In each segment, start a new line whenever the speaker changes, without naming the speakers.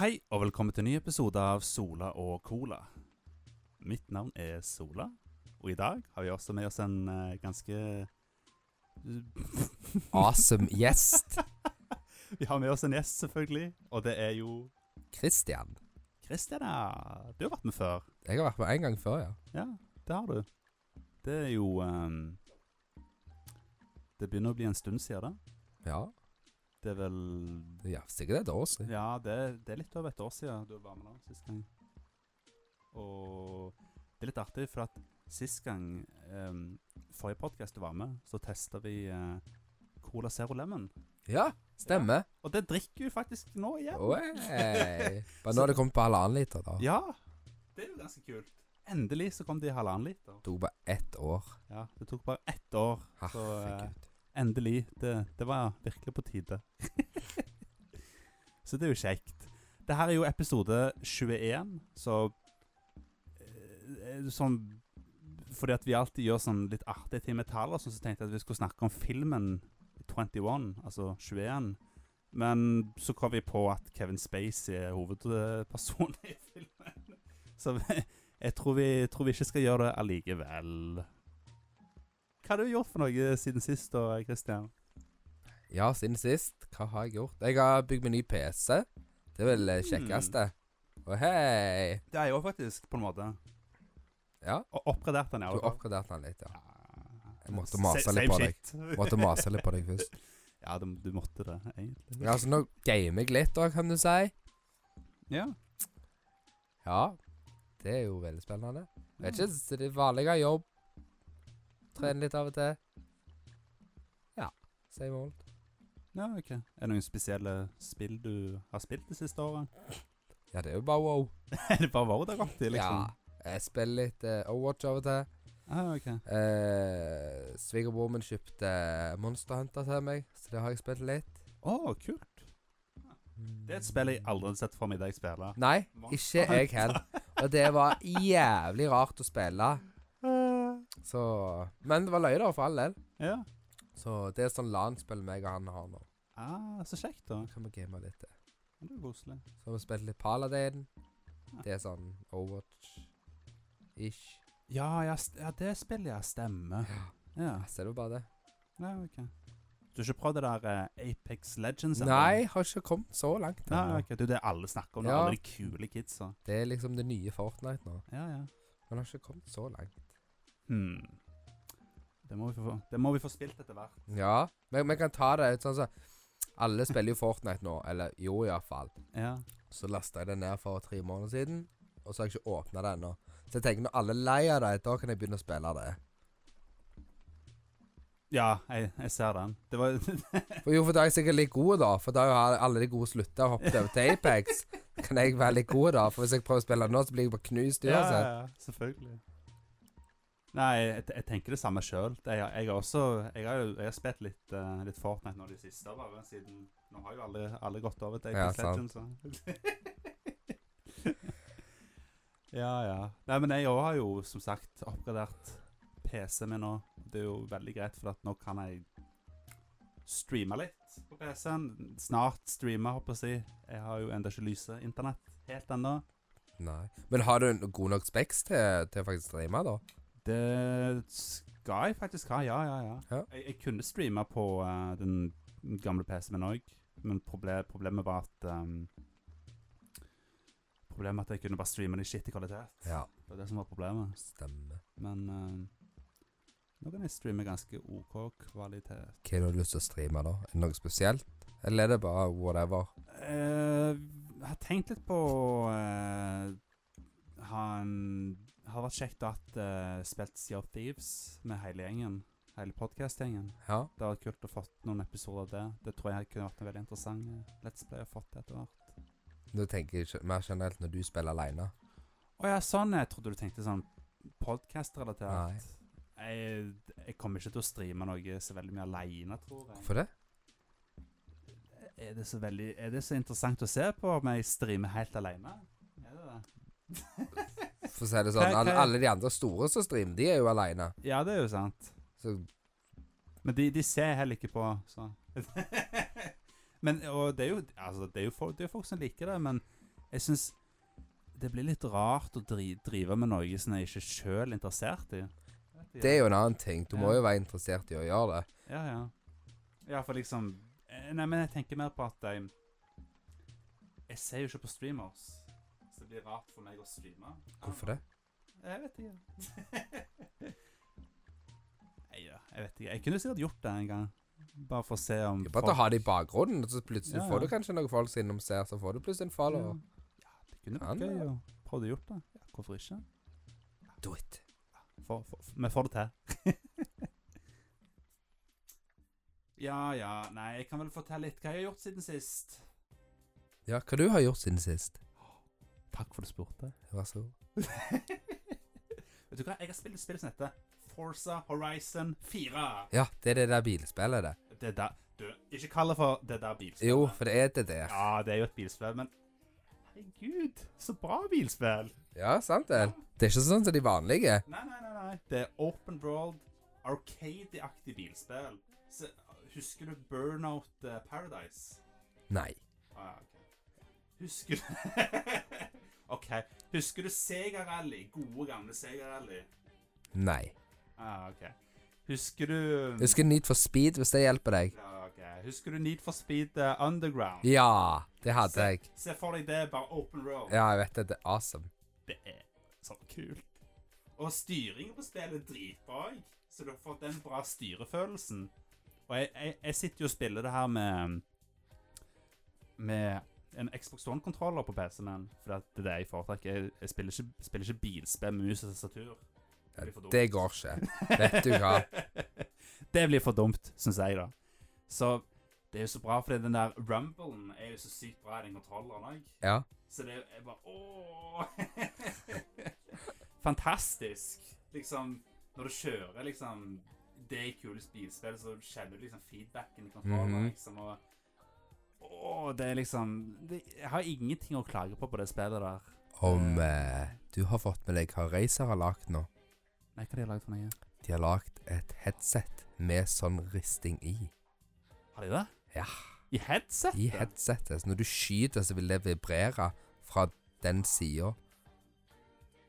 Hei, og velkommen til en ny episode av Sola og Cola. Mitt navn er Sola, og i dag har vi også med oss en eh, ganske
Awesome gjest,
Vi har med oss en gjest, selvfølgelig, og det er jo
Christian.
Christian, ja. Du har vært med før.
Jeg har vært med en gang før, ja.
Ja, det har du. Det er jo ehm, Det begynner å bli en stund siden, da.
Ja,
Det er vel
det er sikkert et år siden.
Ja, det, det er litt over et år siden du var med da, sist gang. Og det er litt artig, for at sist gang, ehm, forrige podcast du var med, så testet vi eh, Cola Zero Lemon.
Ja, stemmer.
Og det drikker vi faktisk nå igjen.
Oi. Bare nå har det kommet på halvannen liter, da.
Ja, det er jo ganske kult. Endelig så kom det i halvannen liter.
Det tok bare ett år.
Ja, det tok bare ett år. Så eh,
Herregud.
endelig, det, det var virkelig på tide. så det er jo kjekt. Det her er jo episode 21, så eh, Sånn Fordi at vi alltid gjør sånn litt artige ting med tall, og sånn, så tenkte jeg at vi skulle snakke om filmen 21, altså 21. Men så kom vi på at Kevin Spacey er hovedpersonen i filmen. Så vi, jeg tror vi, tror vi ikke skal gjøre det allikevel. Hva har du gjort for noe siden sist da, Christian?
Ja, siden sist. Hva har jeg gjort? Jeg har bygd meg ny PC. Det er vel det kjekkeste.
Hmm.
Og hei!
Det er jo faktisk, på en måte.
Ja,
Og oppgradert den,
du oppgraderte den litt, ja.
Ja.
Jeg måtte mase
Sa- same
litt på deg.
shit.
Måtte mase litt på deg først.
Ja, du, du måtte det, egentlig.
Ja, så nå gamer jeg litt òg, kan du si.
Ja.
Ja, det er jo veldig spennende. Vet ikke, så det vanlige er jobb. Trene litt av og til. Ja, same old.
Ja, ok. Er det noen spesielle spill du har spilt det siste året?
Ja, det er jo bare wow.
er det bare Wow det har gått i,
Ja,
liksom?
jeg spiller litt eh, Overwatch av og til.
Ja. Ah, ok.
Eh, Svigerbroren min kjøpte Monster Hunter til meg, så det har jeg spilt litt.
Å, kult. Det er et spill jeg aldri har sett for meg da jeg spiller.
Nei,
Monster
ikke jeg heller. Og det var jævlig rart å spille. Så Men det var løye, da, for all del.
Ja.
Så det er sånn LAN-spill meg og han har nå.
Ah, så kjekt, da.
Nå kan vi game litt. eh.
Det er jo koselig.
Så har vi spilt litt Paladin.
Ja.
Det er sånn Overwatch-ish.
Ja, ja, st- ja, det spillet, ja. Stemmer. Ja.
Ja, Ser du bare det?
ja, ok. Du har ikke prøvd det der eh, Apex Legends? eller?
Nei, har ikke kommet så langt.
Nei,
ennå.
ok, det er det alle snakker om, det er
Ja.
alle de kule kidsa.
Det er liksom det nye Fortnite nå.
Ja, ja.
Men har ikke kommet så langt.
Hmm. Det må vi få, det må vi få spilt etter hvert.
Ja, men vi kan ta det ut sånn som Alle spiller jo Fortnite nå, eller jo iallfall.
Ja.
Så lasta jeg det ned for tre måneder siden, og så har jeg ikke åpna det ennå. Så jeg tenker når alle er lei av det, da kan jeg begynne å spille det.
Ja, jeg, jeg ser den. Det var
For jo, for da er jeg sikkert litt god, da. For da har alle de gode slutta og hoppet over til Apex. Kan jeg være litt god, da? For hvis jeg prøver å spille nå, så blir jeg bare knust
ja,
uansett.
ja, selvfølgelig. Nei, jeg, jeg tenker det samme sjøl. Jeg, jeg har også Jeg har, jo- jeg har spilt litt, eh, litt Fortnite nå de siste, bare siden Nå har jo alle, alle gått over til Apex
Ja,
Legends. så. ja, ja. Nei, men jeg òg har jo som sagt oppgradert PC-en min nå. Det er jo veldig greit, for at nå kan jeg streame litt på PC-en. Snart streame, håper jeg å si. Jeg har jo ennå ikke lyse internett helt ennå.
Nei. Men har du en god nok speks til, til å faktisk streame, da?
Det skal jeg faktisk ha, ja, ja, ja.
Ja.
Jeg, jeg kunne streame på eh, den gamle PC-en min òg, men proble problemet var at ehm, Problemet var at jeg kunne bare streame det i skittig kvalitet.
Ja,
Det var det som var problemet.
stemmer.
Men ehm, nå kan jeg streame ganske OK kvalitet.
Hva er det du har lyst til å streame, da? Er det noe spesielt? Eller er det bare whatever?
Eh, Jeg har tenkt litt på eh, ha en- Har vært kjekt å ha eh, spilt Sea of Thieves med hele gjengen. Hele podkast-gjengen.
Ja.
Det hadde vært kult å fått noen episoder av det. Det tror jeg kunne vært en veldig interessant eh, Let's Play å fått etter hvert.
Du tenker jeg ikke mer generelt når du spiller aleine.
Å ja, sånn. Jeg trodde du tenkte sånn podkast-relatert. Jeg, jeg kommer ikke til å streame noe så veldig mye aleine, tror jeg.
Hvorfor det?
Er det, så veldig, er det så interessant å se på om jeg streamer helt aleine? Er det det?
For å si det sånn,
Hva-
alle,
hva-
alle de andre store som streamer, de er jo aleine.
Ja, det er jo sant.
Så
Men de, de ser heller ikke på, så Men og det er jo Altså, det er jo folk, det er folk som liker det, men Jeg syns det blir litt rart å dri drive med noe som jeg ikke sjøl er interessert i.
Det er jo en annen ting. Du må
Ja.
jo være interessert i å gjøre det.
Ja, ja. Ja, for liksom eh, Nei, men jeg tenker mer på at jeg Jeg ser jo ikke på streamers. Så det blir rart for meg å streame.
Hvorfor det?
Jeg vet ikke. Nei da, jeg vet ikke. Jeg kunne sikkert gjort det en gang. Bare for å se om
Det er Bare å ha det i bakgrunnen, og så plutselig
Ja,
får du
ja.
kanskje noen folk som innom ser, så får du plutselig en follower.
Ja, det kunne
Kan
vært gøy
det.
å prøve å gjort det. Ja, hvorfor ikke?
Do it.
For, for, for, vi får det til. ja, ja. Nei, jeg kan vel fortelle litt hva jeg har gjort siden sist.
Ja, hva du har gjort siden sist?
Takk for at du spurte.
Vær så god.
Vet du hva, jeg har spilt et spill som heter Forza Horizon 4.
Ja, det er det der bilspillet, det.
Det der Du, ikke kall det for det der bilspillet.
Jo, for det er det der.
Ja, det er jo et bilspill, men Herregud, så bra bilspill!
Ja, sant det. Det er ikke sånn som de vanlige.
Nei, nei, nei, nei. Det er open world, arcade-aktig bilspill. Se, husker du Burnout eh, Paradise?
Nei.
Ah, ja, ok. Husker du OK. Husker du Sega Rally? Gode, gamle Sega Rally.
Nei.
Ah, OK. Husker du
Husker Need for Speed, hvis det hjelper deg.
Ja, ok. Husker du Need for Speed eh, Underground?
Ja, det hadde jeg.
Se for deg det, bare open world.
Ja, jeg vet det. Det er awesome.
Det er så kult. Og styringen på spillet er dritbra, jeg. så du har fått den bra styrefølelsen. Og jeg, jeg, jeg sitter jo og spiller det her med med en Xbox One-kontroller på PC-en min, for det er det jeg foretrekker. Jeg, jeg spiller ikke, spiller ikke bilspill med mus og tastatur.
Ja,
blir for dumt.
det går ikke. Vet du hva?
det blir for dumt, syns jeg, da. Så det er jo så bra, fordi den der rumblen er jo så sykt bra i den kontrolleren òg.
Ja.
Så det er bare Åh! Fantastisk. Liksom, når du kjører, liksom Det er kule bilspill, så kjenner du liksom feedbacken i kontrollen.
Mhm.
liksom, og Åh, det er liksom det, Jeg har ingenting å klage på på det spillet der.
Om eh, du har fått med deg hva Razer har lagd nå.
Nei, hva de har lagd for noe?
De har lagd et headset med sånn risting i.
Har de det?
Ja.
I headsetet?
I headsetet. Så når du skyter, så vil det vibrere fra den sida.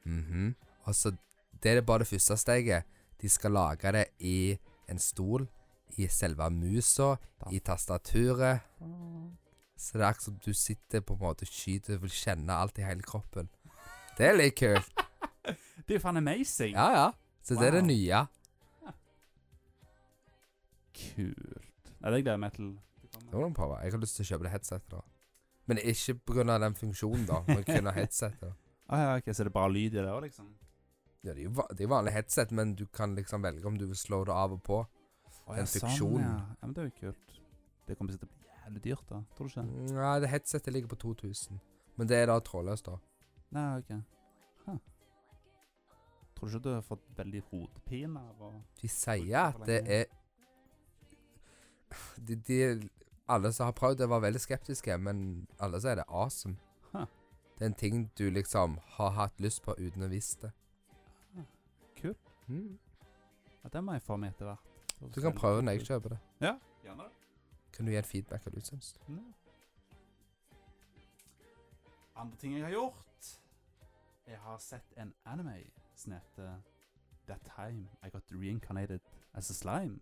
Mhm. Og så Det er bare det første steget. De skal lage det i en stol, i selve musa, i tastaturet. Så det er akkurat som du sitter på en måte og skyter og vil kjenne alt i hele kroppen. Det er litt kult.
Det er jo faen amazing.
Ja, ja. Så det er det
Wow.
nye.
Kult. Nei, det gleder jeg meg til.
Det må du prøve. Jeg har lyst til å kjøpe det headsetet, da. Men ikke pga. den funksjonen, da. Men pga. headsetet.
Ah, ja, ok, Så det er bare lyd i det òg, liksom?
Ja, det er jo va- det er jo vanlig headset, men du kan liksom velge om du vil slå det av og på.
Å,
En fiksjon.
ja. ja, men det er jo kult. Det kommer sikkert til å bli jævlig dyrt, da. Tror du ikke?
Nei, det headsetet ligger på 2000. Men det er da trådløst, da.
Nei, ok. Huh. Tror du ikke du har fått veldig hodepine av å
De sier at det er de, de, Alle som har prøvd det, var veldig skeptiske, men alle sier det er awesome.
Huh.
Det er en ting du liksom har hatt lyst på uten å visst det.
Kult.
Mm.
Ja, det må jeg få med etter hvert.
Du kan prøve når jeg kjøper det.
Gjerne Mm. det.
Kan du gi en feedback hva du syns?
Ja. Andre ting jeg har gjort Jeg har sett en anime som heter That Time I Got Reincarnated As A Slime.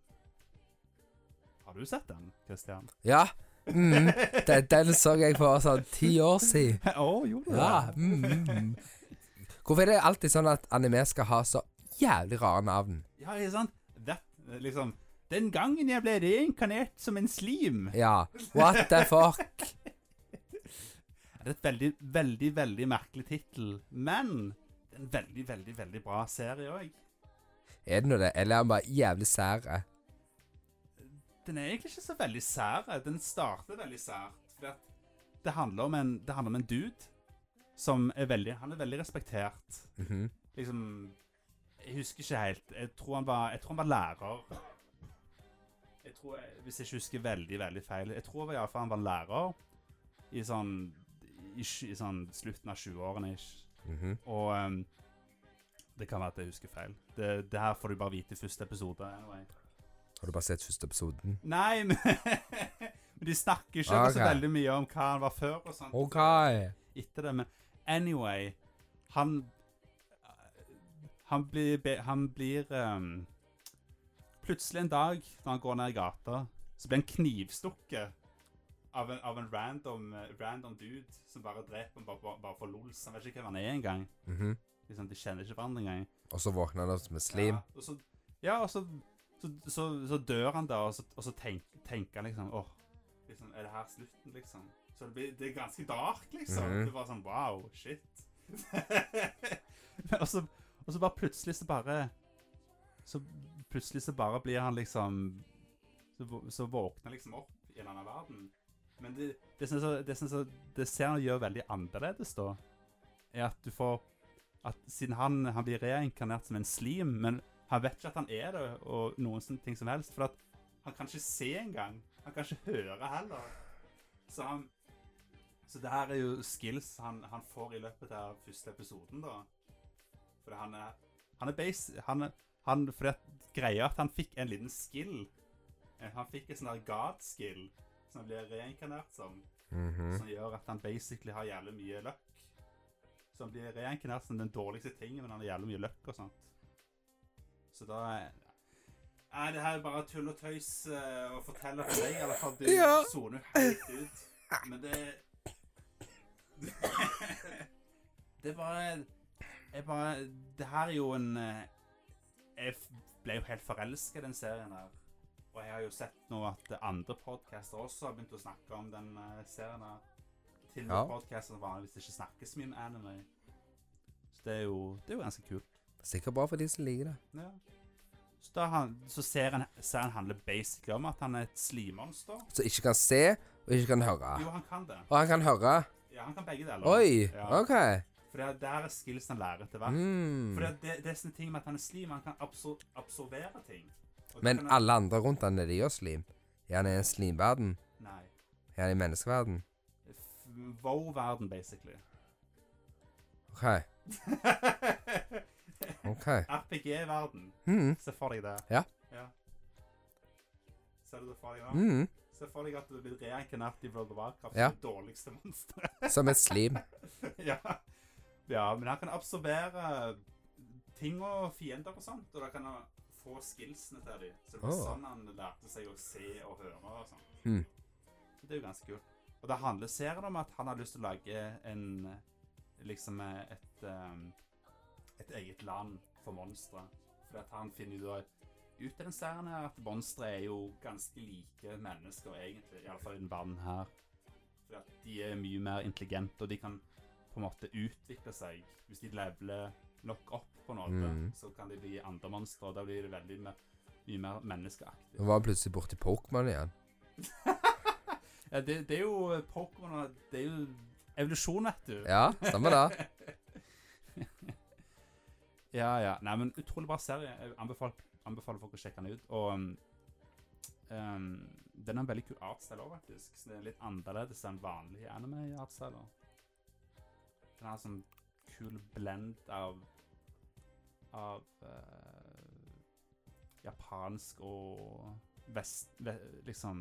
Har du sett den, Christian?
Ja! Mm. Den, den så jeg for sånn ti år siden.
Å, gjorde du
Ja,
det?
mm. Hvorfor er det alltid sånn at anime skal ha så jævlig rare navn?
Ja, ikke sant? That, liksom Den gangen jeg ble reinkarnert som en slim.
Ja, what the fuck?
Ja, Det er et veldig, veldig, veldig merkelig tittel, men det er en veldig, veldig, veldig bra serie òg.
Er det nå det, eller er han bare jævlig sære?
Den er egentlig ikke så veldig sær. Den starter veldig sært. For at det handler om en, det handler om en dude som er veldig Han er veldig respektert.
Mhm.
Liksom Jeg husker ikke helt. Jeg tror han var, jeg tror han var lærer. Jeg tror, Hvis jeg ikke husker veldig, veldig feil. Jeg tror iallfall han var lærer i sånn, i, sj- i sånn slutten av 20-årene. ish.
Mhm.
Og ehm, det kan være at jeg husker feil. Det, det her får du bare vite i første episode. Anyway.
Har du bare sett første episoden?
Nei, men, Men de snakker ikke så
Ok.
veldig mye om hva han var før og sånt
OK.
etter det. Men anyway Han Han blir, be- han blir ehm, Plutselig en dag når han går ned i gata, så blir han knivstukket av en, av en random, eh, random dude som bare dreper ham bare, bare, bare for lols. Han vet ikke hvem han er engang.
Mhm.
Liksom, de kjenner ikke hverandre engang.
Og så våkner han opp med slim.
Ja, og så, ja, og så, så, så, så dør han da, og så, og så tenk, tenker han liksom Åh, liksom, er det her slutten, liksom? Så det, blir, det er ganske dark, liksom.
Mhm.
Det er bare sånn Wow, shit. og, så, og så bare plutselig så bare Så plutselig så bare blir han liksom Så, vå- så våkner han liksom opp i en annen verden. Men det, det, synes jeg, det, synes jeg, det ser han gjør veldig annerledes, da, er at du får at siden han, han blir reinkarnert som en slim, men han vet ikke at han er det, og noen sånne ting som helst, for at han kan ikke se engang. Han kan ikke høre heller. Så han Så det her er jo skills han, han får i løpet av første episoden, da. For han er Han er base han, er- han, For det greia er at han fikk en liten skill. Eh, Han fikk en sånn der god-skill som han blir reinkarnert som
Mhm.
som gjør at han basically har jævlig mye løkk. Så han blir reinkarnert som den dårligste tingen, men han har jævlig mye løkk og sånt. Så da er- Nei, det her er bare tull og tøys eh, å fortelle for deg, i hvert fall. Du
Ja.
soner jo helt ut. Men det Det er bare Jeg bare Det her er jo en eh, Jeg f- ble jo helt forelska i den serien her. Og jeg har jo sett nå at andre podcaster også har begynt å snakke om den eh, serien. her. Til og med
Ja.
podcaster som vanligvis ikke snakker så mye om anime. Så det er jo, det er jo ganske kult.
Sikkert bra for de som liker det.
Ja. Så, da han, så serien, serien handler basically om at han er et slimmonster.
Som ikke kan se, og ikke kan høre.
Jo, han kan det.
Og han kan høre.
Ja, han kan begge deler.
Ah. Oi!
Ja.
OK.
For det, er- det her er skills han lærer etter hvert.
Mm.
For det, det, det er sånne ting med at han er slim, han kan absor absorbere ting. Og
Men
kan han-
alle andre rundt han er de også slim. Er han i en slimverden?
Nei.
Er han i menneskeverden?
F- Wow-verden, basically.
OK. OK.
RPG-verden.
Mhm.
Se for deg det.
Ja.
Ser du det for deg nå?
Mhm.
Se for deg at du blir reinkarnert i World of Warcraft
Ja.
som det dårligste monsteret.
Som et slim.
ja. ja, men han kan absorbere ting og fiender og sånt, og da kan han få skillsene til dem. Så det var
Åh.
sånn han lærte seg å se og høre og sånt.
Mhm.
Det er jo ganske kult. Og det handler serien om at han har lyst til å lage en liksom eh, et ehm, et eget land for monstre. For at han finner jo da ut av den serien her at monstre er jo ganske like mennesker egentlig, iallfall i den verden her. For at de er mye mer intelligente, og de kan på en måte utvikle seg. Hvis de leveler nok opp på noe,
Mhm.
så kan de bli andre monstre, og da blir det veldig mer, mye mer menneskeaktig.
Nå var han plutselig borti Pokémon igjen.
Ja, det, det er jo Pokémon og Det er jo evolusjon, vet du.
Ja, stemmer det.
ja, ja. Nei, men utrolig bra serie. Jeg anbefaler, anbefaler folk å sjekke den ut. Og um, um, den er en veldig kul artstyle òg, faktisk. Så det er litt annerledes enn vanlige anime-artstyler. Den har sånn kul blend av av eh, japansk og vest... Ve, liksom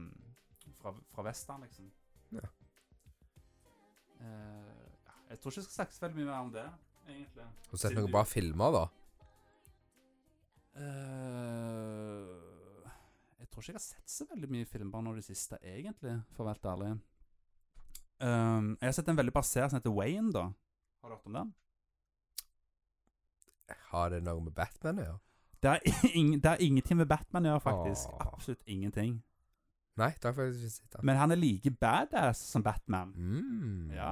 fra, fra Vesten, liksom.
Ja.
Eh, ja, jeg tror ikke jeg skal snakke så veldig mye mer om det, egentlig.
Har du sett noen bra filmer, da?
Eh, jeg tror ikke jeg har sett så veldig mye filmer nå i det siste, egentlig, for å være helt ærlig. Ehm, jeg har sett en veldig bra serie som heter Wayne, da. Har du hørt om den?
Har det noe med Batman å gjøre?
Det er, ing- det er ingenting med Batman å gjøre, faktisk.
Åh.
Absolutt ingenting.
Nei, det har jeg faktisk ikke sett. den.
Men han er like badass som Batman.
Mm.
Ja.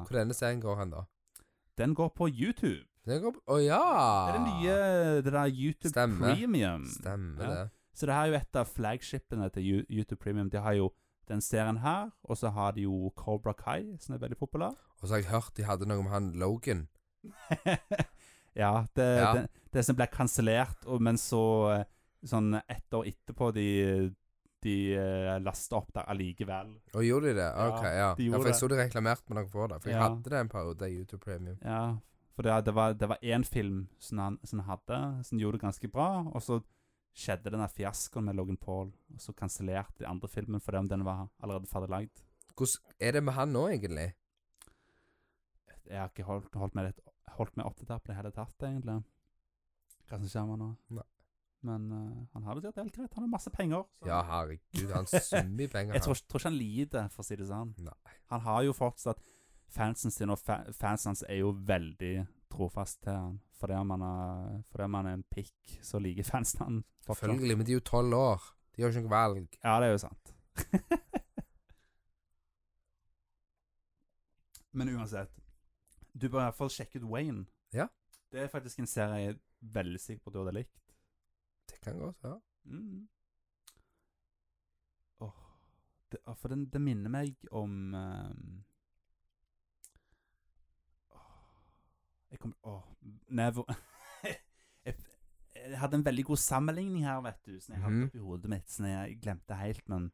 Hvor denne serien går hen, da?
Den går på YouTube.
Den går på Å ja!
Det er det nye det der YouTube
Ah. Stemmer.
Premium.
Stemmer
Ja.
det.
Så det her er jo et av flagshipene til Yo- YouTube Premium. De har jo den serien her, og så har de jo Cobra Kai, som er veldig populær.
Og så har jeg hørt de hadde noe med han Logan.
ja, det,
Ja.
Det, det som ble kansellert, og- men så eh, sånn ett år etterpå de, de eh, lasta opp der allikevel.
Og gjorde de det?
Ja,
Ok, ja.
de
ja
gjorde
for jeg
det.
så de reklamerte med noe for det. For jeg
Ja.
hadde det en periode i YouTube Premium.
Ja, for det, det var det var én film som han, som han hadde, som gjorde det ganske bra, og så skjedde denne fiaskoen med Logan Paul, og så kansellerte de andre filmen fordi om den var allerede ferdig lagd.
Hvordan er det med han nå, egentlig?
Jeg har ikke holdt, holdt, meg, litt, holdt meg oppdatert på det hele tatt, egentlig. Hva som skjer med han nå.
Nei.
Men eh, han har det sikkert helt greit. Han har masse penger. så-
Ja, herregud, han summer i penger.
Jeg tror,
han.
ikke- tror ikke han lider, for å si det sånn.
Nei.
Han har jo fortsatt fansen sin, og fa fansen hans er jo veldig trofast til han. Fordi om han er, fordi om han er en pikk, så liker fansen han fortsatt.
Selvfølgelig, men de er jo tolv år. De har jo ikke noe valg.
Ja, det er jo sant. Men uansett, du bør i hvert fall sjekke ut Wayne.
Ja.
Det er faktisk en serie jeg er veldig sikker på at du hadde likt.
Det kan godt være.
Mm. Åh, det, ah, for den, det minner meg om ehm, åh, Jeg kommer Åh, Never jeg, jeg hadde en veldig god sammenligning her, vet du, som jeg hadde
Mhm.
oppi hodet mitt, som jeg glemte helt, men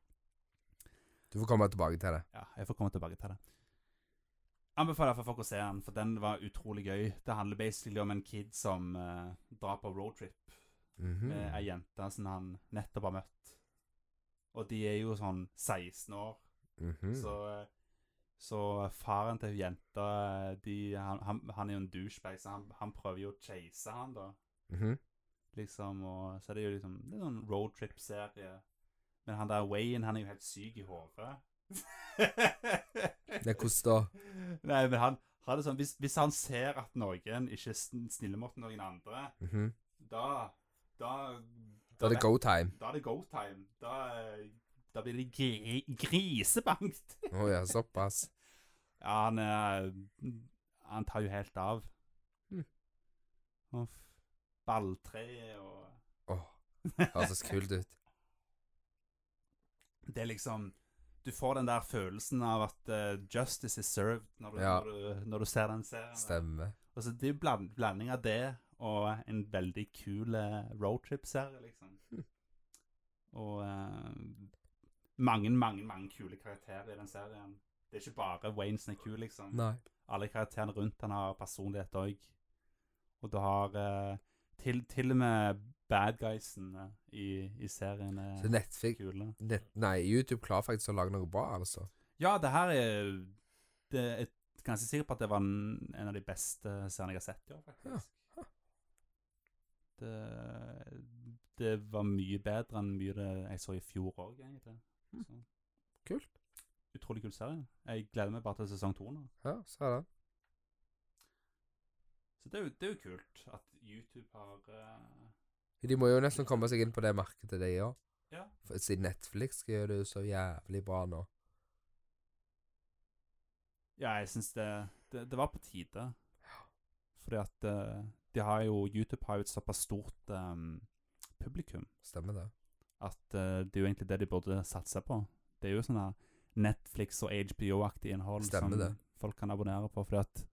Du får komme tilbake til det.
ja, jeg får komme tilbake til det. Anbefaler for folk å se den, for den var utrolig gøy. Det handler basically om en kid som eh, drar på roadtrip
Mhm.
med eh, ei jente som han nettopp har møtt. Og de er jo sånn 16 år,
Mhm.
så eh, Så faren til jenta eh, de, han, han, han er jo en douchebag, så han, han prøver jo å chase han, da.
Mhm.
Liksom, og Så er det jo liksom det er sånn roadtrip-serie. Men han der Wayne, han er jo helt syk i hodet.
Det er hvordan da?
Nei, men han, han er sånn, hvis, hvis han ser at noen ikke er sn- snille mot noen andre,
Mhm.
da Da,
Da er det go time.
da er det go time. Da, eh, da blir det gri grisebankt.
Å ja, såpass.
Ja, han, eh, han tar jo helt av.
Mm.
Og f- Balltre og
Åh, høres kult ut.
Det er liksom Du får den der følelsen av at eh, justice is served når du,
Ja.
når du, når du ser den serien.
Stemmer.
Og så Altså, Det er jo bland, blanding av det og en veldig kul eh, roadtrip-serie, liksom.
Hm.
Og eh, mange, mange mange kule karakterer i den serien. Det er ikke bare Wayne som er kul, liksom.
Nei.
Alle karakterene rundt han har personlighet òg. Og du har eh, til, til og med bad guysene i, i serien
Så
er
Netflix
kule.
net, Nei, YouTube klarer faktisk å lage noe bra, altså.
Ja, det her er det er ganske sikker på at det var en, en av de beste seriene jeg har sett i år, faktisk. Det, det var mye bedre enn mye det jeg så i fjor òg, egentlig.
Mm.
Så.
Kult.
Utrolig kul serie. Jeg gleder meg bare til sesong to nå.
Ja, sa den.
Så det er jo, det er jo kult at YouTube har eh,
De må jo nesten komme seg inn på det markedet, de òg.
Ja.
Siden Netflix gjør det jo så jævlig bra nå.
Ja, jeg syns det, det Det var på tide. Fordi at eh, de har jo YouTube har jo et såpass stort eh, publikum.
Stemmer det.
at eh, det er jo egentlig det de burde satse på. Det er jo sånn her Netflix og HBO-aktig innhold
Stemmer
som
det.
folk kan abonnere på, fordi at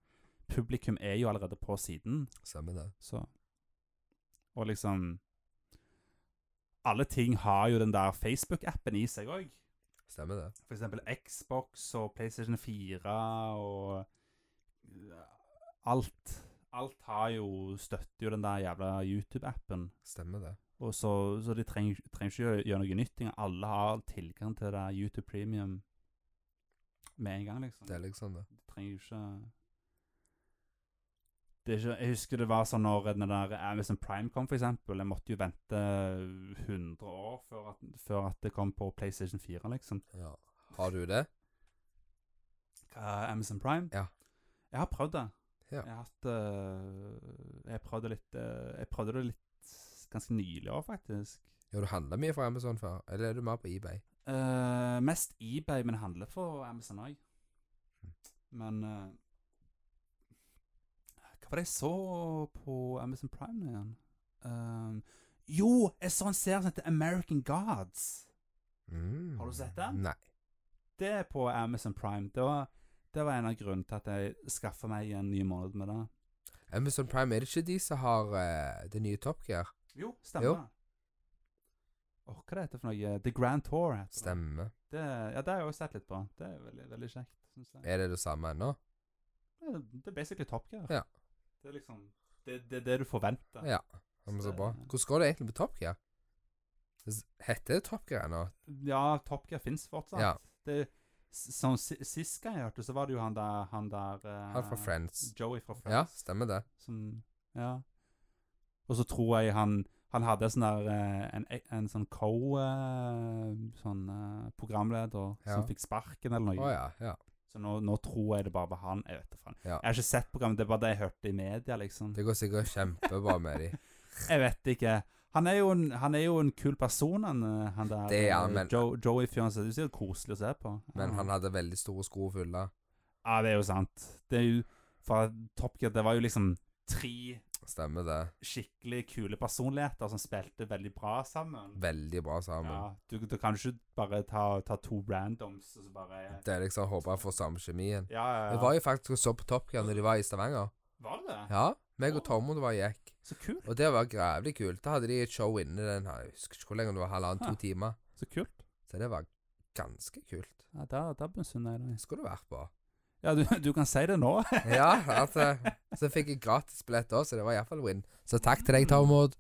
publikum er jo allerede på siden,
Stemmer det.
så Og liksom Alle ting har jo den der Facebook-appen i seg òg.
Stemmer det.
For eksempel Xbox og PlayStation 4 og ja, Alt. Alt har jo støtter jo den der jævla YouTube-appen.
Stemmer det.
Og så, så de trenger, trenger ikke gjøre, gjøre noe nytt engang. Alle har tilgang til det der YouTube Premium med en gang, liksom.
Det er liksom det.
De trenger jo ikke det er ikke, Jeg husker det var sånn når den der Amazon Prime kom, for eksempel. Jeg måtte jo vente 100 år før at, før at det kom på PlayStation 4, liksom.
Ja. Har du det?
Hva, Eh, Amazon Prime?
Ja.
Jeg har prøvd det.
Ja.
Jeg har hatt øh, Jeg prøvde litt øh, Jeg prøvde det litt ganske nylig òg, faktisk.
Ja, du handla mye fra Amazon før, eller er du mer på eBay?
Eh, mest eBay, men handler for Amazon òg.
Mm.
Men eh, Hva var det jeg så på Amazon Prime nå igjen? Eh, jo, jeg så en serie som heter American Gods.
Mm.
Har du sett den?
Nei.
Det er på Amazon Prime. Det var, det var en av grunnene til at jeg skaffa meg en ny måned med det.
Amazon Prime, er det ikke de som har eh, det nye Top Gear?
Jo,
Jo.
stemmer det. Åh, hva er dette for noe? The Grand Tour heter det.
Stemmer.
det. Ja, det har jeg også sett litt på. Det er veldig, veldig kjekt, synes jeg.
Er det det samme ennå?
Ja, Det det er basically Top Gear.
Ja.
Det er liksom Det det er det, du forventer.
Ja. Ja, men Så bra. Hvordan går det egentlig med Top Gear? s- Heter det Top Gear nå?
Eh, Ja, Top Gear fins fortsatt.
Ja.
Det, s- som si- Sist gang jeg hørte, så var det jo han der, han der eh,
Han fra Friends.
Joey fra
Ja,
Friends.
stemmer det.
Som, ja. Og så tror jeg han han hadde sånn der, eh, en, en sånn co eh, sånn, eh, programleder
Ja.
som fikk sparken eller
Å
noe.
ja. ja.
Så nå, nå tror jeg det bare var han. Jeg vet da faen.
Ja.
Jeg har ikke sett programmet, det er bare det jeg hørte i media. liksom.
Det går sikkert kjempebra med de.
Jeg vet ikke. Han er jo en, han er jo en kul person, han, eh, han der
Det er han,
eh,
men-
Jo, Joey-fyren. så Det er sikkert koselig å se på.
Men
Ja.
han hadde veldig store sko å fylle.
Ja, det er jo sant. Det er jo Fra Top Gear, det var jo liksom tre
Stemmer det.
skikkelig kule personligheter som spilte veldig bra sammen.
Veldig bra sammen.
Ja, du, du kan ikke bare ta, ta to randoms og så bare
Det er liksom Håper jeg får samme kjemien.
Ja, ja, ja.
Vi var jo faktisk og så på Top Gear når de var i Stavanger.
Var det det?
Ja. meg og Tormod var og gikk.
Så kult.
Og det var grævlig kult. Da hadde de et show inne den her, jeg husker ikke hvor lenge det var, halvannen,
Hæ.
to timer.
Så kult.
Så det var ganske kult.
Ja, der, der misunner jeg deg.
Det skulle du vært på.
Ja, du, du kan si det nå.
Ja, altså. Så fikk jeg gratis billett òg, så det var iallfall win. Så takk til
Mm.
deg, Tormod.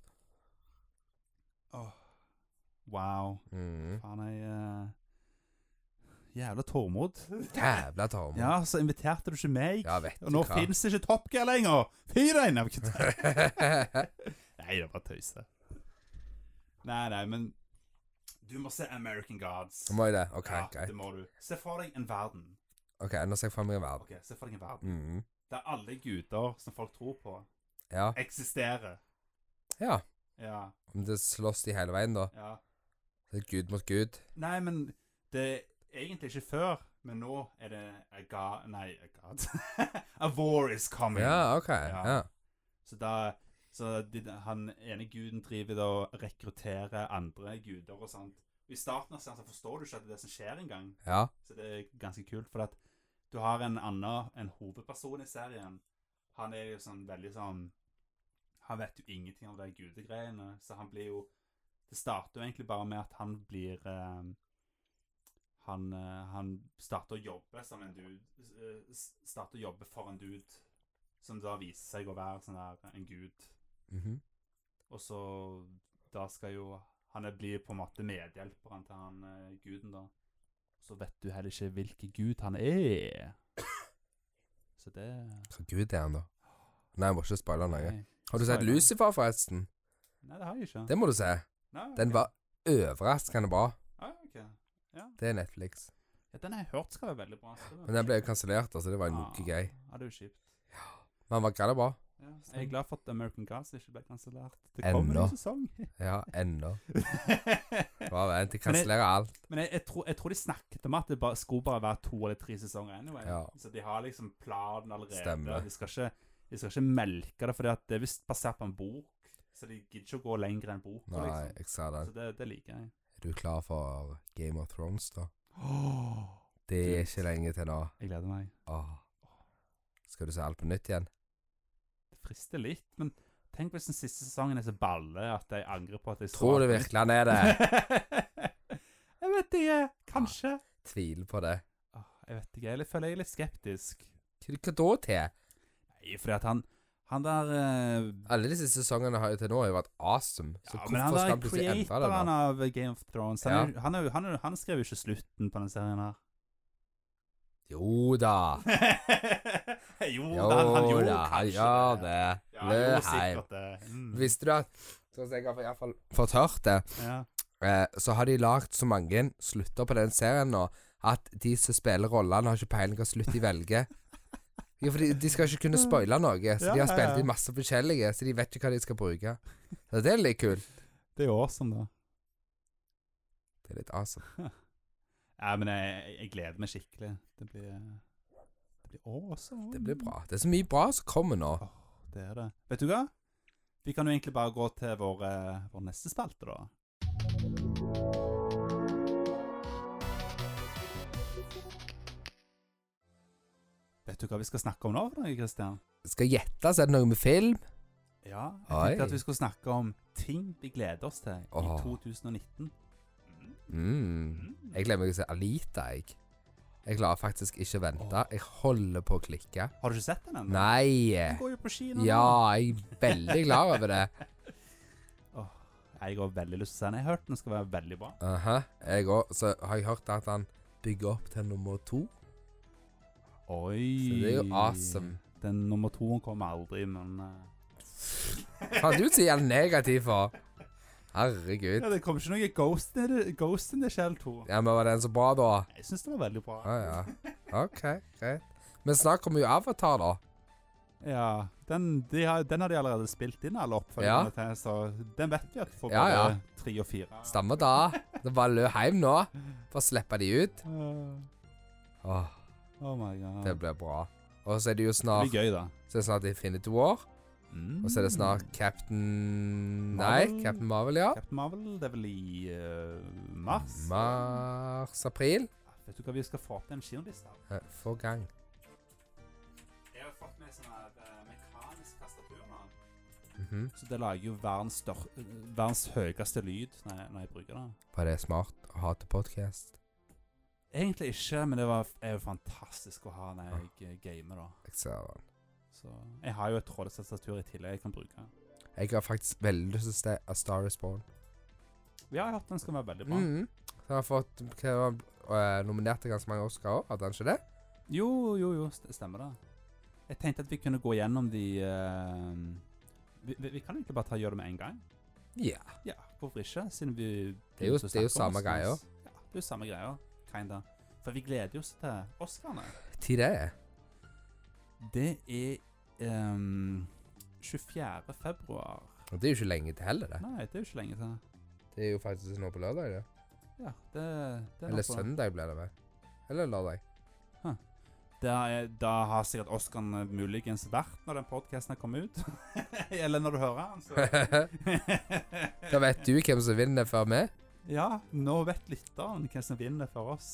Wow.
Mm.
Faen, jeg eh, Jævla Tormod.
Jævla Tormod. Ja,
Ja, så inviterte du ikke meg.
vet
og
du
nå
hva.
fins ikke Top Gear lenger! Fy deg! Nei, jeg vet ikke. Nei, det var tøyse. Nei, nei, men Du må se American Gods.
Så må jeg det. OK,
ja,
greit.
det må du. Se for deg en verden.
Ok, Nå ser jeg for meg en verden.
Ok, se for deg en verden.
Mm.
Der alle guder som folk tror på,
Ja.
eksisterer.
ja.
Ja,
Om det slåss de hele veien, da.
ja.
Det er Gud mot Gud.
Nei, men det er egentlig ikke før, men nå er det a god Nei, a god. a war is coming.
Ja, OK.
Mm. Ja.
Ja.
Så da Så de, han ene guden driver da og rekrutterer andre guder og sånt. I starten av serien så forstår du ikke at det er det som skjer engang.
ja.
Så det er ganske kult, for at du har en annen, en hovedperson i serien. Han er jo sånn veldig sånn Han vet jo ingenting om de gudegreiene, så han blir jo Det starter jo egentlig bare med at han blir eh, han, eh, han starter å jobbe som en dude. eh, s- starter å jobbe for en dude, som da viser seg å være sånn der en gud.
Mhm.
Og så Da skal jo Han er- blir på en måte medhjelperen til han eh, guden, da. Så vet du heller ikke hvilken gud han er. Så det
Hva Gud er han, da? Nei, jeg må ikke spoile noe.
Nei.
Har du sett
Spoiler.
Lucifer, forresten?
Nei, det har jeg ikke.
Det må du se.
Nei, ok.
Den var overraskende bra.
ah, ok.
Det er Netflix.
ja, Den har jeg hørt skal være veldig bra.
Men den ble jo kansellert, så det var noe
Ah.
gøy.
Ja, det er jo kjipt.
Men han var galla bra.
Ja, jeg er glad for at American Gods ikke ble kansellert. Det
Ennå.
kommer en ny sesong.
Ja, ennå.
Men
Bare vent, de kansellerer alt.
jeg, jeg, tror, jeg tror de snakket om at det bare, skulle bare være to eller tre sesonger anyway.
Ja.
Så de har liksom planen allerede.
Stemmer.
De skal ikke, de skal ikke melke det, for det er visst basert på en bok. Så de gidder ikke å gå lenger enn boka,
Nei,
liksom.
jeg sa
Så
den.
det, det liker jeg.
Er du klar for Game of Thrones, da? Det er ikke lenge til nå.
Jeg gleder meg.
Åh. Skal du se alt på nytt igjen?
Det frister litt, men tenk hvis den siste sesongen er så balle at jeg angrer på at jeg så
Tror du
alt.
virkelig han er det?
jeg vet ikke. Kanskje.
Tviler på det.
Åh, Jeg vet ikke. Jeg føler jeg er litt skeptisk.
Hva hva da til?
Nei, fordi at han Han der eh,
Alle disse sesongene har jo til nå har jo vært awesome. Så
ja, Men han
hvorfor skal
der
han plutselig endre det
creatoren
nå?
av Game of Thrones Han, er jo- han, er jo- han, er jo- han skrev jo ikke slutten på den serien her.
Jo da.
jo,
Jo
da, han, han gjorde
da, han
kanskje
gjør det.
Ja, han gjorde
Løheim.
sikkert det. Mm.
Visste du at Sånn som jeg har i hvert fall fått hørt det,
Ja.
eh, så har de lagd så mange slutter på den serien nå at de som spiller rollene, har ikke peiling hva slutt de velger. Jo, for de, de skal ikke kunne spoile noe, så
Ja,
de har
ja,
spilt
ja.
inn masse forskjellige, så de vet ikke hva de skal bruke. Så det er litt kult.
Det er jo awesome, da.
Det er litt awesome.
Nei, men jeg, jeg gleder meg skikkelig. Det blir Det blir awesome.
Det blir bra. Det er så mye bra som kommer nå.
Åh, det er det. Vet du hva? Vi kan jo egentlig bare gå til vår, eh, vår neste spalte, da. Vet du hva vi skal snakke om nå, for noe, Christian?
Skal jeg gjette, så er det noe med film.
Ja, jeg
Oi.
tenkte at vi skulle snakke om ting vi gleder oss til
Åh.
i 2019.
Mm. Jeg glemmer ikke å si Alita, jeg. Jeg klarer faktisk ikke å vente. Jeg holder på å klikke.
Har du ikke sett den ennå?
Nei!
Den går jo på kino. nå.
Ja, jeg er veldig glad over det.
jeg har veldig lyst til å se den. Jeg har hørt den skal være veldig bra.
Aha, jeg òg. Så har jeg hørt at han bygger opp til nummer to.
Oi.
Så det er jo awesome.
Den nummer to kommer aldri, men eh,
Faen, du sier han negativ for? Herregud.
Ja, det kom ikke noe Ghost in the, Ghost in the Shell 2.
Ja, men var den så bra, da?
Jeg syns det var veldig bra.
Å ja. OK, greit. Men snart kommer jo Avatar, da.
Ja, den, de har, den har de allerede spilt inn alle oppfølgerne til, så den vet vi at får
Ja,
både
ja.
tre og fire.
Stemmer da. Det bare løp hjem nå for å slippe de ut.
Uh,
Åh,
oh my god.
det blir bra. Og så er det jo
Det
snart,
blir gøy, da.
så er det snart Infinity War.
Mm.
Og så er det snart Captain Nei,
Marvel.
Captain Marvel, ja.
Captain Marvel. Det er vel i eh, mars?
Mars-april.
Vet du hva vi skal få opp den kinolista?
Eh, Få gang.
Jeg har fått med sånn mekanisk tastatur nå.
Mhm.
Så det lager jo verdens, stør eh, verdens høyeste lyd når jeg, når jeg bruker det.
Var det smart å ha til podkast?
Egentlig ikke, men det var, er jo fantastisk å ha når jeg eh, gamer, da.
Jeg ser den.
Så jeg har jo et trådløst tastatur i tillegg jeg kan bruke.
Jeg har faktisk veldig lyst til å se A Star Is Born.
Ja, jeg har hørt den skal være veldig bra.
Mhm. Den har fått hva, var den, eh, nominert til ganske mange Oscarer, hadde den ikke det?
Jo, jo, jo, st- stemmer det. Jeg tenkte at vi kunne gå gjennom de eh, vi, vi, vi kan egentlig bare ta gjøre det med en gang.
Ja.
Ja, hvorfor ikke? Siden vi
Det er jo-
begynte å
det er
snakke om
jo samme
Oscars.
greia.
Ja, det er jo samme greia. Kinda. For vi gleder oss til Oscarene.
Tid det er.
Det er ehm, 24. februar.
Og det er jo ikke lenge til heller, det.
Nei, det er jo ikke lenge til.
Det er jo faktisk nå på lørdag, det.
Ja, det, det er
Eller
noe.
søndag ble det vel. Eller lørdag.
Da, er, da har sikkert Oscarene muligens vært når den podkasten er kommet ut. Eller når du hører den. Så.
da vet du hvem som vinner før meg.
Ja, nå vet lytteren hvem som vinner for oss.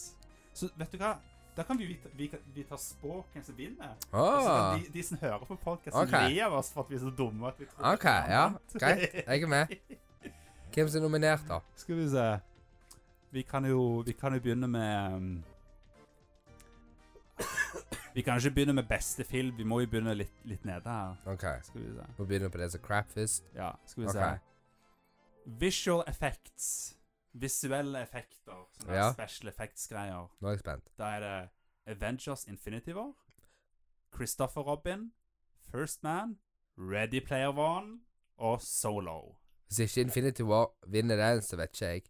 Så vet du hva? Da kan vi, vite- vi, kan- vi ta spå hvem som vinner. Og så
Åh,
kan Altså, de, de som hører på podkasten,
Ok.
le av oss for at vi er så dumme. At vi tror
OK,
at vi
ja.
vant.
Greit. Jeg er med. Hvem som er nominert, da?
Skal vi se Vi kan jo, vi kan jo begynne med um, Vi kan ikke begynne med beste film, vi må jo begynne litt, litt nede her.
OK.
Skal vi se.
Må begynne på det som crap først.
Ja, skal vi
OK.
se. Visual effects. Visuelle effekter. Sånne
Ja.
Special effects-greier.
Nå er jeg spent.
Da er det Avengers Infinity War, Christopher Robin, First Man, Ready Player One og Solo.
Hvis ikke Infinity War vinner den, så vet ikke jeg.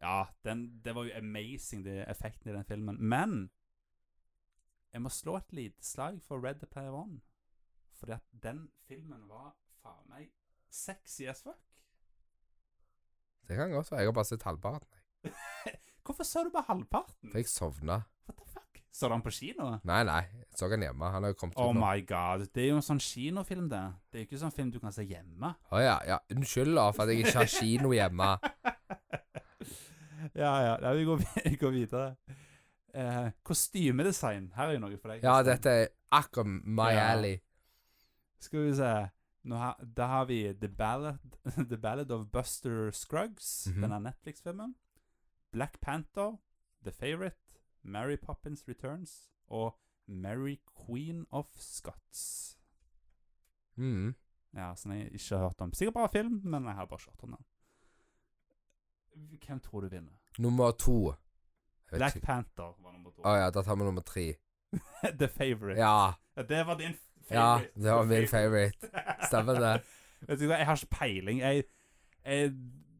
Ja, den, det var jo amazing, de effektene i den filmen. Men jeg må slå et lite slag for Red Player One. Fordi at den filmen var faen meg sexy as fuck.
Det kan godt være. Jeg har bare sett halvparten. jeg.
Hvorfor så du bare halvparten?
For jeg sovna.
What the fuck? Så du den på kino?
Nei, nei. Jeg så han hjemme. Han har jo kommet
Oh
ut nå.
my god, det er jo en sånn kinofilm, det. Det er jo ikke sånn film du kan se hjemme.
Å ja, ja. Unnskyld da, for at jeg ikke har kino hjemme.
ja, ja. Nei, vi går, vi går videre. Eh, kostymedesign. Her er jo noe for deg.
Ja,
Kristian.
dette er akkurat my
Ja.
alley.
Skal vi se. Nå har, da har vi The Ballad, The Ballad of Buster Scruggs,
Mhm.
denne Netflix-filmen. Black Panther, The Favourite, Mary Poppins Returns og Mary Queen of Scots.
Mm.
Ja, som jeg ikke har hørt om. Sikkert bra film, men jeg har bare ikke hørt om den. Hvem tror du vinner?
Nummer to. Jeg vet
Black
ikke.
Panther var nummer to.
Å ja, da tar vi nummer tre.
The Favourite.
Ja.
Ja, det var din f-
Ja,
favorite.
det var min favorite. Stemmer det.
vet du hva, jeg har ikke peiling. Jeg, jeg,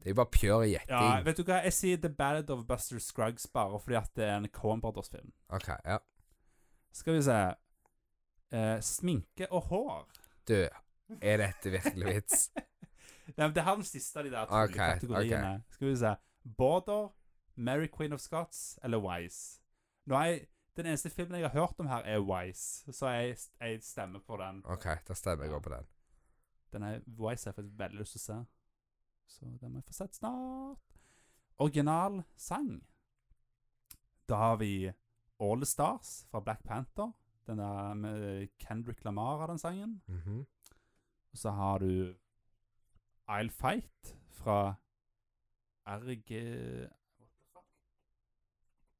Det er jo bare pure
ja,
gjetting.
vet du hva, jeg sier The Ballad of Buster Scruggs bare fordi at det er en Coen Brothers-film.
OK, ja.
Skal vi se Eh, Sminke og hår.
Du, er dette virkelig vits?
Nei, men det er den siste av de der to
Ok,
kategoriene. Skal vi se Border, Mary Queen of Scots eller Wise. Nå er jeg, den eneste filmen jeg har hørt om her, er Wise, så jeg, jeg stemmer på den.
OK, da stemmer jeg òg på den.
Den er Wise har jeg faktisk veldig lyst til å se. Så den må jeg få sett snart. Original sang. Da har vi All The Stars fra Black Panther. Den der med Kendrick Lamar av den sangen.
Mhm.
Og så har du I'll Fight fra RG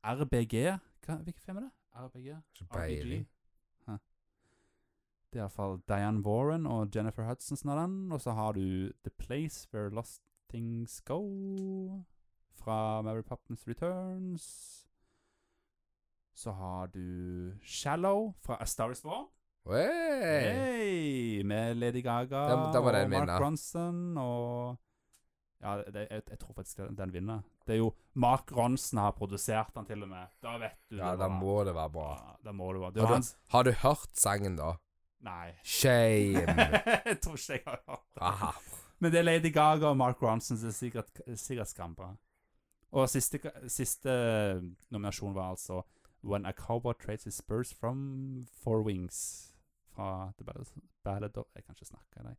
RBG Hva, Hvilken film er det? RBG?
Ikke
RPG.
peiling.
Hæ. Det er iallfall Diane Warren og Jennifer Hudson som har den. Og så har du The Place Where Lost Things Go fra Mary Poppins Returns. Så har du Shallow fra A Star Is Born.
Hey.
Hey, med Lady Gaga
Den- den må den
og Mark
vinne.
Ronson og Ja, det, jeg, jeg tror faktisk den den vinner. Det er jo Mark Ronson har produsert den til og med. Da vet du
Ja,
det.
da
var-
må det være bra.
Ja, da må det være. Det var
Har du,
hans
har du hørt sangen, da?
Nei.
Shame.
jeg tror ikke jeg har hørt det.
Aha.
Men det er Lady Gaga og Mark Ronson som er sikkert, sikkert skambra. Og siste, siste eh, nominasjon var altså When a Cowboy Trades His Spurs from Four Wings fra The Ballad, Ballad of Jeg kan ikke snakke, nei.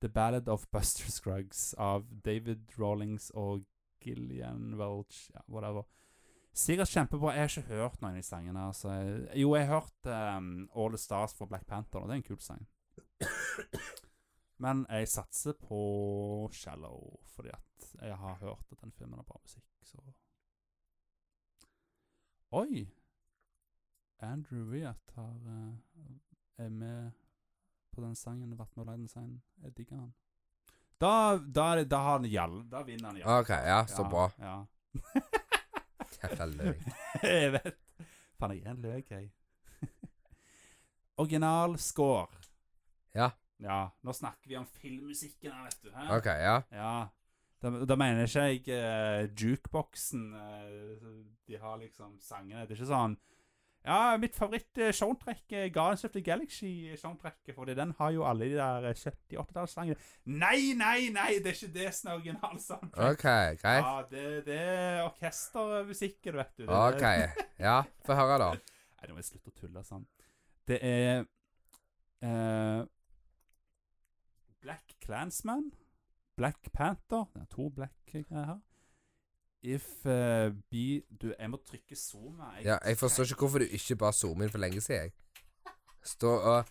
The Ballad of Buster Scruggs av David Rawlings og Gillian Welch ja, whatever. Sikkert kjempebra. Jeg har ikke hørt noen av de sangene. Altså. Jo, jeg har hørt ehm, All the Stars fra Black Panther, og det er en kul sang. Men jeg satser på Shallow, fordi at jeg har hørt at den filmen har bra musikk, så Oi! Andrew Wyatt har, eh, er med på den sangen, vært med og lagd den sangen. Jeg digger han. Da, da, er det- da har han gjeld. Da vinner han gjeld.
OK, ja, Ah, så
Ja,
bra.
Ja.
Jævla løgn.
jeg vet. Faen, jeg er en løk, jeg. Original score.
Ja.
Ja, nå snakker vi om filmmusikken her, vet du. Hæ?
OK, ja.
Ja. Da, da mener ikke jeg eh, jukeboksen eh, De har liksom sangene. Det er ikke sånn Ja, mitt favoritt-soundtrack er eh, Guardians of the Galaxy-soundtracket, fordi den har jo alle de der eh, 70-80-tallssangene. Nei, nei, nei! Det er ikke det som er originalsoundtrack.
OK, greit.
Ja, det, det er orkestermusikken, vet du. Det-
OK.
det-
Ja, få høre, da.
Nei, nå må jeg slutte å tulle sånn. Det er eh, Black Clansman, Black Panther Det er to black-greier her. If eh, be Du, jeg må trykke zoom her.
Ja, jeg forstår ikke hvorfor du ikke bare zoomer inn for lenge siden. jeg. Stå og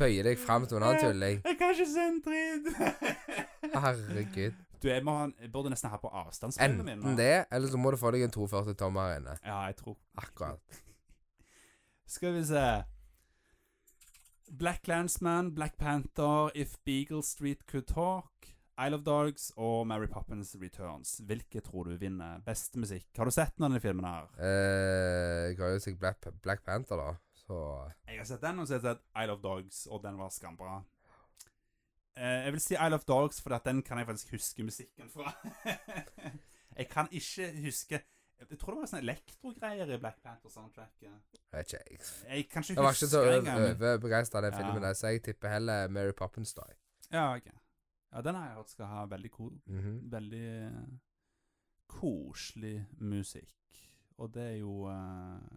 bøye deg fram til en annen tulling.
Jeg kan ikke se en dritt!
Herregud.
Du, jeg, må, ha en- jeg burde nesten ha på avstandsspillet min.
Enten det, eller så må du få deg en 42 tommer her inne.
Ja, jeg tror
Akkurat.
Skal vi se Black Landsman, Black Panther, If Beagle Street Could Talk, Isle of Dogs og Mary Poppins Returns. Hvilke tror du vinner beste musikk? Har du sett noen av de filmene her?
Eh, jeg har jo sikkert Black, Black Panther, da. Så
Jeg har sett den, og så har jeg sett Isle of Dogs, og den var skambra. Eh, jeg vil si Isle of Dogs, for at den kan jeg faktisk huske musikken fra. jeg kan ikke huske Jeg tror det var sånne elektrogreier i Black Panther-soundtracket.
jeg vet ikke jeg.
Jeg kan ikke
Jeg var ikke så
huske det engang.
overbegeistra av den
Ja.
filmen, der, så jeg tipper heller Mary Poppins da.
Ja, ok. Ja, den har jeg hørt skal ha veldig, ko
Mhm.
veldig eh, koselig musikk. Og det er jo eh,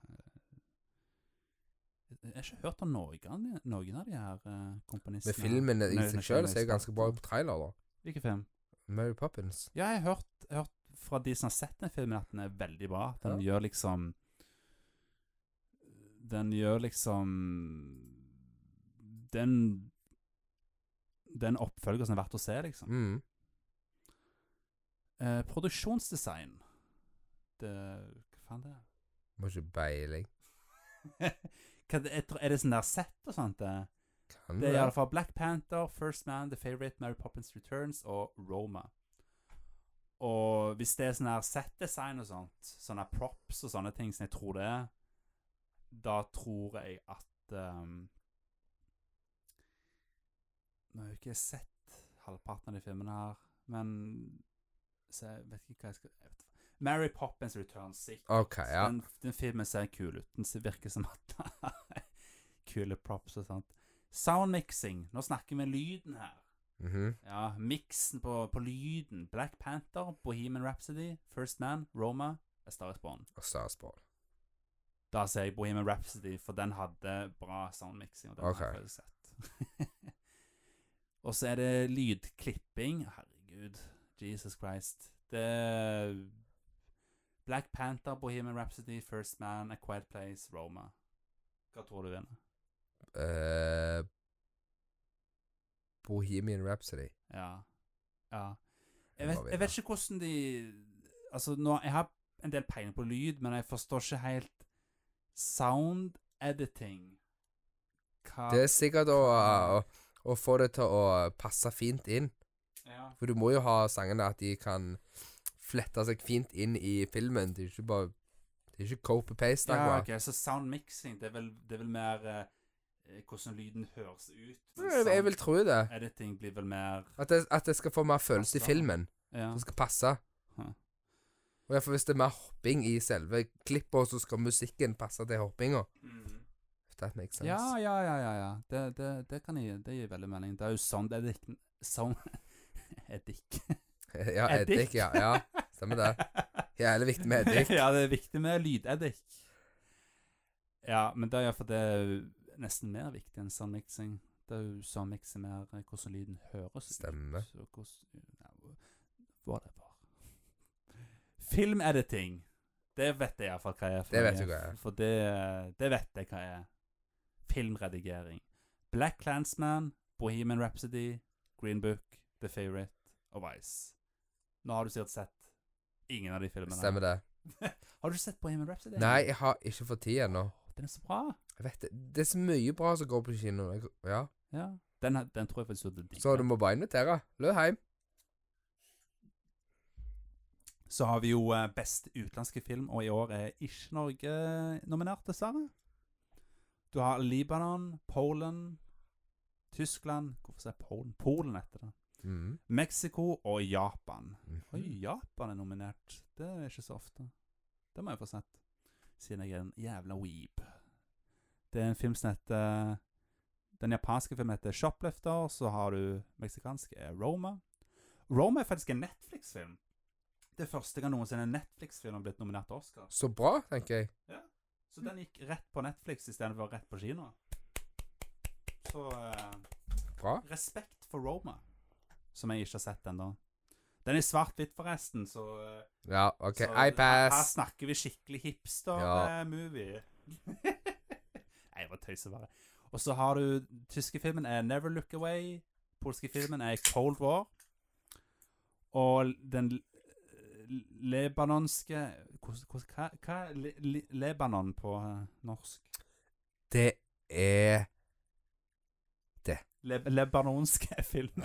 Jeg har ikke hørt om noen, noen av de her uh, komponistene.
Men filmen i
Nei,
seg
nei,
sjøl
filmen
ser jo ganske bra
starten.
ut på trailer, da.
Hvilken film?
Mary Poppins.
Ja, jeg har hørt, hørt fra de som har sett den filmen, at den er veldig bra. Den gjør liksom Den gjør liksom Den Den oppfølger som er verdt å se, liksom.
Mm.
Eh, produksjonsdesign det, Hva faen det er?
Må ikke beiling.
hva, det- jeg tror- er det sånn der sett og sånt? Det,
Kan
det er i alle
det?
fall Black Panther, First Man, The Favourite, Mary Poppins Returns og Roma. Og hvis det er sånn her settdesign og sånt, sånne props og sånne ting som jeg tror det er, da tror jeg at um, Nå har jeg jo ikke sett halvparten av de filmene her, men så jeg vet ikke hva jeg skal jeg vet. Mary Poppins Returns, sikkert.
OK, ja.
Den, den filmen ser kul ut. Den ser- virker som at Kule props og sånt. Soundmixing. Nå snakker vi lyden her.
Mhm.
Ja, miksen på, på lyden. Black Panther, Bohemian Rhapsody, First Man, Roma, A Star Is Born.
Og Stars Ball.
Da sier jeg Bohemian Rhapsody, for den hadde bra soundmixing. Og den
Ok.
har jeg faktisk sett. og så er det lydklipping. Herregud. Jesus Christ. Det er Black Panther, Bohemian Rhapsody, First Man, A Quiet Place, Roma. Hva tror du vinner?
Eh, Bohemian Rhapsody.
Ja. ja.
Den
Jeg, vet,
må
jeg
vinne.
vet ikke hvordan de Altså, nå, jeg har en del peiling på lyd, men jeg forstår ikke helt sound editing. Hva
Det er sikkert å, å, å få det til å passe fint inn.
Ja.
For du må jo ha sangene at de kan flette seg fint inn i filmen. Det er ikke bare Det er ikke copy-paste.
Ja,
akkurat.
ok, Så soundmixing, det er vel, det er vel mer eh, hvordan lyden høres ut. mens
Jeg, jeg vil tro det.
sound Editing blir vel mer
At det, at det skal få mer følelse i
Passe.
filmen.
ja.
Som skal passe.
Hm.
Og derfor Hvis det er mer hopping i selve klippet, så skal musikken passe til hoppinga.
Mm.
If that makes sense.
ja, ja, ja, ja, ja. Det, det, det kan gi, det gir veldig mening. Det er jo sound editing Sound Eddik.
ja eddik. Ja, ja, stemmer det. Jævlig viktig med eddik.
ja, det er viktig med lydeddik. Ja, men det er iallfall det er jo nesten mer viktig enn soundmixing. Det er jo soundmixing mer eh, hvordan lyden høres
Stemmer.
ut. Og hvordan, ja, whatever. Filmediting. Det vet jeg iallfall hva er. for
Det
noe.
vet du hva er.
For det, det vet jeg hva er. Filmredigering. Black Clansman, Bohemian Rhapsody, Green Book, The Favourite og Vice. Nå har du sikkert sett ingen av de filmene. her.
Stemmer det.
Har du sett Bohemian Rhapsody?
Nei, jeg har ikke fått tid ennå.
Den er så bra.
Jeg vet det. Det er så mye bra som går på kino. Jeg- Ja.
Ja. Den, har- den tror jeg faktisk du hadde digget.
Så du må bare invitere. Lø heim.
Så har vi jo eh, best utenlandske film, og i år er ikke Norge eh, nominert, dessverre. Du har Libanon, Polen, Tyskland Hvorfor sier jeg Polen? Polen etter det.
Mhm.
Mexico og Japan.
Mhm.
Oi, Japan er nominert. Det er ikke så ofte. Det må jeg få sett, siden jeg er en jævla weeb. Det er en film som heter Den japanske filmen heter Shoplifter, så har du meksikansk er Roma. Roma er faktisk en Netflix-film. Det er første gang noensinne en Netflix-film har blitt nominert til Oscar.
Så bra, tenker jeg.
Så den gikk rett på Netflix istedenfor rett på kino. Så eh,
Bra.
Respekt for Roma, som jeg ikke har sett ennå. Den er svart-hvitt, forresten, så eh,
Ja, OK.
så
I
Her, her
pass.
snakker vi skikkelig
Ja.
hipster-movie. Nei, jeg bare tøyser bare. Og så har du tyske filmen er Never Look Away. Polske filmen er Cold War. Og den l- lebanonske hvordan- hvordan- Hva, hva er le, le, Lebanon på eh, norsk?
Det er
Le, lebanonske filmen.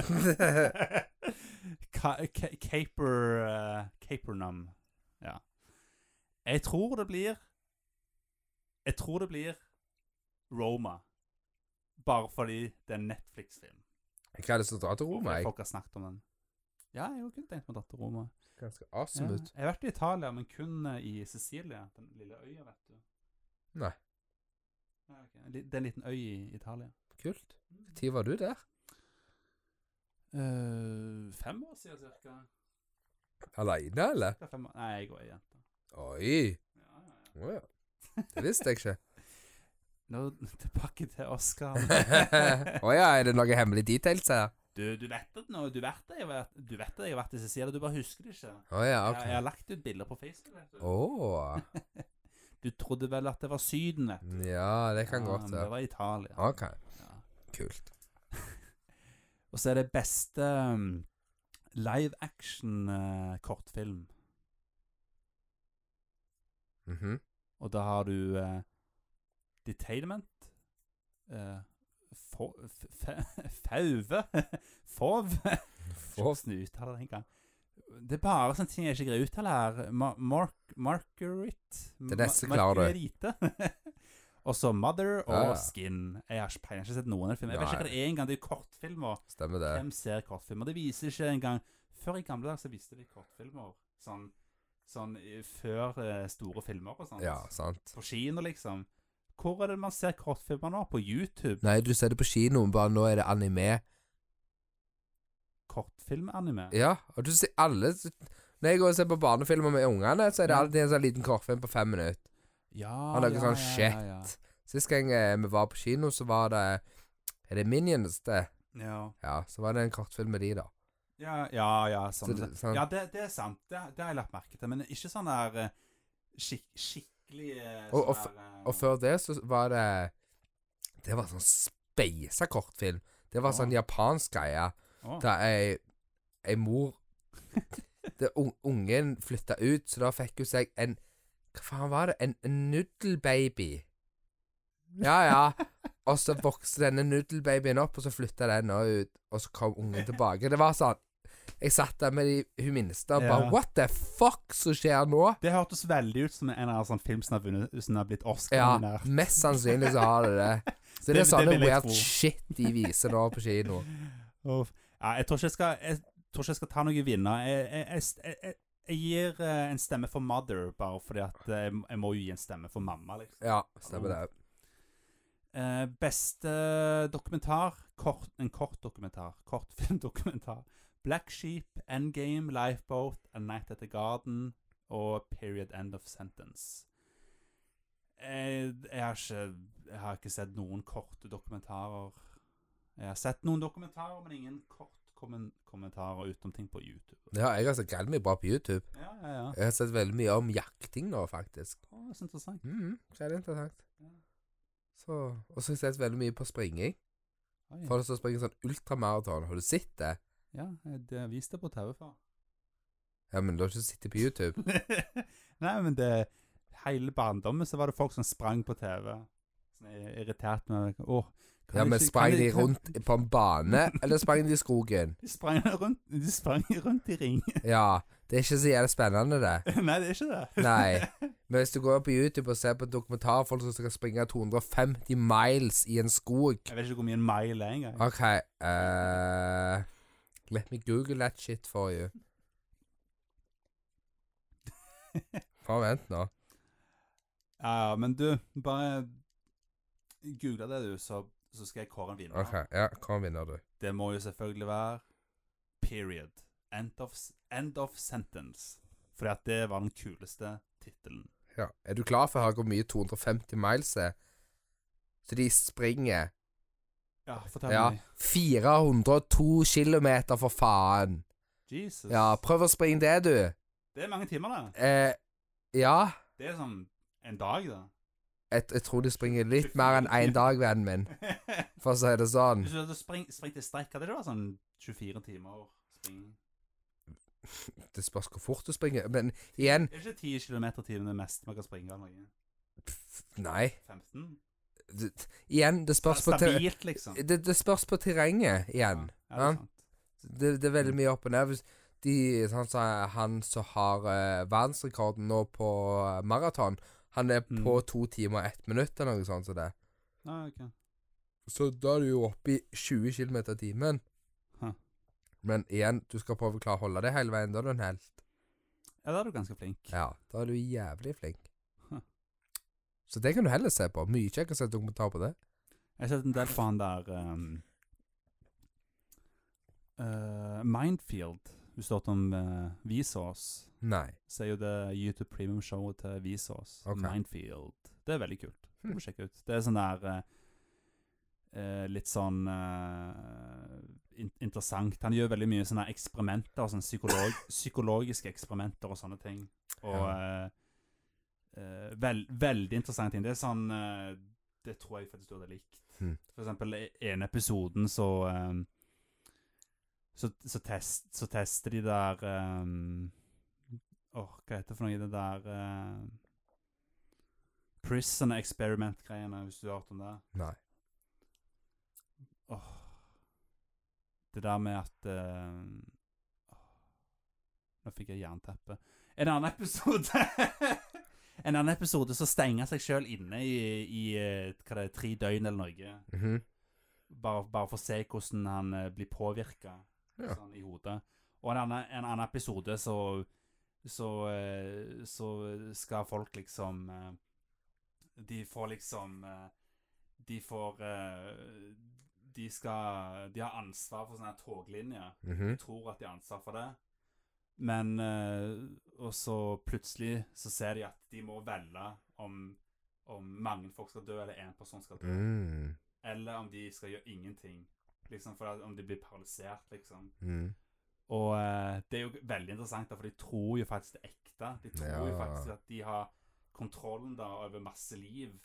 Ka ka- caper eh, Capernum. Ja. Jeg tror det blir Jeg tror det blir Roma. Bare fordi det er en Netflix-film.
Jeg har lyst til å dra til
Og
Roma, jeg.
Folk har snakket om den. Ja, jeg har kunne tenkt meg å dra til Roma.
Ganske
Ja.
awesome ut.
Jeg har vært i Italia, men kun eh, i Sicilia. Den lille øya, vet du.
Nei.
Ja, ok. En li- Det er en liten øy i Italia.
Kult. Når var du der?
Eh, fem år siden, cirka.
Aleine, eller?
Cirka fem år. Nei, jeg og ei jente.
Oi.
Ja, ja, ja.
Å ja. Det visste jeg ikke.
Nå tilbake til Oscar.
Å ja, er det noe hemmelig details her?
du, du vet at nå, du vet at jeg, har vært- du vet at jeg har vært i Sicilia, du bare husker det ikke.
Å ja,
Jeg, jeg
OK.
har lagt ut bilder på Facebook. vet
Å
Du Du trodde vel at det var Syden, vet du.
Ja, det kan
Ja,
godt
men det
være.
var Italia.
OK.
Ja.
Kult.
Og så er det beste um, live eh, action-kortfilm.
Mhm.
Og da har du eh, Detainment eh, Fo- f- fe- Fauve Fov
Fov.
Hvordan uttaler jeg det en gang? Det er bare sånne ting jeg ikke greier å uttale her. Ma- Mark Margaret
Det neste klarer du.
du. og så Mother og
Ja, ja.
Skin. Jeg har ikke peiling, jeg har ikke sett noen av de filmene. Jeg vet ikke hva det er engang. Det er jo kortfilmer.
Stemmer det.
Hvem ser kortfilmer? Det viser ikke engang Før i gamle dager så viste de kortfilmer sånn, sånn i- før eh, store filmer og sånt.
Ja, sant.
På kino, liksom. Hvor er det man ser kortfilmer nå? På YouTube?
Nei, du ser det på kinoen, bare nå er det anime.
Kortfilmanime?
Ja, og du ser alle Når jeg går og ser på barnefilmer med ungene, så er det
Ja.
alltid en sånn liten kortfilm på fem minutter.
Ja,
Han lager sånn
Ja,
Sist gang eh, vi var på kino, så var det Er det Minions, det?
ja.
Ja, så var det en kortfilm med de, da.
ja, ja, ja
Så
sånn.
det- sånn-
Ja, det, det er sant. Det, det har jeg lagt merke til. Men ikke sånn der eh, skik skikkelig eh,
Og- og
sånn
f-
der, eh,
Og før det så var det Det var sånn speisa kortfilm. Det var sånn japansk greie.
Å,
Da ei, ei mor det, un- Ungen flytta ut, så da fikk hun seg en Hva faen var det? En, en nudelbaby. Ja, ja. Og så vokste denne nudelbabyen opp, og så flytta den også ut. Og så kom ungen tilbake. Det var sånn Jeg satt der med de, hun minste og bare
Ja.
What the fuck som skjer nå?
Det hørtes veldig ut som en eller annen sånn film som har vunnet- som har blitt
Ja,
Oscar-nominert.
mest sannsynlig så har det det. Så det,
Det-
er sånne
det vil jeg
weird
tro.
shit de viser nå på kino.
Uff. Ja, jeg tror ikke jeg skal Jeg tror ikke jeg skal ta noen vinner. Jeg, jeg, jeg, jeg, jeg, jeg gir eh, en stemme for Mother, bare fordi at eh, jeg, jeg må jo gi en stemme for mamma, liksom.
Ja, stemmer det.
Eh, beste dokumentar kort, En kort dokumentar. Kortfilmdokumentar. Black Sheep, Endgame, Lifeboat, A Night at the Garden og Period End of Sentence. Jeg, jeg, har ikke, jeg har ikke sett noen korte dokumentarer. Jeg har sett noen dokumentarer, men ingen kort kommen, kommentarer utenom ting på YouTube.
Ja, jeg har sett galt mye bra på YouTube.
Ja, ja, ja.
Jeg har sett veldig mye om jakting nå, faktisk.
Å, det er så interessant.
Mhm, så er det interessant. Så, og så har jeg sett veldig mye på springing.
Oi.
Folk som springer sånn ultramaraton, har du sett det?
Ja, det har jeg vist det på tauet før.
Ja, men du har ikke sett det på YouTube.
Nei, men det Hele barndommen så var det folk som sprang på TV. Sånn jeg er irritert med Åh, kan
Ja,
jeg
men
ikke-
sprang
kan
de
jeg- kan-
rundt på en bane, eller sprang de i skogen?
De sprang rundt, de sprang rundt i ring.
Ja, det er ikke så jævlig spennende det.
Nei, det er ikke det.
Nei. Men hvis du går på YouTube og ser på dokumentarer folk som skal springe 250 miles i en skog
Jeg vet ikke hvor mye en mile er engang.
Ok, eh, let me google that shit for you. Bare vent nå.
Ja, ja, men du, bare google det, du, så, så skal jeg kåre en vinner.
Ok, ja, hva vinner du?
Det må jo selvfølgelig være Period. End of, end of sentence. Fordi at det var den kuleste tittelen.
Ja. Er du klar for å høre hvor mye 250 miles er? Så de springer
Ja, fortell
ja,
meg.
402 kilometer, for faen.
Jesus.
Ja, prøv å springe det, du.
Det er mange timer, det.
Eh, ja,
Det er som en dag, da.
jeg, jeg tror de springer litt mer enn én dag, vennen min, for å si det sånn.
Hvis du hadde spring, springt i strekk, hadde det vært sånn 24 timer spring?
Det spørs hvor fort du springer, men igjen
Er ikke 10 km i timen det mest man kan springe? eller noe?
pff, Nei.
15?
Det- Igjen, det spørs på terrenget.
Stabilt, liksom.
Det, det spørs på terrenget igjen.
Ja, Mm. det er
Ja.
sant.
Det, det er veldig mye opp og ned. Hvis De, han som han som har eh, verdensrekorden nå på eh, maraton, han er
Mm.
på to timer og ett minutt eller noe sånt som det.
Ja, ok.
Så da er du jo oppe i 20 km i timen.
Huh.
Men igjen, du skal prøve å klare å holde det hele veien. Da er du en helt.
ja, da er du ganske flink.
Ja, da er du jævlig flink.
Huh.
Så det kan du heller se på. Mye kjekkere å se dokumentar på det.
Jeg har sett en del på han der ehm, eh, Mindfield. Hvis du har hørt om uh, Vsauce,
Nei.
så er jo det YouTube premium-showet til Vsauce.
Ok.
Mindfield. Det er veldig kult. Det
Hmm.
må du sjekke ut. Det er sånn der eh, eh, Litt sånn eh, in interessant. Han gjør veldig mye sånne eksperimenter, sånne psykolog psykologiske eksperimenter og sånne ting. Og eh, eh, vel veldig interessante ting. Det er sånn eh, Det tror jeg faktisk du hadde likt.
Hmm.
For eksempel i ene episoden så eh, så, så, test, så tester de der eh, Åh, hva heter det for noe? Det der eh, Prison experiment-greiene, hvis du har hørt om det.
Nei.
Åh. Det der med at eh, åh. Nå fikk jeg jernteppe. En annen episode En annen episode så stenger seg sjøl inne i, i eh, hva det er, tre døgn eller noe.
Mhm.
Bare, bare for å se hvordan han eh, blir påvirka
Ja.
sånn, i hodet. Og en annen, en annen episode så så, eh, så skal folk liksom eh, De får liksom eh, De får eh, De skal De har ansvar for sånne toglinjer.
Mhm.
De tror at de har ansvar for det. Men eh, Og så plutselig så ser de at de må velge om om mange folk skal dø, eller én person skal dø
Mm.
eller om de skal gjøre ingenting. Liksom for at, Om de blir paralysert, liksom.
Mm.
Og eh, det er jo veldig interessant, da, for de tror jo faktisk det er ekte. De tror jo
Ja.
faktisk at de har kontrollen da over masse liv.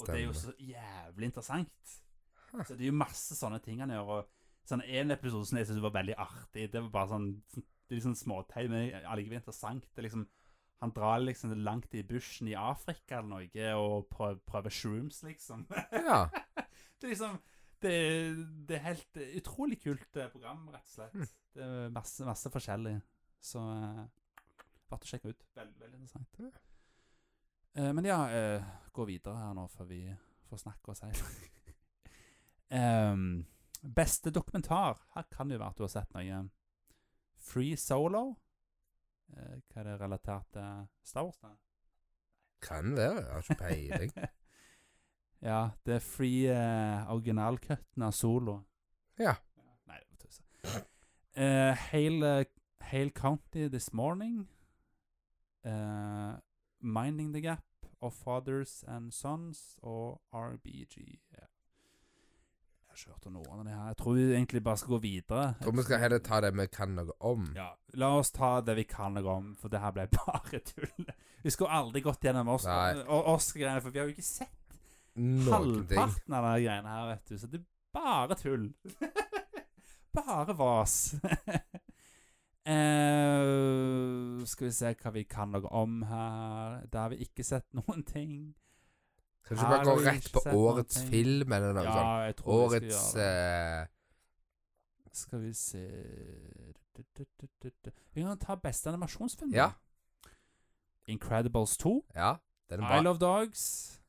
Og det er jo så
Stemmer.
jævlig interessant.
Huh.
Så det er jo masse sånne ting han gjør. Og sånn en episode som jeg synes var veldig artig, det var bare sånn Det er litt sånn småteit, men allikevel interessant. Det er liksom Han drar liksom langt i bushen i Afrika eller noe og prøver, prøver shrooms, liksom.
Ja.
Det er liksom det, det er helt utrolig kult eh, program, rett og slett. Det er masse, masse forskjellig. Så uh, verdt å sjekke ut. Veldig, veldig interessant.
Ja.
Eh, men ja, eh, gå videre her nå før vi får snakke og si. Em, beste dokumentar. Her kan det jo være at du har sett noe. Free Solo. Eh, hva er det relatert til Star Wars? da?
Kan være, jeg har ikke peiling.
ja, det er free uh, originalcutten av Solo.
Ja.
Nei, det var tusen. Eh, Hale, Hale County This Morning. eh, Minding the Gap of Fathers and Sons og RBG. Ja. Jeg har ikke hørt om noen av de her. Jeg tror vi egentlig bare skal gå videre.
Tror vi skal heller ta det vi kan noe om.
Ja, La oss ta det vi kan noe om, for det her ble bare tull. Vi skulle aldri gått gjennom oss-
Nei.
og Oscar-greiene, for vi har jo ikke sett
Noen ting.
halvparten av de greiene her, vet du. Så det er bare tull. bare vas. Eh, skal vi se hva vi kan noe om her. Der har vi ikke sett noen ting.
Kan du ikke bare gå
Har vi
rett
ikke
på
sett noen
årets
ting?
film eller noe sånt?
Ja, jeg tror vi
Årets
skal gjøre det.
eh,
Skal vi se Du, du, du, du, du. Vi kan ta beste animasjonsfilm.
Ja.
Incredibles 2,
Ja, den er
I
bra.
Love Dogs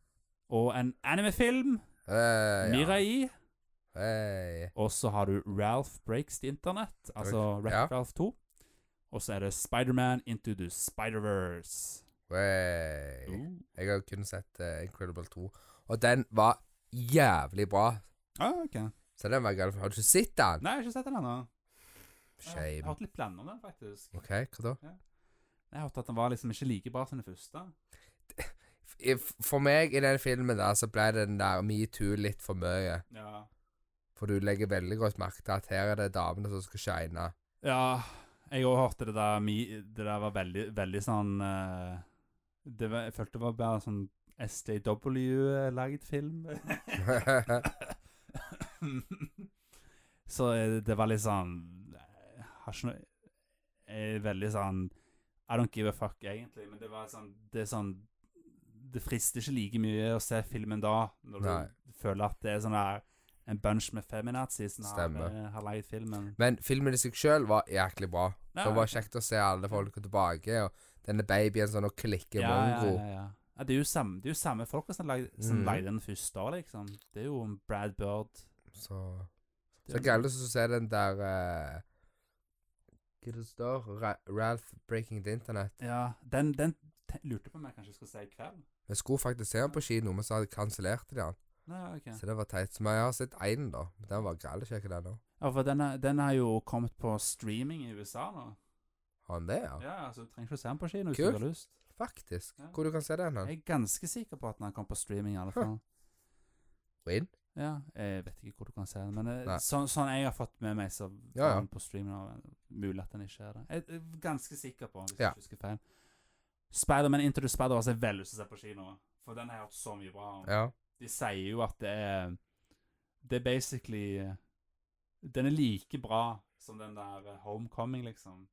og en animefilm,
Eh, ja.
Mirai.
Hey.
Og så har du Ralph Breaks the Internet, altså Wreck
ja.
Ralph 2. Og så er det Spiderman Into the Spider-Verse. Uh.
Hey. Jeg har kun sett eh, Incredible 2, og den var jævlig bra.
Ah, ok.
Så den var galt. Har du ikke sett den?
Nei, jeg har ikke sett den ennå. Jeg har
Shame.
hatt litt planer om den, faktisk.
OK, hva da?
Jeg hørte at den var liksom ikke like bra som den første.
If- For meg i den filmen der, så ble den der metoo litt for mye.
Ja.
For du legger veldig godt merke til at her er det damene som skal shine.
Ja, jeg òg hørte det der mi, Det der var veldig, veldig sånn eh, det var, Jeg følte det var bare sånn SJW-lagd film. Så eh, det var litt sånn eh, Har ikke noe eh, Veldig sånn I don't give a fuck, egentlig, men det var sånn Det er sånn Det frister ikke like mye å se filmen da, når du
Nei.
føler at det er sånn der en bunch med feminazis som har,
Stemmer.
eh, har leid filmen.
Men filmen i seg sjøl var jæklig bra.
Ja,
det var kjekt å se alle folka tilbake, og denne babyen sånn og klikke
ja, ja,
mongo.
ja, ja. Ja, det, er jo samme, det er jo samme folka som leide som
Mhm.
leide den første, liksom. Det er jo Brad Bird
Så
Det
Så
er-
galt å se den der eh, Hva det står Ra Ralph Breaking the Internet.
Ja, den, den te- lurte på om jeg kanskje skulle se i kveld.
Vi skulle faktisk se den på kino, men så hadde kansellerte de den.
Nei, ok.
Så det var teit. Så jeg har sett én, da. Men Den var galt kjekk, den òg.
Ja, for den, er, den har jo kommet på streaming i USA nå.
Har han det, ja?
Ja, altså du trenger ikke å se den på kino hvis
Kult.
du har lyst.
Faktisk.
Ja.
Hvor du kan se den hen?
Jeg er ganske sikker på at den har kommet på streaming i alle
Huh.
fall.
Win?
Ja, jeg vet ikke hvor du kan se den, men eh,
Nei.
sånn, sånn jeg har fått med meg, så
Ja, ja.
er den på streaming og mulig at den ikke er det. Jeg er ganske sikker på, hvis
Ja.
jeg ikke husker feil. Spider-Man Into the Spider-Verse er veldig lyst til å se på kino, for den har jeg hørt så mye bra om.
Ja.
De sier jo at det er Det er basically Den er like bra som den der eh, Homecoming, liksom.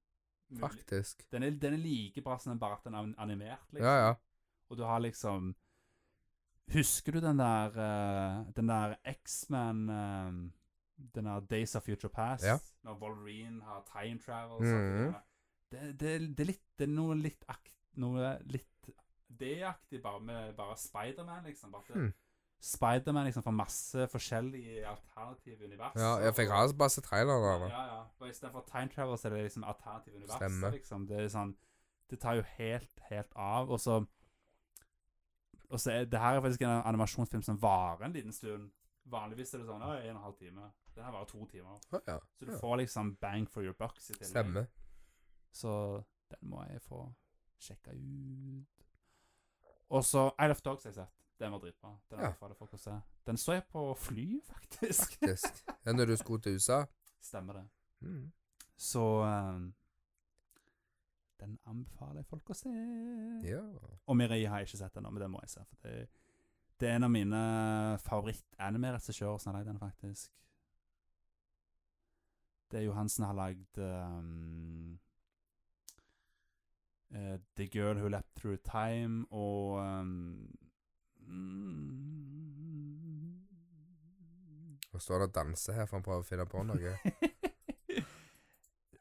Mulig-
Faktisk.
Den er, den er like bra som den bare at den er animert, liksom.
Ja, ja.
Og du har liksom Husker du den der eh, Den der X-Man eh, Den der Days of Future Past?
Ja.
Når Wolverine har time travel og
Mhm.
sånt. liksom. Det, det, det er litt Det er noe litt akt, Noe litt det-aktig, bare med bare Spiderman, liksom. Bare at det-
Hmm.
Spiderman liksom får masse forskjellige alternative univers.
ja. ja for jeg har bare sett traileren. da.
Ja, ja. Og istedenfor time travel, så er det liksom alternative univers.
Stemmer.
Liksom. Det er sånn Det tar jo helt, helt av. Og så Og så er det her er faktisk en animasjonsfilm som varer en liten stund. Vanligvis er det sånn «Å, en og en halv time. Den her varer to timer.
Å, ja.
Så du
Ja.
får liksom bang for your bucks i tillegg.
Stemmer.
Så den må jeg få sjekka ut. Og så I Love Dogs har jeg sett. Den var dritbra. Den
Ja.
anbefaler folk å se. Den så jeg på fly, faktisk.
Faktisk. Ja, når du skulle til USA.
Stemmer det.
Mm.
Så eh, Den anbefaler jeg folk å se.
Ja.
Og Mirai har jeg ikke sett ennå, men den må jeg se. For det, det er en av mine favoritt-anime-regissører som har lagd den, faktisk. Det er jo han som har lagd um, eh, The Girl Who Leapt Through Time og ehm, um, mm,
Nå står det og danser her for han prøver å finne på noe.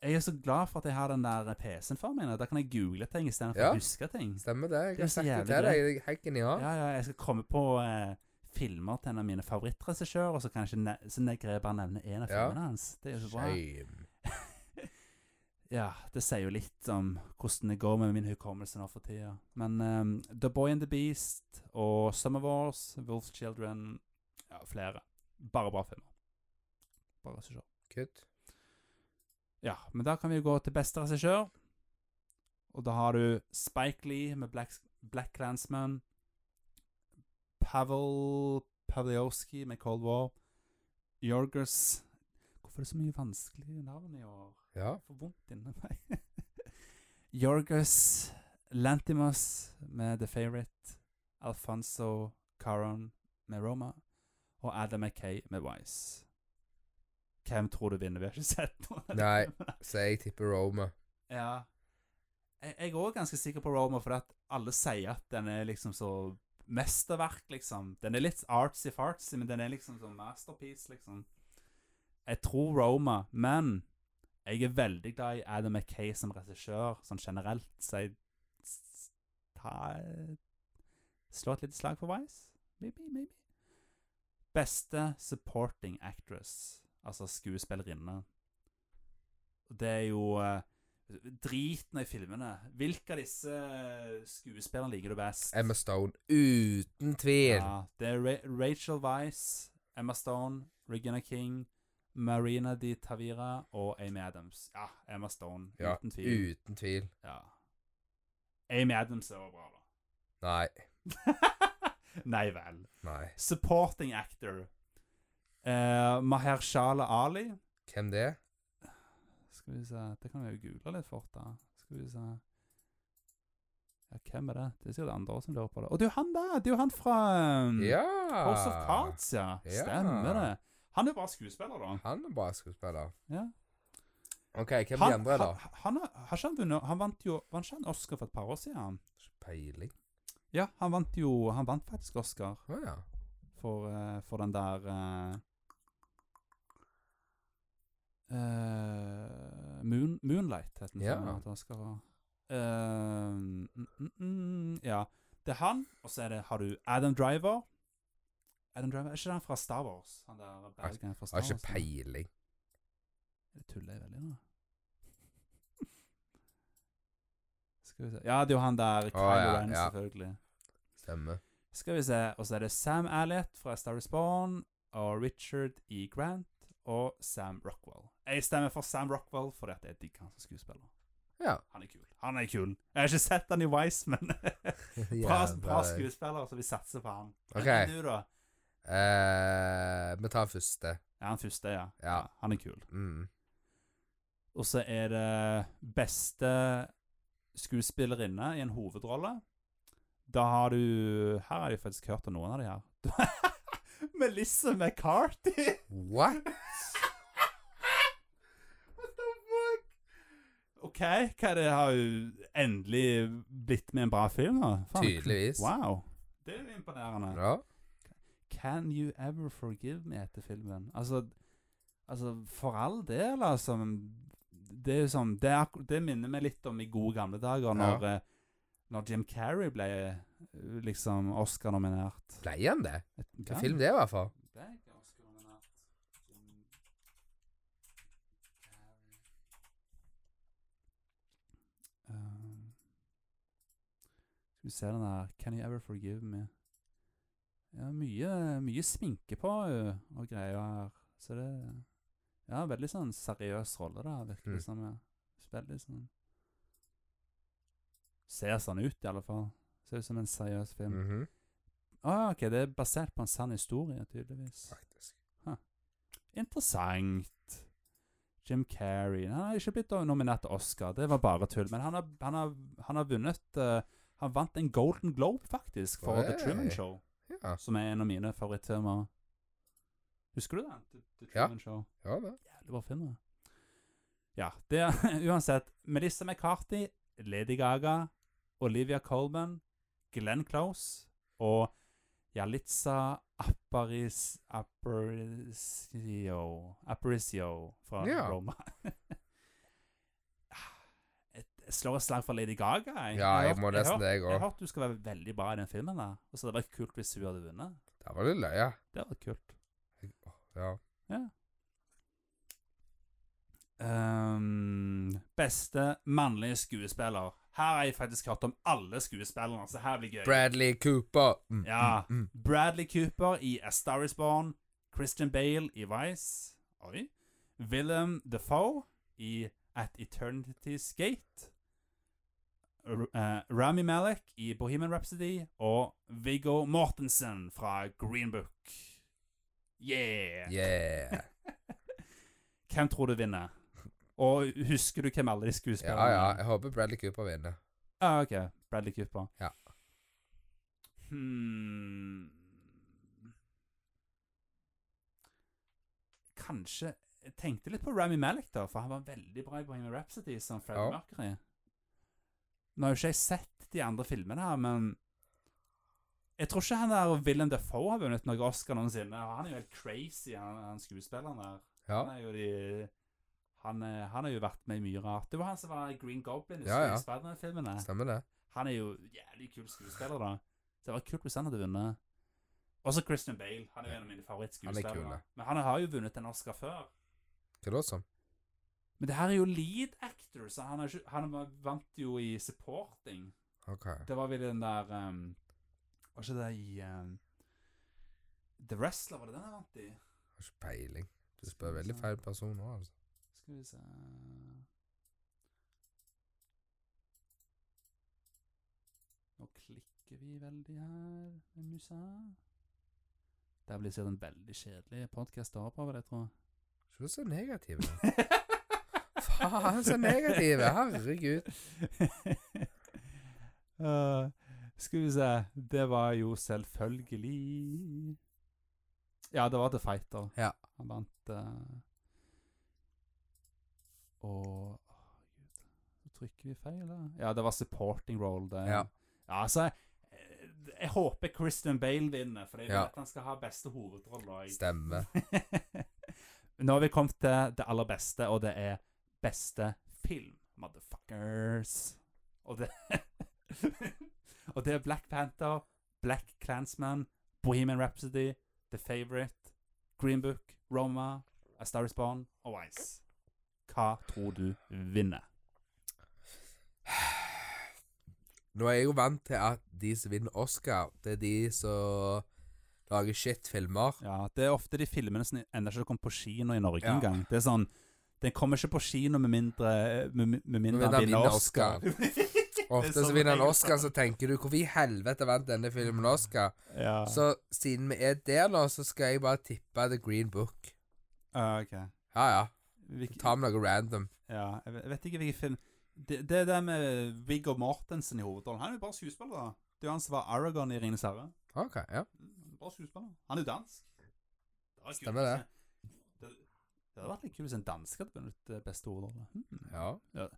Jeg er så glad for at jeg har den der PC-en for meg. nå. Da kan jeg google ting istedenfor
Ja.
å huske ting.
Stemmer det. Jeg
Det er
har
så
sagt det
jævlig
til deg. Det er Helt
Ja,
genialt.
ja, jeg skal komme på eh, filmer til en av mine favorittregissører, og så kanskje ne så ne- greier jeg bare å nevne én av
Ja.
filmene hans. Det er jo så bra.
Shame.
Ja, det sier jo litt om hvordan det går med min hukommelse nå for tida. Men ehm, The Boy and the Beast og Summer Wars, Wolf Children Ja, flere. Bare bra filmer. Bra regissør.
Kutt.
Ja, men da kan vi jo gå til beste regissør. Og da har du Spike Lee med Black, Black Clansman. Pavel Pavlovsky med Cold War. Jorgers Hvorfor er det så mye vanskelige navn i år?
Ja.
Jeg får vondt inni meg. Jorgus Lantimos med The Favourite. Alfonso Caron med Roma. Og Adam McKay med Wise. Hvem tror du vinner? Vi har ikke sett noen. av
Nei.
dem.
Så jeg tipper Roma.
Ja. Jeg, jeg er òg ganske sikker på Roma, for at alle sier at den er liksom så mesterverk, liksom. Den er litt artsy-fartsy, men den er liksom sånn masterpiece, liksom. Jeg tror Roma, men jeg er veldig glad i Adam McKay som regissør, sånn generelt, så jeg s- ta, slå et lite slag for Wise. Maybe, maybe. Beste supporting actress, altså skuespillerinne. Og Det er jo eh, driten i filmene. Hvilke av disse eh, skuespillerne liker du best?
Emma Stone. Uten tvil.
Ja, det er Ra Rachel Weisz, Emma Stone, Regina King, Marina Di Tavira og Amy Adams. Ja, Emma Stone,
Ja,
uten tvil.
Uten tvil.
Ja. Amy Adams er jo bra, da.
Nei.
Nei vel.
Nei.
Supporting actor. Eh, Mahershala Ali.
Hvem det er?
Skal vi se Det kan vi jo google litt fort, da. Skal vi se Ja, hvem er det? Det er sikkert andre som lurer på det. Å, det er jo han der! Det er jo han fra um,
Ja!
House of Cards, ja.
Ah. Ja.
Stemmer det. Han er jo bare skuespiller, da.
Han er bra skuespiller.
Ja.
OK, hvem
han,
de andre, da?
Han, han, har- har ikke han, vunnet, han vant jo Vant ikke han Oscar for et par år siden?
Ikke Peiling.
Ja, han vant jo Han vant faktisk Oscar
Å ja.
for, eh, for den der eh, eh, Moon, Moonlight het den.
Ja.
filmen, at han skal ha. Eh, mm, mm, mm, ja. Det er han, og så er det, har du Adam Driver. Adam Driver, Er ikke han fra Star Wars? Han der Bergen fra Star
Har
Wars?
ikke peiling.
Det tuller jeg veldig nå. Skal vi se Ja, det er jo han der. Kylo
ja,
Ren,
ja.
selvfølgelig.
Stemmer.
Skal vi se, og så er det Sam Allett fra Star Is Born, og Richard E. Grant, og Sam Rockwell. Jeg stemmer for Sam Rockwell, fordi at jeg digger han som skuespiller.
Ja.
Han er kul. Han er kul. Jeg har ikke sett han i Wise, men bra,
Jævla
bra
deg.
skuespiller, så vi satser på han.
Ok.
Hvem er du da?
Eh, vi tar første.
Ja, han første, ja.
Ja.
Han er kul.
Mm.
Og så er det beste skuespillerinne i en hovedrolle. Da har du Her har jeg faktisk hørt om noen av de her. Melissa McCarthy!
What?
What the fuck? OK, hva er det har jo endelig blitt med en bra film, da? Faen,
Tydeligvis.
Wow. Det er jo imponerende.
Ja.
Can You Ever Forgive Me etter filmen. Altså, altså for all del, altså. men Det er jo sånn Det, er, akkur- det minner meg litt om i gode gamle dager, når, eh, når Jim Carrey ble eh, liksom Oscar-nominert.
Ble han det? Hva
Ja,
film det var for?
ble ikke Oscar-nominert. Jim Carrey. Eh, Skal vi se den der Can You Ever Forgive Me? Ja, mye, mye sminke på eh, og greier her. Så det Ja, veldig sånn seriøs rolle, da, virker det
Mm.
som. ja. Veldig sånn Ser sånn ut, i alle fall. Ser ut som en seriøs film.
Mhm,
Ah, ok, det er basert på en sann historie, tydeligvis.
Faktisk.
Interessant. Jim Carrey Han har ikke blitt nominert til Oscar, det var bare tull. Men han har, han har, han har vunnet eh, Han vant en Golden Globe, faktisk, for The
Oi.
Truman Show,
Ja.
som er en av mine favorittfilmer. Husker du den? The, The
Ja.
Truman Show.
ja da.
Jævlig bra film, det. Ja, det er uansett Melissa McCarthy, Lady Gaga, Olivia Colman, Glenn Close og Jalitza Aparis, Aparicio Aparicio fra
Ja.
Roma. Et, jeg slår et slag for Lady Gaga. Jeg,
Ja, jeg
har
må
hørt-
nesten
jeg
det, jeg
har- Jeg
òg.
har hørt du skal være veldig bra i den filmen. da Og så hadde det vært kult hvis hun hadde vunnet.
Der var det løye.
Det hadde vært kult.
Ja.
Ehm, beste mannlige skuespiller. Her har jeg faktisk hørt om alle skuespillerne, så her blir gøy.
Bradley Cooper. Mm,
Ja.
mm, mm.
Bradley Cooper i A Star Is Born. Christian Bale i Vice. Oi. Willem Defoe i At Eternity's Gate. R eh, Rami Malek i Bohemian Rhapsody. Og Viggo Mortensen fra Green Book. Yeah!
Yeah.
Hvem tror du vinner? Og husker du hvem alle de
Ja,
skuespillerne
ja. Jeg håper Bradley Cooper vinner.
Ah, ok. Bradley Cooper.
Ja.
Hmm. Kanskje Jeg tenkte litt på Rami Malek, da, for han var veldig bra i Bohemian Rhapsody som Fred
Ja.
Mercury. Nå har jo ikke jeg sett de andre filmene her, men Jeg tror ikke han der Willem Dafoe har vunnet noen Oscar noensinne. Han er jo helt crazy, han, han skuespilleren der.
Ja.
Han er jo de han, er- han har jo vært med i mye rart. Det var han som var i Green Goblin i
Ja, ja.
Spiderman-filmene.
Stemmer det.
Han er jo jævlig kul skuespiller, da. Så det var kult hvis han hadde vunnet. Også Christian Bale. Han er jo en av mine
Han er kul,
favorittskuespillere.
da.
Men han har jo vunnet en Oscar før.
Hva da, som?
Men det her er jo lead actor, så han, er ikke, han var- vant jo i supporting.
OK.
Det var vel den der ehm, Var ikke det i ehm, The Wrestler, var det den han vant i?
Har ikke peiling. Du spør veldig feil person nå, altså.
Skal vi se Nå klikker vi veldig her med musa. Det her blir sikkert en veldig kjedelig podkast å ha på, vil jeg tro.
Ikke vær så negativ. nå. Faen, så negativ. Herregud.
Eh, skal vi se Det var jo selvfølgelig Ja, det var The Fighter.
Ja.
Han vant eh, Og Åh, Gud. Nå trykker vi feil, da. Ja, det var supporting role. Det.
Ja.
Ja, altså eh, Jeg håper Christian Bale vinner, for jeg vet
Ja.
at han skal ha beste hovedrolle. Jeg-
Stemmer.
Nå har vi kommet til det aller beste, og det er beste film, motherfuckers. Og det Og det er Black Panther, Black Clansman, Bohemian Rhapsody, The Favourite, Green Book, Roma, A Star Is Born og Wise. Hva tror du vinner?
Nå er jeg jo vant til at de som vinner Oscar, det er de som lager shit-filmer.
Ja, det er ofte de filmene som ender ikke å komme på kino i Norge
Ja.
engang. Det er sånn Den kommer ikke på kino med mindre Med, med mindre
mindre
han vinner
vinner
Oscar.
Ofte så vinner han Oscar, så tenker du 'Hvorfor i helvete vant denne filmen Oscar?'
ja.
Så siden vi er der nå, så skal jeg bare tippe The Green Book.
Ja, Ah, ok.
Ja, ja.
Hvilke-
Ta med noe random.
Ja, jeg vet- jeg vet ikke hvilken film Det, det der med Viggo Mortensen i hovedrollen Han er jo bare skuespiller, da. Det er jo han som var Aragon i Ringenes herre.
OK, ja.
Mm, Bare skuespiller. Han er jo dansk. Det var kult.
Stemmer det.
Det, det hadde vært litt kult hvis en danske hadde vunnet eh, beste hovedrolle. Hmm.
ja.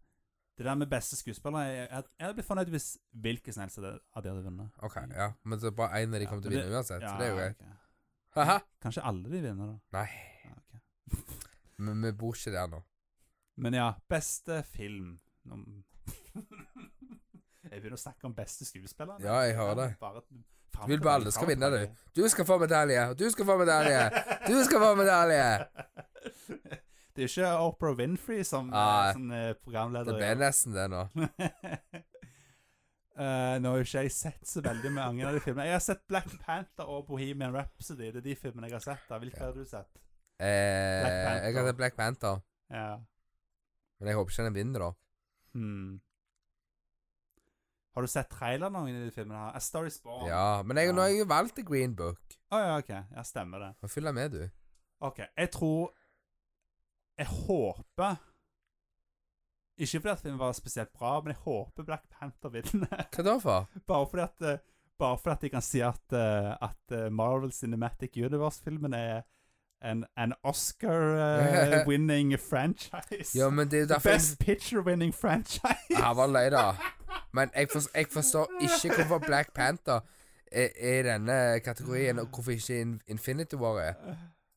Det der med beste skuespiller Jeg, jeg, jeg hadde blitt fornøyd hvis hvilken som helst av de av de hadde vunnet.
OK, ja. Men så bare én av de
Ja,
kommer til å
men
vinne uansett, så det er jo greit.
ok.
Haha.
Kanskje alle de vinner, da.
Nei,
Ja, ok.
men vi bor ikke der nå.
Men ja, beste film Nå... Jeg begynner å snakke om beste skuespiller.
Ja, jeg hører det.
Bare...
Du vil bare alle skal vinne, du. Du skal få medalje, og du skal få medalje. Du skal få medalje!
Det er jo ikke Oprah Winfrey som,
Nei.
som eh,
Det
programleder.
ble nesten det nå.
Eh, nå har jo ikke jeg sett så veldig mange av de filmene. Jeg har sett Black Panther og Bohemian Rhapsody. Det er de filmene jeg har sett. da. Hvilke
Ja.
har du sett?
Eh, jeg
Panther.
hadde Black Panther,
Ja.
men jeg håper ikke den vinner, da.
Hmm. Har du sett traileren av noen av de filmene? her? A Star Is Born.
Ja, Men jeg,
Ja.
nå har jeg jo valgt The Green Book.
Å ja, ok. Ja, stemmer det.
Må fylle med, du.
Ok, jeg tror Jeg håper Ikke fordi at filmen var spesielt bra, men jeg håper Black Panther vinner.
Hva da for?
Bare fordi at eh, Bare fordi at de kan si at, eh, at eh, Marvel Cinematic Universe-filmen er en, en Oscar-winning franchise.
Ja, men det er jo derfor
Best Picture-winning franchise.
Ja, var løy, da. Men jeg, for, jeg forstår ikke hvorfor Black Panther er, er i denne kategorien, og hvorfor ikke In- Infinity War er.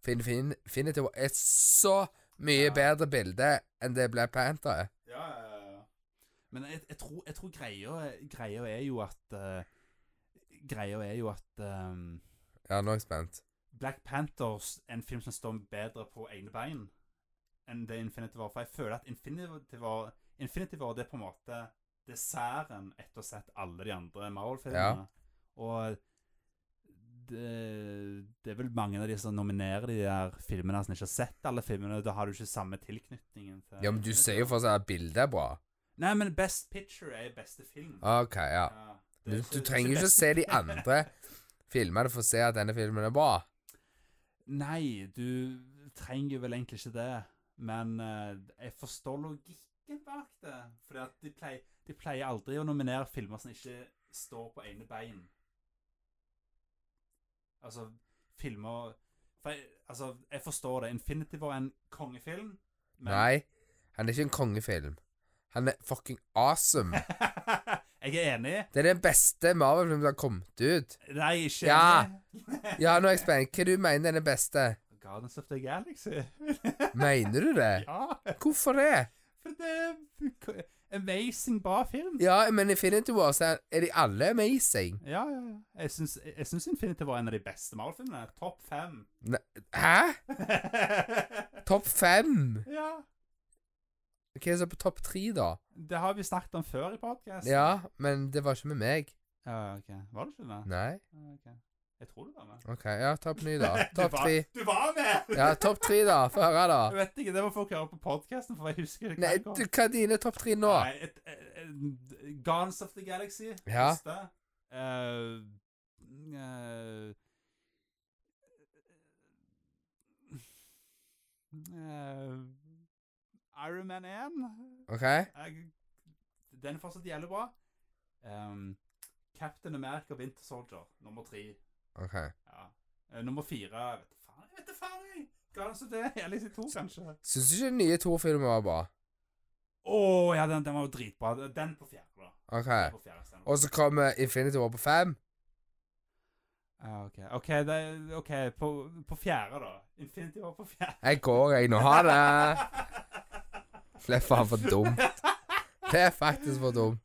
For Infin Infinity War er så mye bedre bilde enn det Black Panther er.
Ja, ja, ja. Men jeg, jeg tror, jeg tror greia, greia er jo at eh, Greia er jo at ehm,
Ja, nå er jeg spent.
Black Panthers er en film som står bedre på egne bein enn det Infinity var. For jeg føler at Infinity var, Infinity var det er på en måte desserten etter å ha sett alle de andre Marvel-filmene. Og det, det er vel mange av de som nominerer de der filmene som ikke har sett alle filmene. Da har du ikke samme tilknytningen til
Ja, men du
Infinity
sier jo
War.
fortsatt at bildet er bra.
Nei, men Best Picture er beste film.
OK, ja.
det er
Ah. Du, du
det er
trenger ikke å
best-
se de andre filmene for å se at denne filmen er bra.
Nei, du trenger jo vel egentlig ikke det. Men eh, jeg forstår logikken bak det. Fordi at de pleier, de pleier aldri å nominere filmer som ikke står på egne bein. Altså, filmer for jeg, altså, jeg forstår det. Infinity var en kongefilm, men
Nei, han er ikke en kongefilm. Han er fucking awesome.
Jeg er enig.
Det er den beste Marvel-filmen som har kommet ut.
Nei, ikke
Ja.
enig.
Ja, nå er jeg spent. Hva du mener er den beste?
Guardians of the Galaxy.
Mener du det?
ja.
Hvorfor det?
For det er amazing bra film.
Ja, men Infinity War så er- er de alle amazing.
Ja, ja, ja. Jeg syns, jeg syns Infinity var en av de beste Marvel-filmene. Topp fem.
Hæ? Topp fem?
ja.
Hva er det som er på topp tre, da?
Det har vi snakket om før i podkast.
Ja, men det var ikke med meg.
ja. ok. Var det ikke det?
Nei?
Ja, ok. Jeg tror du var med.
OK, ja, topp ny, da. Topp
du, var,
tre.
du var med!
Ja, topp tre, da. Få høre,
Jeg
da.
vet ikke, det må folk høre på podkasten, for jeg husker det.
Nei,
ikke.
du, hva er dine topp tre nå?
Nei, et, et, et, Guns of the Galaxy.
Ja.
første. Eh, eh, eh, Iron Man 1.
OK?
Jeg, den er fortsatt jævlig bra. Ehm, Captain America Winter Soldier, nummer tre.
ok
Ja. Eh, nummer fire jeg Vet du faen, jeg vet du faen, jeg! Guardians of the Galaxy 2, kanskje.
Syns du ikke den nye Thor-filmen var bra?
Å ja, den, den var jo dritbra. Den på fjerde, da. Den
OK.
på fjerde stemmer.
Og så kommer Infinity War på fem.
Ja, Ah, OK, Ok, det, ok, på, på fjerde, da. Infinity var på fjerde.
Jeg går, jeg. Nå ha det. Det er faen for dumt. Det er faktisk for dumt.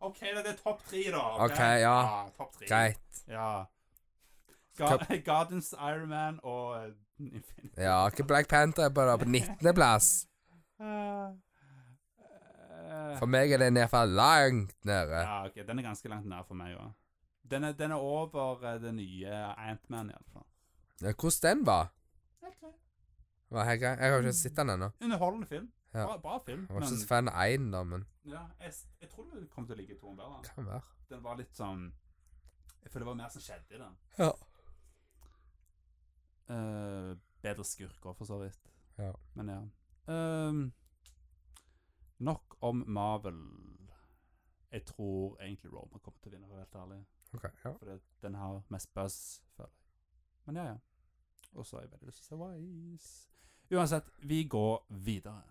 OK, det det er topp tre, da.
Ok, ja.
topp tre.
Greit.
Ja. Ga Gardens, Iron Man og eh, Infinity.
Ja, ikke Black Panther er bare på 19. plass.
Eh, eh,
For meg er den iallfall langt nede.
ja, ok, Den er ganske langt nær for meg òg. Den, er- den er over eh, det nye Antman, iallfall.
Ja, hvordan den var?
Okay.
var helt grei. Jeg har ikke sett den ennå.
Underholdende film.
Ja.
Bra, bra film.
Jeg var ikke
men-
så fan av én, da, men
Ja, jeg, s- jeg tror det kom til å ligge i toeren bedre.
kan være.
Den var litt sånn Jeg føler det var mer som skjedde i den.
Ja.
Eh, bedre skurker, for så vidt.
Ja.
Men ja. Ehm, nok om Marvel. Jeg tror egentlig Roma kommer til å vinne, for å være helt ærlig.
Ok, ja.
For det, den har mest buzz, føler jeg. Men ja, ja. Og så har jeg veldig lyst til å se Wise. Uansett, vi går videre.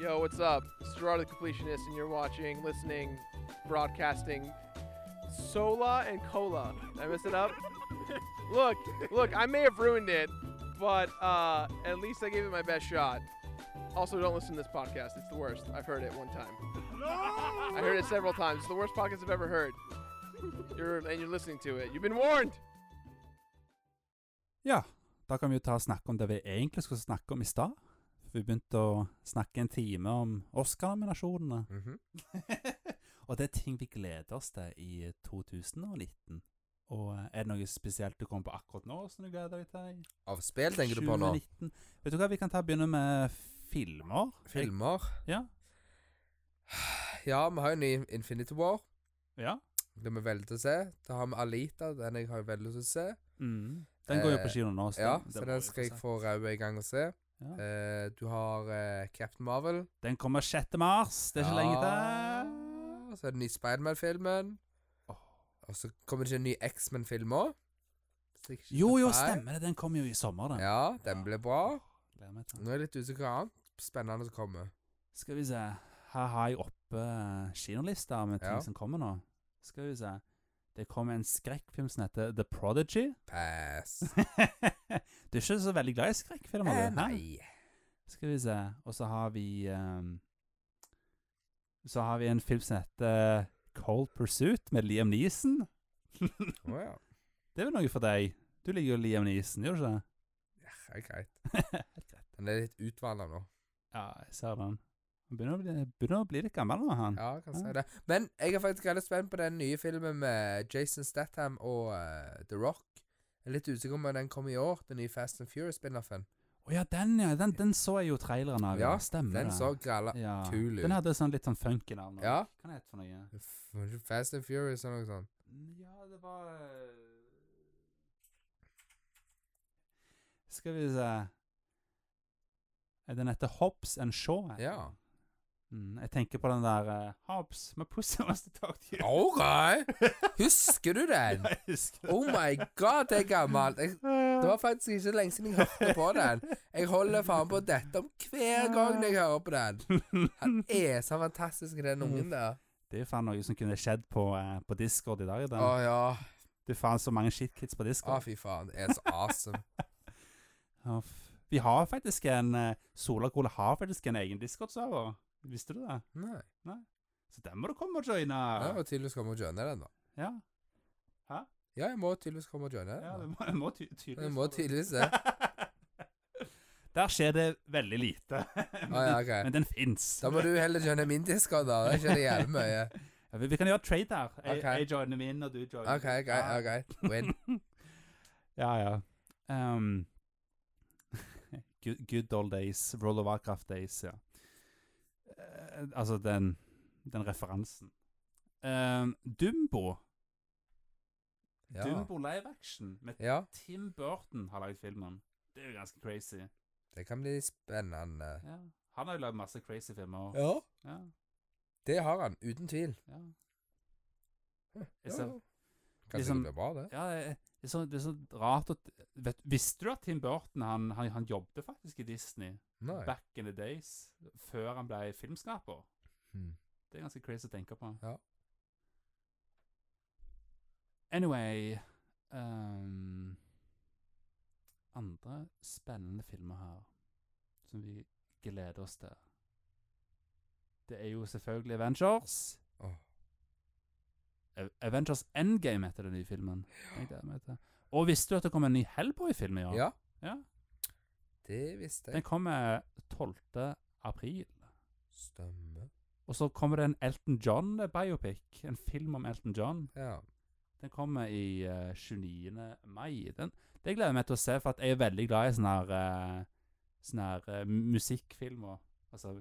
Yo, what's up? Gerard the Completionist, and you're watching, listening, broadcasting Sola and Cola. Did I mess it up? look, look, I may have ruined it, but uh, at least I gave it my best shot. Also, don't listen to this podcast. It's the worst. I've heard it one time. I heard it several times. It's the worst podcast I've ever heard. You're, and you're listening to it. You've been warned!
Ja, da kan vi jo ta og snakke om det vi egentlig skulle snakke om i stad. Vi begynte å snakke en time om Oscar-nominasjonene.
Mhm.
og det er ting vi gleder oss til i 2019. Og eh, er det noe spesielt du kommer på akkurat nå som du gleder deg til? i
Av spill tenker du på nå?
2019? Vet du hva, vi kan ta begynne med filmer.
Filmer?
Ja.
Ja, vi har jo ny Infinity War.
Ja.
Det vi velger å se. Da har vi Alita, den jeg har veldig lyst til å se.
Mm. Den går jo
Eh,
på kino nå.
Ja,
den-
så
må vi
den skal jeg
se.
få ræva i gang og se.
Ja.
Eh, Du har eh, Captain Marvel.
Den kommer 6. mars. Det er ikke lenge til.
til. Så er det den nye Spiderman-filmen.
Åh.
Og så kommer det ikke en ny X-Men-film òg. Fiction
Jo, jo,
Defy.
stemmer det. Den kom jo i sommer, den.
Ja, den ble bra.
Gleder meg til den.
Nå er jeg litt usikker på hva annet spennende som kommer.
Skal vi se. Her har jeg oppe eh, kinolista med ting
Ja.
som kommer nå. Skal vi se. Det kom en skrekkfilm som heter The Prodigy.
Pass.
du er ikke så veldig glad i skrekkfilmer?
Eh,
du, hæ?
nei.
Skal vi se. Og så har vi ehm, Så har vi en film som heter eh, Cold Pursuit med Liam Neeson.
Å ja.
Det er vel noe for deg? Du liker jo Liam Neeson, gjør du ikke?
ja. Det er greit.
det? Helt greit.
Den er litt utvanna nå.
Ja, jeg ser den. Han begynner å bli, begynner å bli litt gammel nå, han.
Ja, jeg kan si det. Men jeg er faktisk veldig spent på den nye filmen med Jason Statham og eh, The Rock. Jeg er litt usikker om den kommer i år, den nye Fast and Furious-spin-offen.
Å ja, den, ja. Den, den så jeg jo traileren av.
Ja,
stemmer
Den
det.
så gralla
ja.
kul ut.
Den hadde sånn litt sånn funky navn.
Ja.
Hva het det for noe?
F- Fast and Furious eller noe sånt.
Ja, det var eh, Skal vi se Eh, Den heter Hobbs and Shaw. heter
Ja.
den. Mm, jeg tenker på den der eh, Hobbs med pussy must talk to you.
OK! Husker du den?
Jeg husker
Oh my god, det er gammelt. Jeg, det var faktisk ikke lenge siden jeg hørte på den. Jeg holder faen på dette om hver gang jeg hører på den. Han er så fantastisk, den ungen der.
Det er jo faen noe som kunne skjedd på, eh, på Discord i dag. Den.
Å ja.
Det er faen så mange shitkids på
Å,
Discord.
fy faen. Det er så awesome.
Ja, f- Vi har faktisk en eh, Sola Cola har faktisk en egen Discord-server. Visste du det?
Nei.
Så den må du komme og joine.
Jeg må tydeligvis komme og joine den, da.
Ja,
Ja, jeg må tydeligvis komme og joine
ja det
den.
må, jeg må ty
da.
tydeligvis
Jeg må
komme.
tydeligvis det.
Der skjer det veldig lite.
Å
men,
Ah, ja,
den,
ok.
men den fins.
Da må du heller joine min discord, da. Det skjer jævlig mye.
Ja, vi, vi kan gjøre trade her. Jeg,
Ok.
jeg joiner min, og du joiner
OK, greit.
Ja.
ok. Win.
Ja, ja. Ehm, good, good old days. Roll of Warcraft days, ja. Eh, altså, den, den referansen. Ehm, Dumbo.
Ja.
Dumbo live action med
ja.
Tim Burton har lagd filmen. Det er jo ganske crazy.
Det kan bli spennende.
Ja. Han har jo lagd masse crazy filmer.
Ja.
Ja,
Det har han, uten tvil.
ja.
Ja,
Jeg ser-
ja. Kanskje
Liksom-
det blir bra, det.
Ja, det er så, det er så rart at vet, Visste du at Tim Burton han, han, han jobbet faktisk i Disney
Nei.
back in the days, før han ble filmskaper?
Hmm.
Det er ganske crazy å tenke på.
Ja.
Anyway ehm, Andre spennende filmer her som vi gleder oss til. Det er jo selvfølgelig Avengers.
Åh.
A- Avengers Endgame heter den nye filmen. Den gleder jeg meg til. Og visste du at det kommer en ny Hellboy-film i år?
Ja.
Ja.
Det visste jeg.
Den kommer 12. april.
Stemmer.
Og så kommer det en Elton John-biopic. En film om Elton John.
Ja.
Den kommer i eh, 29. mai. Den, det gleder jeg meg til å se, for at jeg er veldig glad i sånne her, eh, sånne her eh, musikkfilmer. Altså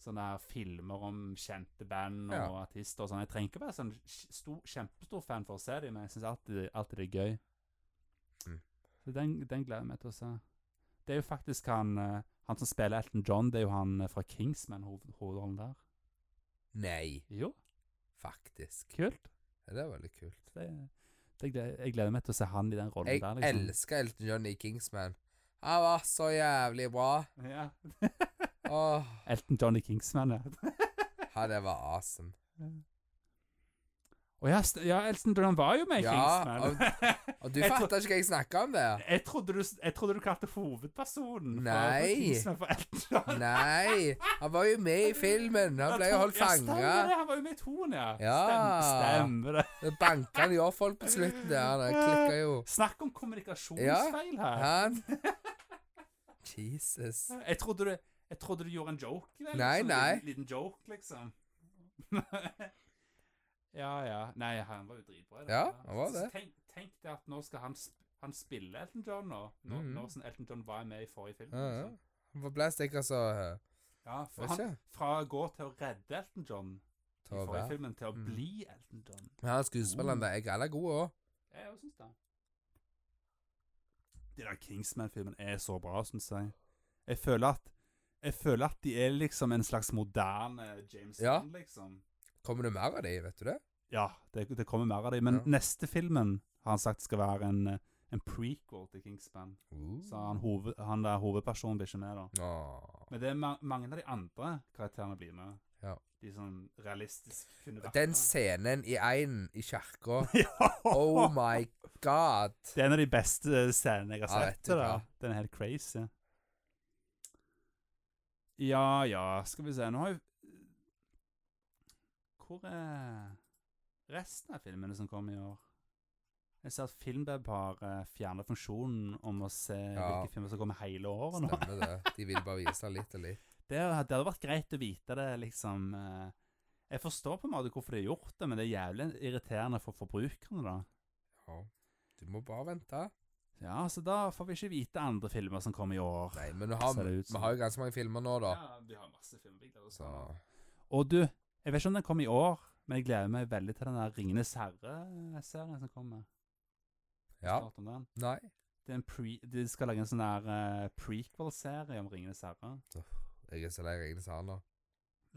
sånne her filmer om kjente band og
Ja.
artister og sånn. Jeg trenger ikke være sånn kj- stor, kjempestor fan for å se dem, men jeg syns alltid, alltid det er gøy.
Mm.
Så den, den gleder jeg meg til å se. Det er jo faktisk han eh, Han som spiller Elton John, det er jo han eh, fra Kingsman, hoved, hovedrollen der.
Nei,
Jo,
faktisk.
kult.
Ja, det er veldig kult.
Så Det, det, gleder- jeg gleder meg til å se han i den rollen
Jeg
der. liksom.
elsker Elton John i Kingsman. Han var så jævlig bra.
Ja.
Åh,
Elton Johnny Kingsman, ja.
ja, det var awesome.
Å ja, st- ja, Elton John var jo med i
Ja,
Kingsman.
Og du
Jeg
fatter ikke hva jeg snakker om der.
jeg, trodde du, s- jeg trodde du kalte hovedpersonen fra-
Nei.
fra Kingsman for Elton John.
Nei, han var jo med i filmen. Han ble
Ja,
jo holdt
ja, stemmer
fanga.
det, Han var jo med i toen, ja.
Ja.
Stemmer, stemmer det.
Så banka han jo opp folk på slutten der. Han klikka jo.
Snakk om kommunikasjonsfeil her.
Han Jesus.
Jeg trodde du, jeg trodde du gjorde en joke. Vel?
Nei,
Sånn
nei.
Liten, liten joke, liksom. ja, ja. Nei, han var jo dritbra. i det.
Ja, han var
Så
det.
Tenk, tenk det at nå skal han, sp han spille Elton John nå. Nå,
Mhm.
nå som Elton John var med i forrige film.
Ja, ja.
liksom.
Han ble sikkert så eh,
ja for
Vet
han,
ikke.
fra å gå til å redde Elton John i
Til å
forrige
være.
filmen til å
Mhm.
bli Elton John.
Men han
Oh.
skuespilleren der er galla god òg.
Jeg også synes det. De der Kingsman-filmen er så bra, synes jeg. Jeg føler at jeg føler at de er liksom en slags moderne James
Ja.
Bond, liksom.
Kommer det mer av de, vet du det?
Ja, det, det kommer mer av dem. Men
Ja.
neste filmen har han sagt skal være en, eh, en prequel til Kingspan.
Uh.
Så han, hoved, han der hovedpersonen blir ikke med, da.
Åh.
Men det er ma mange av de andre karakterene blir med.
Ja.
De som realistisk kunne vært
Den
med.
scenen i einen i kirka
ja.
Oh my god!
Det er en av de beste scenene jeg
Ja,
har
vet
sett.
du
Ja,
hva.
Den er helt crazy. Ja, ja, skal vi se Nå har jo Hvor er resten av filmene som kom i år? Jeg ser at Filmbeb har eh, fjernet funksjonen om å se
Ja.
hvilke filmer som kommer hele året nå.
Stemmer det. De vil bare vise litt og litt.
Det, hadde- det hadde vært greit å vite det, liksom. eh, Jeg forstår på en måte hvorfor de har gjort det, men det er jævlig irriterende for forbrukerne, da.
Ja. Du må bare vente.
Ja, så da får vi ikke vite andre filmer som kommer i år.
Nei, men vi har,
Ser det ut som.
vi har jo ganske mange filmer nå, da.
Ja, vi har masse filmbilder og sånn.
Så
Og du, jeg vet ikke om den kom i år, men jeg gleder meg veldig til den der Ringenes herre-serien som kommer.
Ja.
Klart om den.
Nei.
Det er en pre de skal lage en sånn der eh, prequel-serie om Ringenes herre.
Jeg er så lei Ringenes herre nå.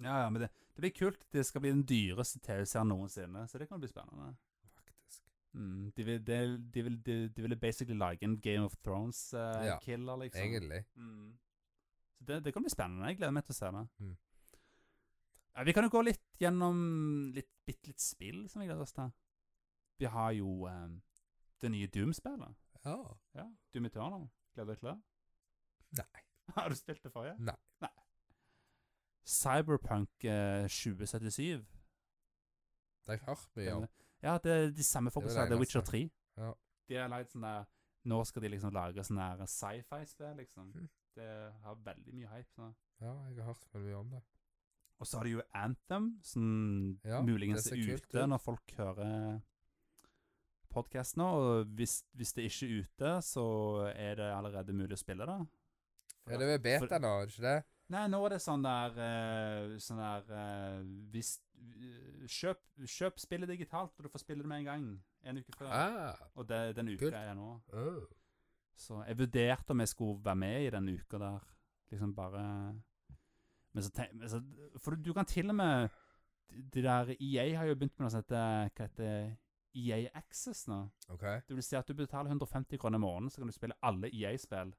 Ja, ja, men det, det blir kult. Det skal bli den dyreste TV-serien noensinne, så det kan bli spennende.
Faktisk.
Mm, de, vil, de, de, vil, de, de ville basically lage en Game of
Ja,
Thrones-killer, liksom.
Egentlig.
Mm. Så det, det kan bli spennende. Jeg gleder meg til å se det.
Mm.
Ja, vi kan jo gå litt gjennom litt, bitte litt spill som vi gleder oss til. Vi har jo eh, det nye Doom-spillet.
Ja.
Ja, Doom Eternal. Gleder du deg til det?
Nei.
Har du spilt det forrige?
Nei.
Cyberpunk eh, 2077.
Det har jeg hørt mye om.
Ja, det er de samme folka
Det er
som
det
lagde Witcher
eneste.
3.
Ja.
De har lagd sånn der Nå skal de liksom lage sånn der sci-fi-spill, liksom.
Mhm.
Det har veldig mye hype. Så.
Ja, jeg har hørt mye om det.
Og så har de jo Anthem, som
Ja,
muligens er
det ser kult
ute
ut.
når folk hører podkasten nå. Og hvis, hvis det ikke er ute, så er det allerede mulig å spille det.
Ja, det er vel beta
For-
nå, er det ikke det?
Nei, nå er det sånn der eh, Sånn der eh, hvis, eh, kjøp, kjøp spillet digitalt, og du får spille det med en gang. En uke før.
Ah.
Og det, den uka
Kult.
er nå.
Oh.
Så jeg vurderte om jeg skulle være med i den uka der. Liksom bare Men så tenk men så, For du, du kan til og med De der EA har jo begynt med noe som heter Hva heter EA Access nå.
OK.
Det vil si at du betaler 150 kroner i måneden, så kan du spille alle EA-spill.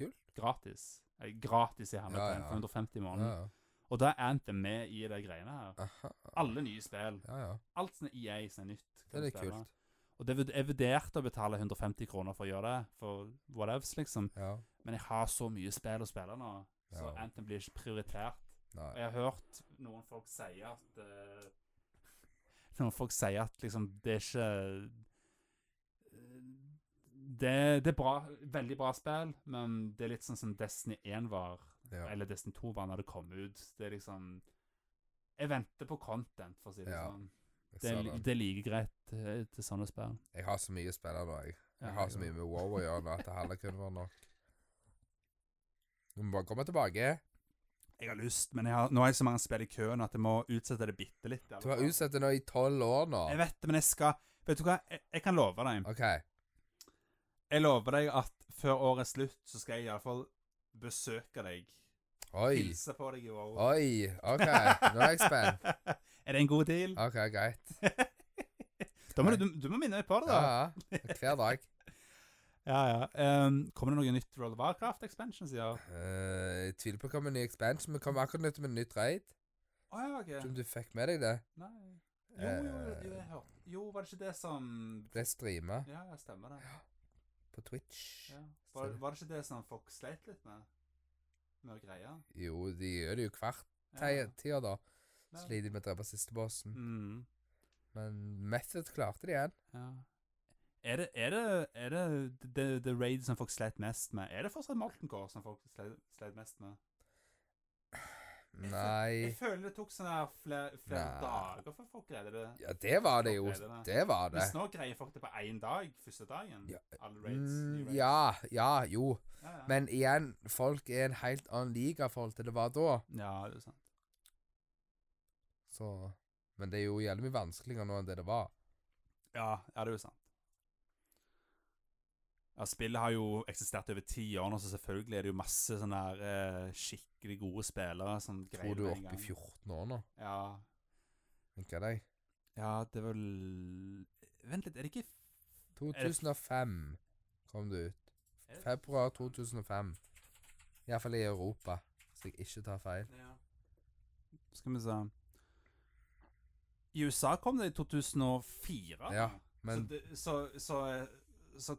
Kult.
Gratis. Eh, Gratis i hermetegn.
Ja, ja.
For 150 i måneden.
Ja.
Og da er Anthem med i de greiene her.
Aha.
Alle nye spill.
Ja, ja.
Alt som er EA som er nytt. kan
Det er
du
litt
spille.
kult.
Og det, vurd- jeg vurderte å betale 150 kroner for å gjøre det, for whatevs, liksom.
Ja.
Men jeg har så mye spill å spille nå, så
Ja.
Anthem blir ikke prioritert. Og
Nei.
jeg har hørt noen folk si at eh, Noen folk sier at liksom det er ikke det, det er bra, veldig bra spill, men det er litt sånn som Destiny 1 var,
Ja.
eller Destiny 2 var når det kom ut. Det er liksom Jeg venter på content, for å si det
Ja,
sånn.
Jeg,
Det, er
ser
li-
den.
det er like greit eh, til sånne spill.
jeg har så mye å spille nå, jeg.
Ja,
Jeg har så
jo.
mye med WoW å gjøre nå at det heller kunne vært nok. Du må bare komme tilbake.
Jeg har lyst, men jeg har, nå har jeg så mange spill i køen at jeg må utsette det bitte litt. i alle
Du har
fall.
utsatt det nå i tolv år nå.
Jeg vet det, men jeg skal Vet du hva, jeg, jeg kan love deg.
OK.
Jeg lover deg at før året er slutt, så skal jeg iallfall besøke deg.
Oi.
Hilse på deg i år.
Oi. OK. Nå er jeg spent.
er det en god deal?
OK, greit.
Da må du, du må minne meg på det,
Ja,
da.
ja. Hver dag.
Ja, ja. Ehm, kommer det noe nytt World of Warcraft-expansion, sier jeg?
Eh, jeg tviler på hva med ny expansion. Vi kom akkurat ut med en nytt raid.
Å ja,
Tror
OK.
du fikk med deg det?
Nei. Jo, jo, jo, jeg hørte Jo, var det ikke det som
Ble streama
Ja, ja, stemmer det.
på Twitch.
Ja. Var, var det ikke det som folk sleit litt med? Med å greie?
Jo, de gjør det jo hvert
Ja.
tida, da.
Ja.
Sliter de med å drepe siste bossen.
Mm.
Men Method klarte det igjen.
Ja. Er det, er det, er det the, the raid som folk sleit mest med? Er det fortsatt Molten Core som folk sleit, sleit mest med? Jeg føl- Jeg
Nei
føler det tok sånn her flere, flere
Nei.
dager før folk greide det.
Ja, det var det jo.
Folk greide det.
Det var det.
Mens nå greier folk det på én dag, første dagen.
Ja.
Alle raids.
Mm,
new raids.
ja, ja, jo.
Ja, ja.
Men igjen, folk er en helt annen liga i forhold til det var da.
ja, det er sant.
Så Men det er jo jævlig mye vanskeligere nå enn det det var.
Ja, ja, det er jo sant. Ja, Spillet har jo eksistert over ti år nå, så selvfølgelig er det jo masse sånne her, eh, skikkelig gode spillere som
Tror
greier
du
det
er
med en
oppe i
gang.
14 år nå,
Ja,
tenker jeg.
Ja, det er vel Vent litt, er det ikke
2005. kom det ut. Februar 2005. Iallfall i Europa, så jeg ikke tar feil.
Skal vi se I USA kom det i 2004.
Ja,
så,
men
det, så, så, så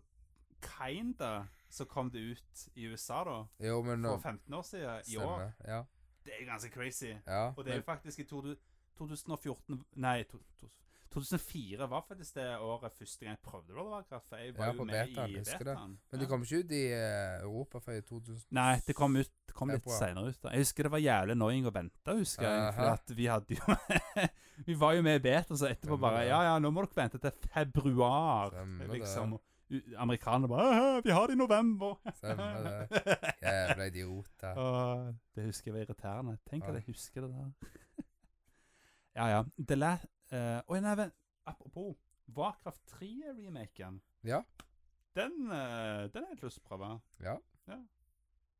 kinda så kom det ut i USA, da.
Jo, men nå
For 15 år siden. I år.
Stemmer. Ja.
Det er ganske crazy.
ja
Og det er jo
men,
faktisk i to, 2014 Nei, to, to, 2004 var faktisk det året første gang jeg prøvde World of Warcraft. For jeg var
Ja,
jo
på
med
betaen,
i
husker det.
betaen.
men det
Ja.
kom ikke ut i eh, Europa før i 2000
Nei, det kom, ut, det kom litt
Februar.
senere ut. da. Jeg husker det var jævlig annoying å vente, husker jeg. For
Aha.
at vi hadde jo Vi var jo med i beta, så etterpå
Stemmer
bare
det.
Ja, ja, nå må dere vente til februar.
Stemmer det.
liksom. U- Amerikanerne bare «Haha, Vi har det i november.
Stemmer det. Jævla idioter.
Åh, det husker jeg var irriterende. Tenk at
Ja.
jeg husker det der. ja, ja. The La... eh, Oi, nei, vent. Apropos Warcraft 3-remaken.
Ja.
Den, eh, den har jeg lyst til å prøve.
Ja.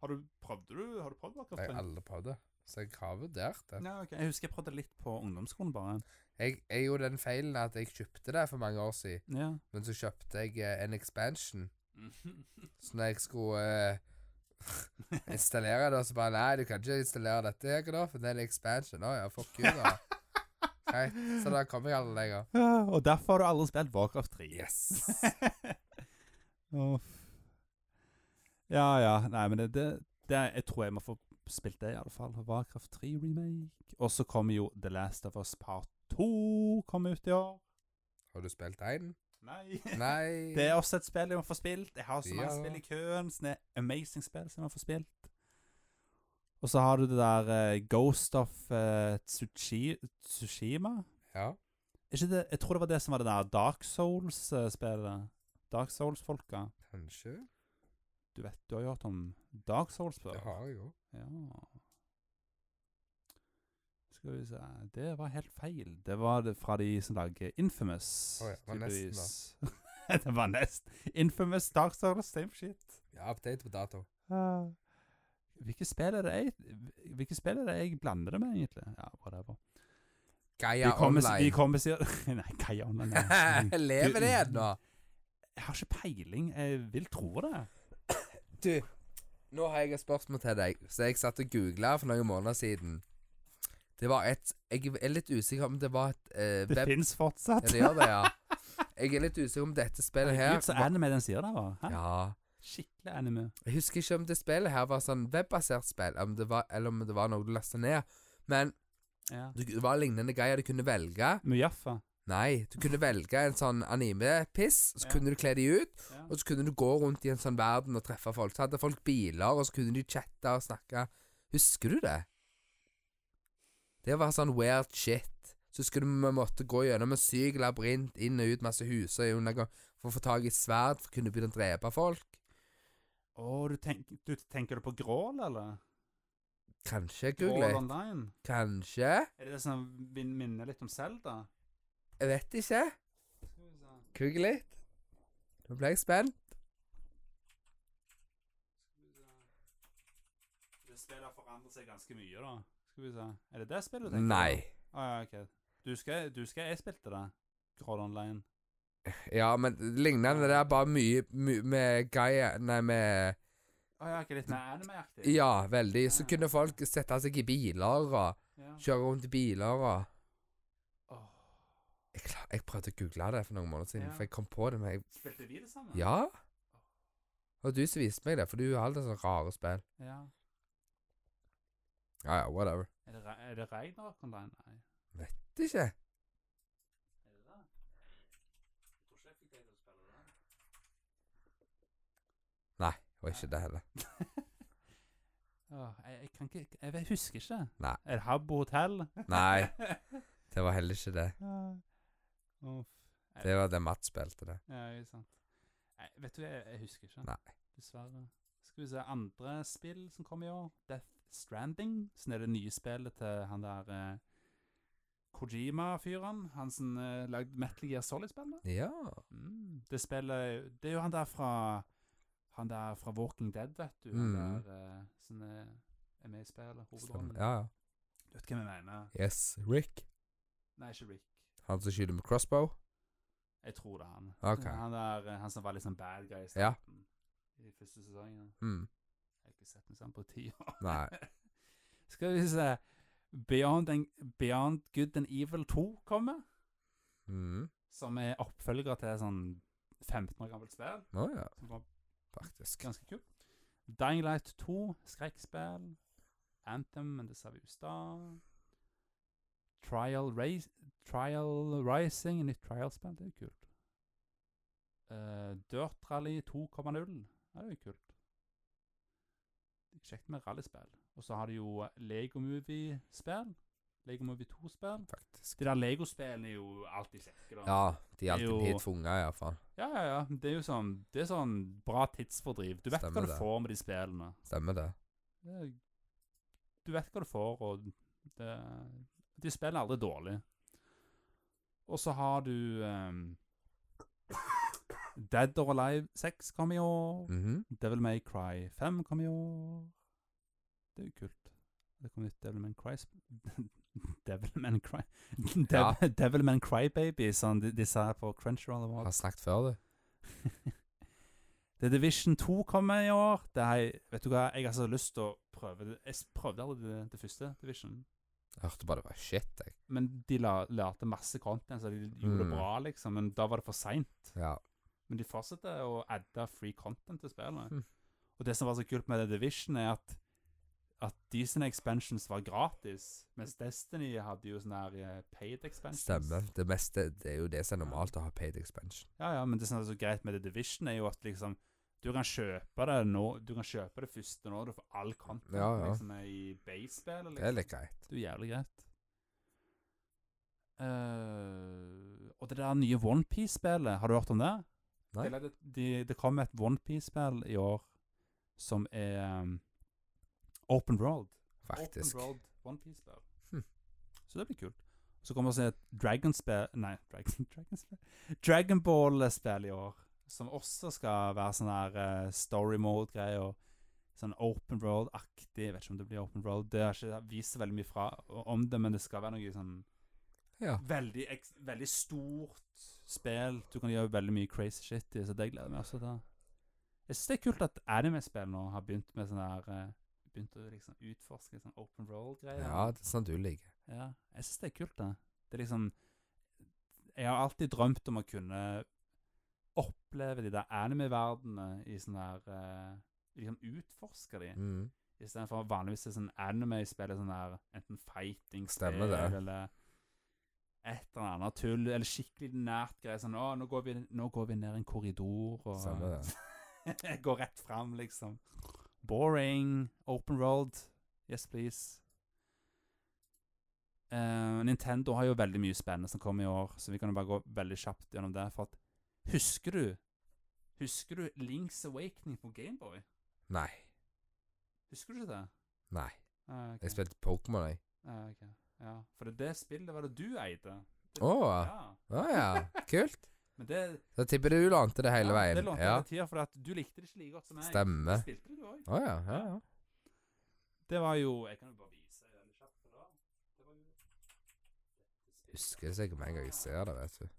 Har du prøvd, du? Har du prøvd Warcraft 3?
Jeg har aldri prøvd det, så jeg har vurdert det.
Ja, ok. Jeg husker jeg prøvde litt på ungdomsskolen bare.
Jeg, jeg gjorde den feilen at jeg kjøpte det for mange år siden,
Ja.
men så kjøpte jeg eh, en expansion. Så når jeg skulle eh, installere det, så bare Nei, du kan ikke installere dette, jeg, da, for det er en expansion. Å ja, fuck you, da. Greit, så da kommer jeg aldri lenger.
og derfor har du aldri spilt Warcraft 3.
Yes.
Ja, ja. Nei, men det, det, det Jeg tror jeg må få spilt det, i alle fall. Warcraft 3 remake. Og så kommer jo The Last of Us Part 2 kom ut i år.
Har du spilt én?
Nei.
Nei.
Det er også et spill jeg må få spilt. Jeg har så mange
Ja.
spill i køen. Sånne amazing spill som jeg må få spilt. Og så har du det der eh, Ghost of eh, Tsushi, Tsushima.
Ja.
ikke det, Jeg tror det var det som var det der Dark Souls-spillet. Dark Souls-folka.
Kanskje.
Du vet, du har jo hørt om Dark Souls før.
Det har jeg jo.
Ja. Skal vi se Det var helt feil. Det var det fra de som lager Infamous.
Å ja, det var nesten
tydeligvis. det var nest. Infamous, Dark Souls, same shit.
Ja, update på dato.
Hvilke spill er det jeg Hvilke spill er det jeg blander det med, egentlig? Ja, whatever.
Gaia
vi kommer,
Online.
Vi kommer sikkert Nei, hva gjør man da?
Lever det ennå?
Jeg har ikke peiling. Jeg vil tro det.
Du, nå har jeg et spørsmål til deg, så jeg satt og googla for noen måneder siden. Det var et Jeg er litt usikker om det var et eh,
Det
web-
finnes fortsatt.
Ja, det gjør det, ja. Jeg er litt usikker om dette spillet her
Gud, så
var-
anime den sier der, var. Hæ?
Ja.
Skikkelig anime.
Jeg husker ikke om det spillet her var sånn webbasert spill, om det var, eller om det var noe du lasta ned. Men
Ja.
du, det var lignende greier du kunne velge.
Mujaffa.
Nei, du kunne velge en sånn anime-piss, så
Ja.
kunne du kle de ut,
Ja.
og så kunne du gå rundt i en sånn verden og treffe folk. Så hadde folk biler, og så kunne de chatte og snakke. Husker du det? Det var sånn weird shit. Så husker du vi måtte gå gjennom en syk labyrint, inn og ut masse hus og undergang, for å få tak i et sverd, for å kunne begynne å drepe folk.
Å, du, tenk, du tenker du på Grål, eller?
Kanskje,
Grål
google litt.
Online?
Kanskje?
Er det det som min- minner litt om Zelda?
Jeg vet ikke.
Skal vi se.
Google litt. Nå ble jeg spent.
Det spillet har forandret seg ganske mye, da. Skal vi se. Er det det spillet du tenker på?
Nei.
Å ja, ok. Du husker, du husker jeg spilte det? Grål Online.
Ja, men lignende der, bare mye, mye med Gaia Nei, med
Å ja, ikke litt mer anime-aktig?
Ja, veldig. Så kunne folk sette seg i biler og
Ja.
kjøre rundt i biler og
Åh.
jeg, klar, jeg prøvde å google det for noen måneder siden,
Ja.
for jeg kom på det, men jeg
Spilte vi det sammen?
Ja? Det var du som viste meg det, for du har alltid sånne rare spill.
Ja.
Ja ja, whatever.
Er det, Re- er det Ragnarok Online? Nei.
Det er ikke
Er det det? Jeg tror ikke jeg fikk deg til å spille det.
Det var ikke det heller.
Åh, jeg, jeg kan ikke jeg, vet- husker ikke.
Nei.
Er det Habbo Hotel?
Nei, det var heller ikke det.
Uff.
Det var det Mats spilte, det.
Ja, ikke sant. Nei, vet du hva, jeg, jeg husker ikke.
Nei.
Dessverre. Skal vi se andre spill som kom i år? Death Stranding, som er det nye spillet til han der eh, Kojima-fyren. Han som eh, lagde Metal Gear Solid-spillet.
Ja.
Mm. Det spillet Det er jo han der fra Han der fra Walking Dead, vet du. Han
Mm.
der eh, som er, er med i spillet. Hovedrollen.
Stemmer. Ja, ja.
Du vet hvem jeg mener?
Yes, Rick.
Nei, ikke Rick.
Han som skyter med crossbow?
Jeg tror det er han.
Ok.
Han, der, eh, han som var litt sånn bad guy i
Ja.
starten. I første sesongen.
Mm.
Jeg har ikke sett den sånn på ti år.
Nei.
Skal vi se Beyond, and, Beyond Good and Evil 2 kommer,
Mm.
som er oppfølger til sånn 15 år gammelt spill.
Å ja,
Som var
faktisk.
ganske kult. Dying Light 2, skrekkspill. Anthem, men det sa vi jo i stad. Trial, Rais- trial Rising, nytt trial-spill. Det er jo kult. Eh, Dirt Rally 2,0. Ja, det er jo kult. Det er Kjekt med rallyspill. Og så har de jo Lego Movie-spill. Lego Movie 2-spill.
Faktisk.
De der Lego-spillene er jo alltid kjekke, da.
Ja, de er alltid
Jo.
blitt tvunget i hvert fall.
Ja, ja, ja. Det er jo sånn, det er sånn bra tidsfordriv. Du vet
Stemmer
hva du
det.
får med de spillene.
Stemmer det.
Det, er- du vet hva du får, og det, de spiller aldri dårlig. Og så har du ehm, Dead or Alive 6 kom i år.
Mhm.
Devil May Cry 5 kom i år. Det er jo kult. Det kom nytt Devil May Cry sp- Devil May Cry Dev,
Ja.
Devil May Cry Baby, som de, de sa på Crunchyroll. Awards.
Har snakket før, du.
The Division 2 kommer i år. Det har jeg, vet du hva, jeg har så lyst til å prøve det. Jeg s- prøvde aldri det, det første Division,
Jeg hørte bare det var shit, jeg.
men de la, lærte masse content, så de gjorde det
Mm.
bra, liksom. Men da var det for seint.
Ja.
Men de fortsatte å adde free content til spillet.
Mhm.
Og det som var så kult med The Division, er at at de sine expansions var gratis, mens Destiny hadde jo sånne her eh, paid expansions.
Stemmer. Det meste Det er jo det som er normalt å ha paid expansion.
Ja, ja, men det som er så greit med The Division, er jo at liksom du kan kjøpe det nå, du kan kjøpe det første nå, du får all content
Ja, ja.
liksom er i baseball.
Det er
Liksom.
litt greit.
Det er jo jævlig greit. Eh, og det der nye OnePiece-spillet, har du hørt om det?
Nei.
Det, de, det kom et OnePiece-spill i år som er um, Open World.
Faktisk.
Open World One Piece-spill.
Hm.
Så det blir kult. Så kommer også et Dragon-spill Nei, Dragon, Dragon Dragon Ball-spill i år. Som også skal være sånn her eh, story mode-greier. Sånn open world-aktig. Jeg Vet ikke om det blir open world. Det har ikke vist så veldig mye fra om det, men det skal være noe sånn
Ja.
veldig, eks- veldig stort spill. Du kan gjøre veldig mye crazy shit i, så det gleder jeg meg også til. Jeg syns det er kult at anime-spill nå har begynt med sånn her eh, Begynt å liksom utforske sånn open roll-greier.
ja, det er sånn du liker.
Ja, jeg syns det er kult, det. Det er liksom Jeg har alltid drømt om å kunne oppleve de der anime-verdenene i sånn her eh, Liksom utforske de.
Mm.
Istedenfor vanligvis er sånn anime spiller sånn her enten fighting
Stemmer det.
eller et eller annet tull, eller skikkelig nært greier. Sånn 'Å, nå går vi, nå går vi ned en korridor', og
Stemmer det.
går rett fram, liksom. Boring. Open world. Yes, please. Eh, Nintendo har jo veldig mye spennende som kommer i år, så vi kan jo bare gå veldig kjapt gjennom det. For at Husker du Husker du Links Awakening på Gameboy?
Nei.
Husker du ikke det?
Nei.
Ah, ok.
Jeg spilte Pokémon, jeg.
Ah, ok. Ja, for det, det spillet var det du eide.
Å
Ja.
Å ja. Kult.
Men det,
Da tipper jeg du lånte det hele
ja,
veien.
det lånte
Ja.
jeg til tida, for at du likte det ikke like godt som jeg.
Stemmer.
Spilte det du også?
Å ja. ja, ja.
Det var jo Jeg kan jo bare vise det veldig kjapt. for da- Det var jo
Husker det sikkert med en gang jeg ser det, vet du.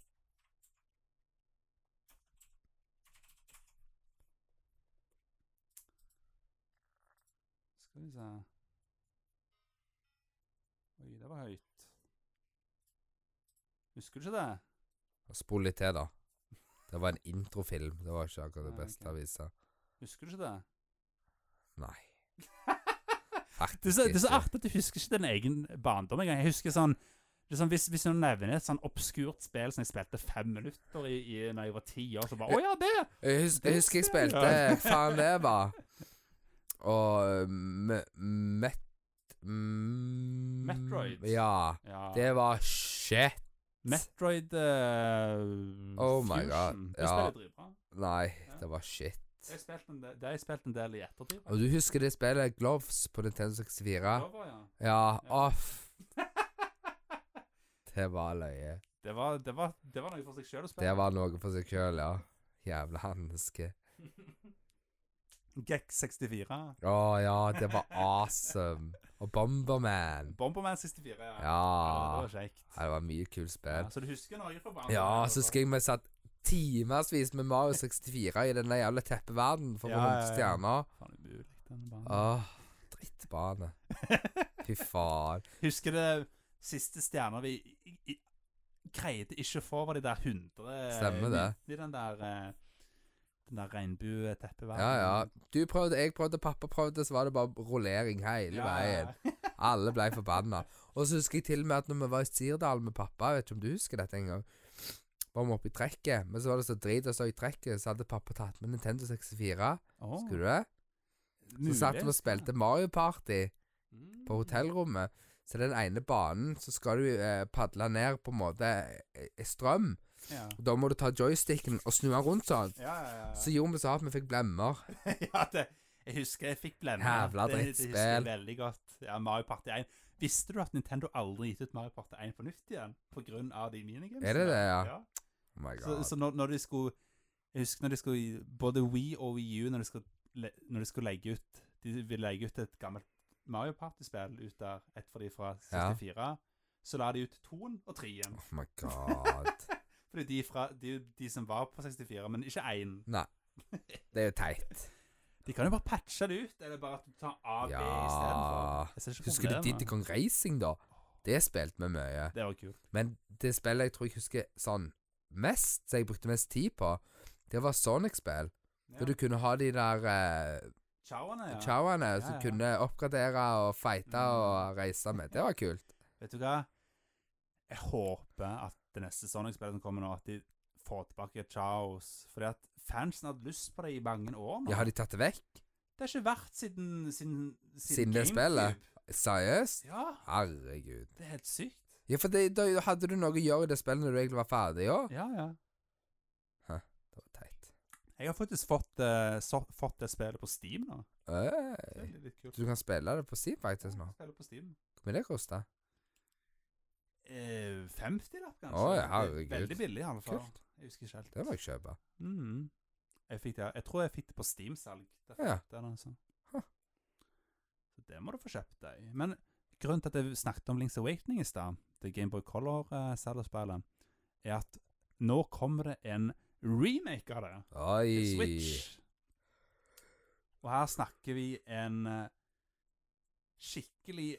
Skal vi se Oi, det var høyt. Husker du ikke det?
Spol litt til, da. Det var en introfilm. Det var ikke akkurat det
Ja,
beste
ok.
å vise.
Husker du ikke det?
Nei.
Det er, så,
Faktisk
det er så
ikke.
artig at du husker ikke din egen barndom engang. Jeg husker sånn det er sånn, hvis, hvis noen nevner et sånn obskurt spill som jeg spilte fem minutter i, i når jeg var ti år, så bare Å ja, det!
Jeg, hus jeg husker jeg
Det
spilte
skal jeg.
Faen, det var Og me- met, mm,
Metroid.
Ja.
Ja.
Det var shit.
Metroid eh,
Oh my
Fusion.
God,
Det
ja.
spillet er dritbra.
Nei,
Ja.
det var shit.
Jeg spilte en del- Det har jeg spilt en del i ettertid.
Og du husker det spillet Gloves på Nintendo 64?
Over, ja.
Ja, off. Det var løye.
det, var, det, var, det var noe for seg sjøl å
Det
spille.
var noe for seg sjøl, ja. Jævla hanske.
Gekk 64.
Å ja, det var awesome. Og Bomberman.
Bomberman 64, ja.
Ja.
det var kjekt.
Det var mye kult
Ja,
spill.
så du husker Norge for barn?
Ja, så husker jeg vi satt timevis med Mario 64 i denne jævla teppeverdenen for å
Ja,
få
ja,
hundre
ja. Mm.
stjerner.
Faen, umulig, denne banen.
Åh, drittbane. Fy faen.
Husker det siste stjerner vi i- i- greide ikke å få, var de der 100
Stemmer det.
I den der, eh, den der regnbueteppeverdenen.
Ja, ja. Du prøvde, jeg prøvde, pappa prøvde, så var det bare rullering hele veien. Alle ble forbanna. Og så husker jeg til og med at når vi var i Sirdal med pappa, jeg vet ikke om du husker dette engang, var vi oppe i trekket, men så var det så drit og så i trekket, så hadde pappa tatt med Nintendo 64,
Åh,
husker du det? Så
mulig.
satt vi og spilte Mario Party
Mm.
på hotellrommet. Så den ene banen, så skal du eh, padle ned på en måte eh, eh, strøm.
Mm. Ja,
Og Da må du ta joysticken og snu den rundt sånn.
ja, ja. ja.
Så gjorde vi så hardt vi fikk blemmer.
ja, det, jeg husker jeg fikk blemme.
Jævla
Det- det husker jeg
drittspill.
Veldig godt. Ja, Mario Party 1. Visste du at Nintendo aldri gitt ut Mario Party 1 på nytt igjen? På grunn av de minigamesene?
Er det det, ja?
ja.
Oh my
Så,
god.
så når, når de skulle Jeg husker når de skulle i- Både Wii og Wii U Når de skulle, le, når de skulle legge ut De ville legge ut et gammelt Mario Party-spill ut der Et for de fra 64 Så la de ut 2 og 3 igjen
Oh my god.
Fordi de, fra, de, de som var på 64 Men ikke 1
Nei. Det er jo teit.
De kan jo bare patche det ut Eller bare at du tar A, B i stedet for
Ja
Jeg ser ikke
Husker du
problemet.
Diddy Kong Racing, da? Det spilte vi mye.
Det var kult
Men det spillet jeg tror jeg husker sånn mest, som jeg brukte mest tid på, det var Sonic-spill.
ja.
For du kunne ha de der eh,
Chowene, ja
chowene
Ja,
som
ja.
kunne oppgradere og fighte
Mm.
og reise med. Det var kult.
Vet du hva? Jeg håper at det neste Sonic-spillet som kommer nå, at de får tilbake Chaos. Fordi at fansen har hatt lyst på det i mange år nå.
Ja, har de tatt det vekk?
Det har ikke vært siden Siden,
Siden det spillet? Seriøst?
Ja,
Herregud.
det er helt sykt.
Ja, for det, da hadde du noe å gjøre i det spillet når du egentlig var ferdig òg?
Ja, ja.
Det var teit.
Jeg har faktisk fått, eh, så, fått det spillet på Steam nå. Det
Øy.
er litt kult.
Så Eh, du kan spille det på Steam faktisk nå?
Spillet på Steam.
Hvor mye det koster?
Eh, 50 lapp, kanskje.
Å, ja,
Det er
herregud.
Veldig billig, i alle fall.
Kult.
Jeg husker ikke helt.
Det må jeg kjøpe.
Mhm. jeg, fikk det, jeg tror jeg fikk det på Steam-salg. Derfor
Ja.
kjøpte jeg det, altså.
Huh.
Så det må du få kjøpt deg. Men grunnen til at jeg snakket om Links Awakening i stad, det Gameboy Color-salgspillet, er at nå kommer det en remake av det. til
Oi.
Switch. Og her snakker vi en eh, skikkelig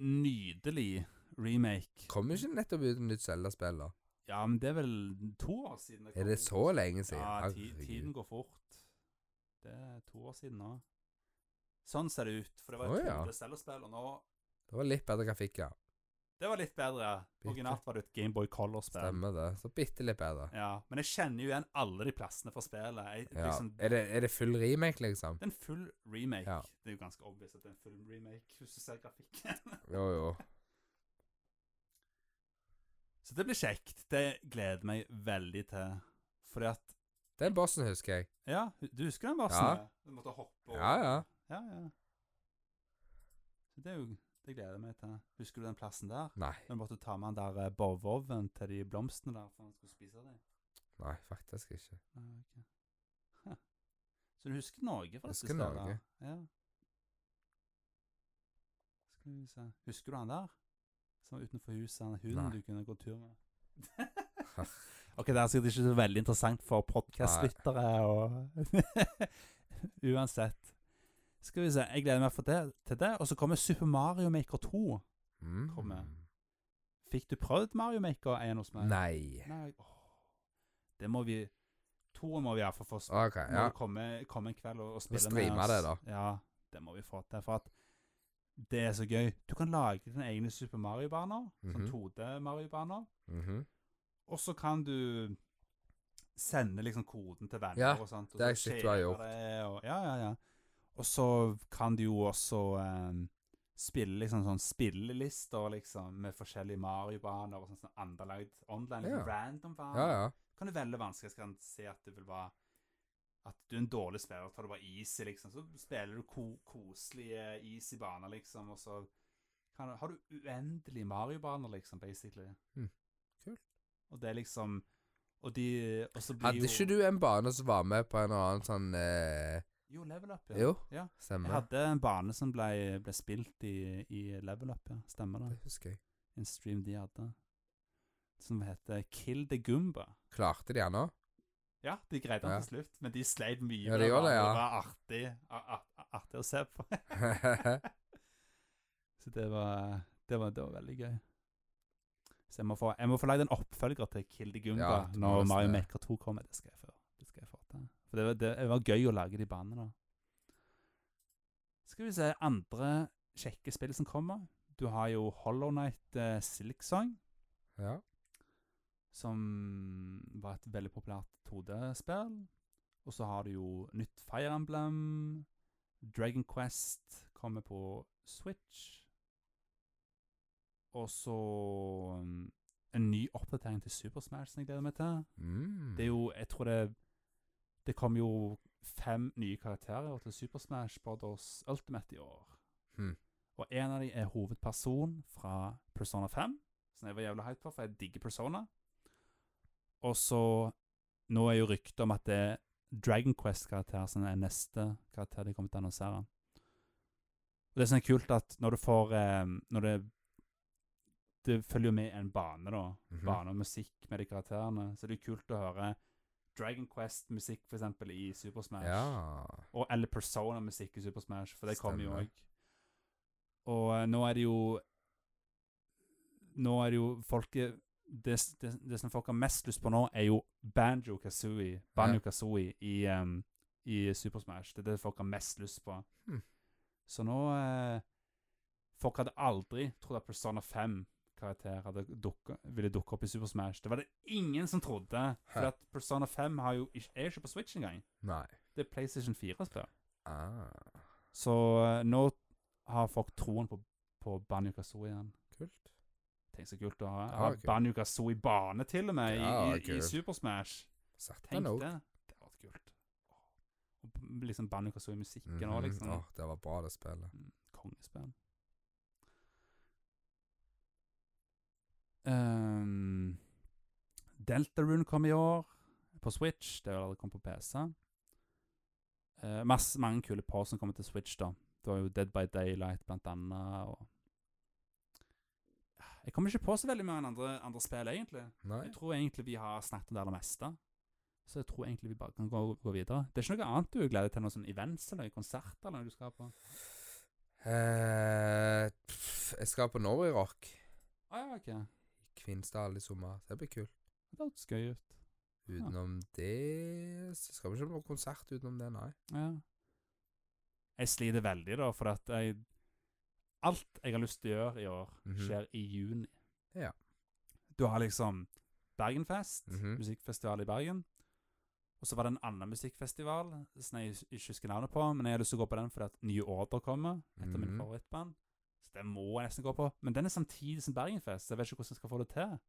nydelig remake.
Kom jo ikke nettopp ut med nytt Zelda-spill, da.
Ja, men det er vel to år siden
Er
kom
det
ut.
så lenge siden?
Ja, ti
Herregud.
tiden går fort. Det er to år siden nå. Sånn ser det ut. For det var
Å,
et
ja.
oh, Zelda-spill, og nå
Det var litt bedre grafikk, ja.
Det var litt bedre.
Bitte.
Originalt var det et Gameboy Color-spill.
Stemmer det. Så bitte litt bedre.
Ja, men jeg kjenner jo igjen alle de plassene fra spillet. Jeg,
Ja.
liksom,
Er det, er det full remake, liksom?
det er en full remake.
Ja.
Det er jo ganske obvious at det er en full remake, hvis du ser grafikken.
Jo, jo.
Så det blir kjekt. Det gleder jeg meg veldig til. Fordi at
Den bossen husker jeg.
Ja, du husker den varselen? Du måtte hoppe over.
Ja, ja.
Ja, ja. Så det er jo Det gleder jeg meg til. Husker du den plassen der?
Nei.
Når du måtte ta med den der eh, bovoven til de blomstene der for han skulle spise dem?
Nei, faktisk ikke.
Nei, ok. Huh. Så du husker Norge fra dette
Husker
stedet?
Norge.
Ja. Skal vi se Husker du han der? Som var utenfor huset, han hunden
Nei.
du kunne gå tur med? ok, det er sikkert ikke så veldig interessant for podkastlyttere og Uansett. Skal vi se, Jeg gleder meg for det, til det. Og så kommer Super Mario Maker 2.
Mm.
Kom med. Fikk du prøvd Mario Maker 1 hos meg?
Nei.
Nei, åh. Det må vi To må vi iallfall få sp-
OK,
Må
ja.
du komme, komme en kveld og, og spille
streamer
med oss.
det da.
Ja, det må vi få til. For at det er så gøy. Du kan lage dine egne Super Mario-baner.
Mhm.
Sånn 2D-Mario-baner.
Mhm.
Og så kan du sende liksom koden til venner
Ja,
og sånt. Og
det er
så
shit du har
skjer
gjort.
det, Og, ja, ja, ja. Og så kan du jo også eh, spille liksom sånn spillelister liksom, med forskjellige Mario-baner og sånn, sånn underlagd online, liksom,
Ja.
random baner.
Ja, ja.
Kan du velge vanskelig, så kan du se at det vil være at du er en dårlig spiller, tar du bare easy, liksom. Så spiller du ko koselige easy baner, liksom, og så kan, har du uendelig Mario-baner, liksom, basically.
Mm. Kult.
Og det er liksom Og de Og så blir
Hadde ikke du en bane som var med på en eller annen sånn eh,
Jo, level up, ja.
Jo,
Ja. Jeg
stemmer.
hadde en bane som ble, ble spilt i, i level up, ja. Stemmer det.
Det husker jeg.
En stream de hadde. Som heter Kill the Goomba.
Klarte de den nå?
Ja, de greide den
Ja.
til slutt, men de sleit mye.
Ja,
med
de gjorde det, ja.
Det var artig, a- a- artig å se på. Så det var, det var, det var veldig gøy. Så jeg må få, jeg må få lagd en oppfølger til Kill the Goomba
Ja, du må
når
nesten
Mario
det.
Maker 2 kommer. Det skal jeg få, det skal jeg få til. For det var, det, det var gøy å lage de banene. da. Skal vi se andre kjekke spill som kommer. Du har jo Hollow Knight eh, Silk Song,
ja.
som var et veldig populært 2D-spill. Og så har du jo nytt Fire Emblem. Dragon Quest kommer på Switch. Og så mm, en ny oppdatering til Super Smash som jeg gleder meg til.
Mm.
Det er jo, jeg tror det Det kom jo fem nye karakterer til Super Smash Brothers Ultimate i år.
Hmm.
Og en av dem er hovedperson fra Persona 5, som jeg var jævla hyped for, for jeg digger Persona. Og så Nå er jo ryktet om at det er Dragon Quest-karakter som er neste karakter de kommer til å annonsere. Og Det som er sånn kult, at når du får eh, Når det Det følger jo med en bane, da
Mhm.
bane og musikk med de karakterene. Så det er kult å høre Dragon Quest-musikk for eksempel i Super Smash.
Ja.
Og, eller Persona-musikk i Super Smash, for det kommer jo
Stemmer.
òg. Og eh, nå er det jo Nå er det jo folket det, s- det, s- det som folk har mest lyst på nå, er jo Banjo Kazooie Banjo Kazooie i, em, i Super Smash. Det er det folk har mest lyst på.
Hmm.
Så nå eh, Folk hadde aldri trodd at Persona 5-karakter hadde dukket, ville dukke opp i Super Smash. Det var det ingen som trodde. For
Hæ.
at Persona 5 har jo, ikke- er jo ikke på Switch engang.
Nei.
Det er PlayStation 4-spill.
Ah,
Så eh, nå har folk troen på, på Banjo Kazooie igjen.
kult.
Tenk så kult å ha.
Ja,
ha
kult.
Banjo Kazooie i bane, til og med, i,
Ja,
i, i
kult.
Super Smash.
Satan
Tenk
òg.
det. Det hadde vært kult. Og b- liksom Banjo Kazooie-musikken òg,
Mhm.
liksom.
Åh, det var bra, det spillet.
Mm, Kongespill. Um, Deltarune kom i år på Switch. Det har allerede kommet på PC. Eh, masse, mange kule par som kommer til Switch, da. Det var jo Dead by Daylight, blant annet. Og jeg kommer ikke på så veldig mange andre, andre spill, egentlig.
Nei.
Jeg tror egentlig vi har snakket om det aller meste. Så jeg tror egentlig vi bare kan gå, gå videre. Det er ikke noe annet du gleder deg til? Noen sånn events eller konserter eller noe du skal på?
Eh, pff, jeg skal på Norway Rock i
Ah, ja, ok.
Kvinesdal i sommer. Det blir kult.
Det hørtes gøy ut.
Utenom det så skal vi ikke på noen konsert utenom det, nei.
Ja. Jeg sliter veldig, da, for at jeg Alt jeg har lyst til å gjøre i år,
Mhm.
skjer i juni.
Ja.
Du har liksom Bergenfest,
Mhm.
musikkfestival i Bergen. Og så var det en annen musikkfestival som jeg ikke husker navnet på, men jeg har lyst til å gå på den fordi at Nye Order kommer, et av mine
Mhm.
favorittband. Så det må jeg nesten gå på. Men den er samtidig som Bergenfest, så jeg vet ikke hvordan jeg skal få det til.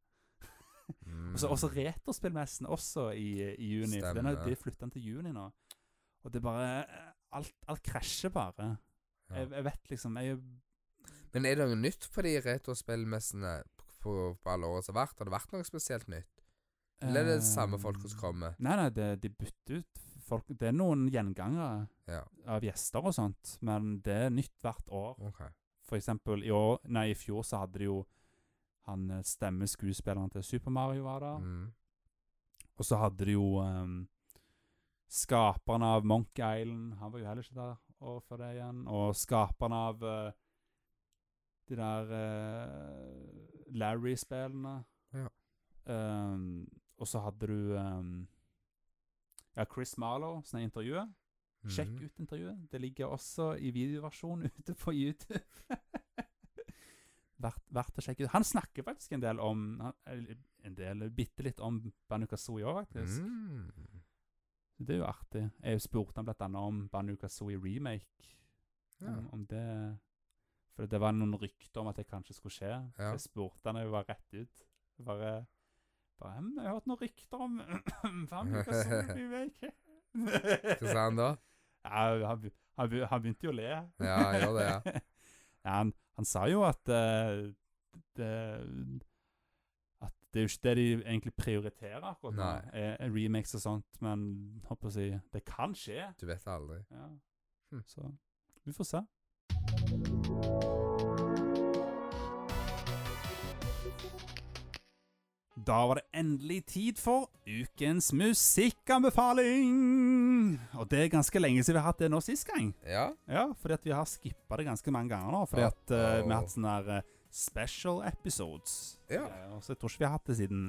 Mm.
Og så også Retorspillmessen også i, i juni. For den har
Stemmer.
de flytta den til juni nå. Og det er bare eh, Alt, alt krasjer bare.
Ja.
Jeg, jeg vet liksom jeg,
Men er det noe nytt på de retrospillmessene på, på, på alle årene som har vært? Har det vært noe spesielt nytt? Eller er det samme
eh,
folk som kommer?
Nei, nei, det, de bytter ut folk. Det er noen gjengangere
Ja,
av gjester og sånt, men det er nytt hvert år.
ok.
For eksempel i år Nei, i fjor så hadde de jo han eh, stemmeskuespilleren til Super Mario var der.
Mm.
Og så hadde de jo ehm, skaperen av Monkey Island, han var jo heller ikke der året før det igjen. Og skaperen av eh, de der eh, Larry-spillene.
Ja.
Ehm, og så hadde du ehm, ja, Chris Marlow, som er intervjuet. Sjekk
Mhm.
ut intervjuet. Det ligger også i videoversjon ute på YouTube. Verdt, verdt å sjekke ut. Han snakker faktisk en del om han- eller En del, bitte litt om Banukazooie òg, faktisk.
Mm.
Det er jo artig. Jeg spurte han blant annet om Banukazooie remake.
Ja.
Om, om det For det var noen rykter om at det kanskje skulle skje. Så
Ja.
Jeg spurte han da jeg var rett ut. Bare, bare «Hm, Jeg har hørt noen rykter om Banukazooie remake.
Hva sa han da?
Ja, han, be- han, be- han begynte jo å le.
Ja, han gjorde det,
ja. han, han sa jo at eh, det, At det er jo ikke det de egentlig prioriterer akkurat nå,
Nei.
er- er remakes og sånt, men håper å si Det kan skje.
Du vet det aldri.
Ja.
Hm.
Så vi får se. Da var det endelig tid for ukens musikkanbefaling! Og det er ganske lenge siden vi har hatt det nå sist gang.
Ja.
Ja, fordi at vi har skippa det ganske mange ganger nå. Fordi at eh, vi har hatt sånne der eh, special episodes.
Ja.
Eh, og så jeg tror ikke vi har hatt det siden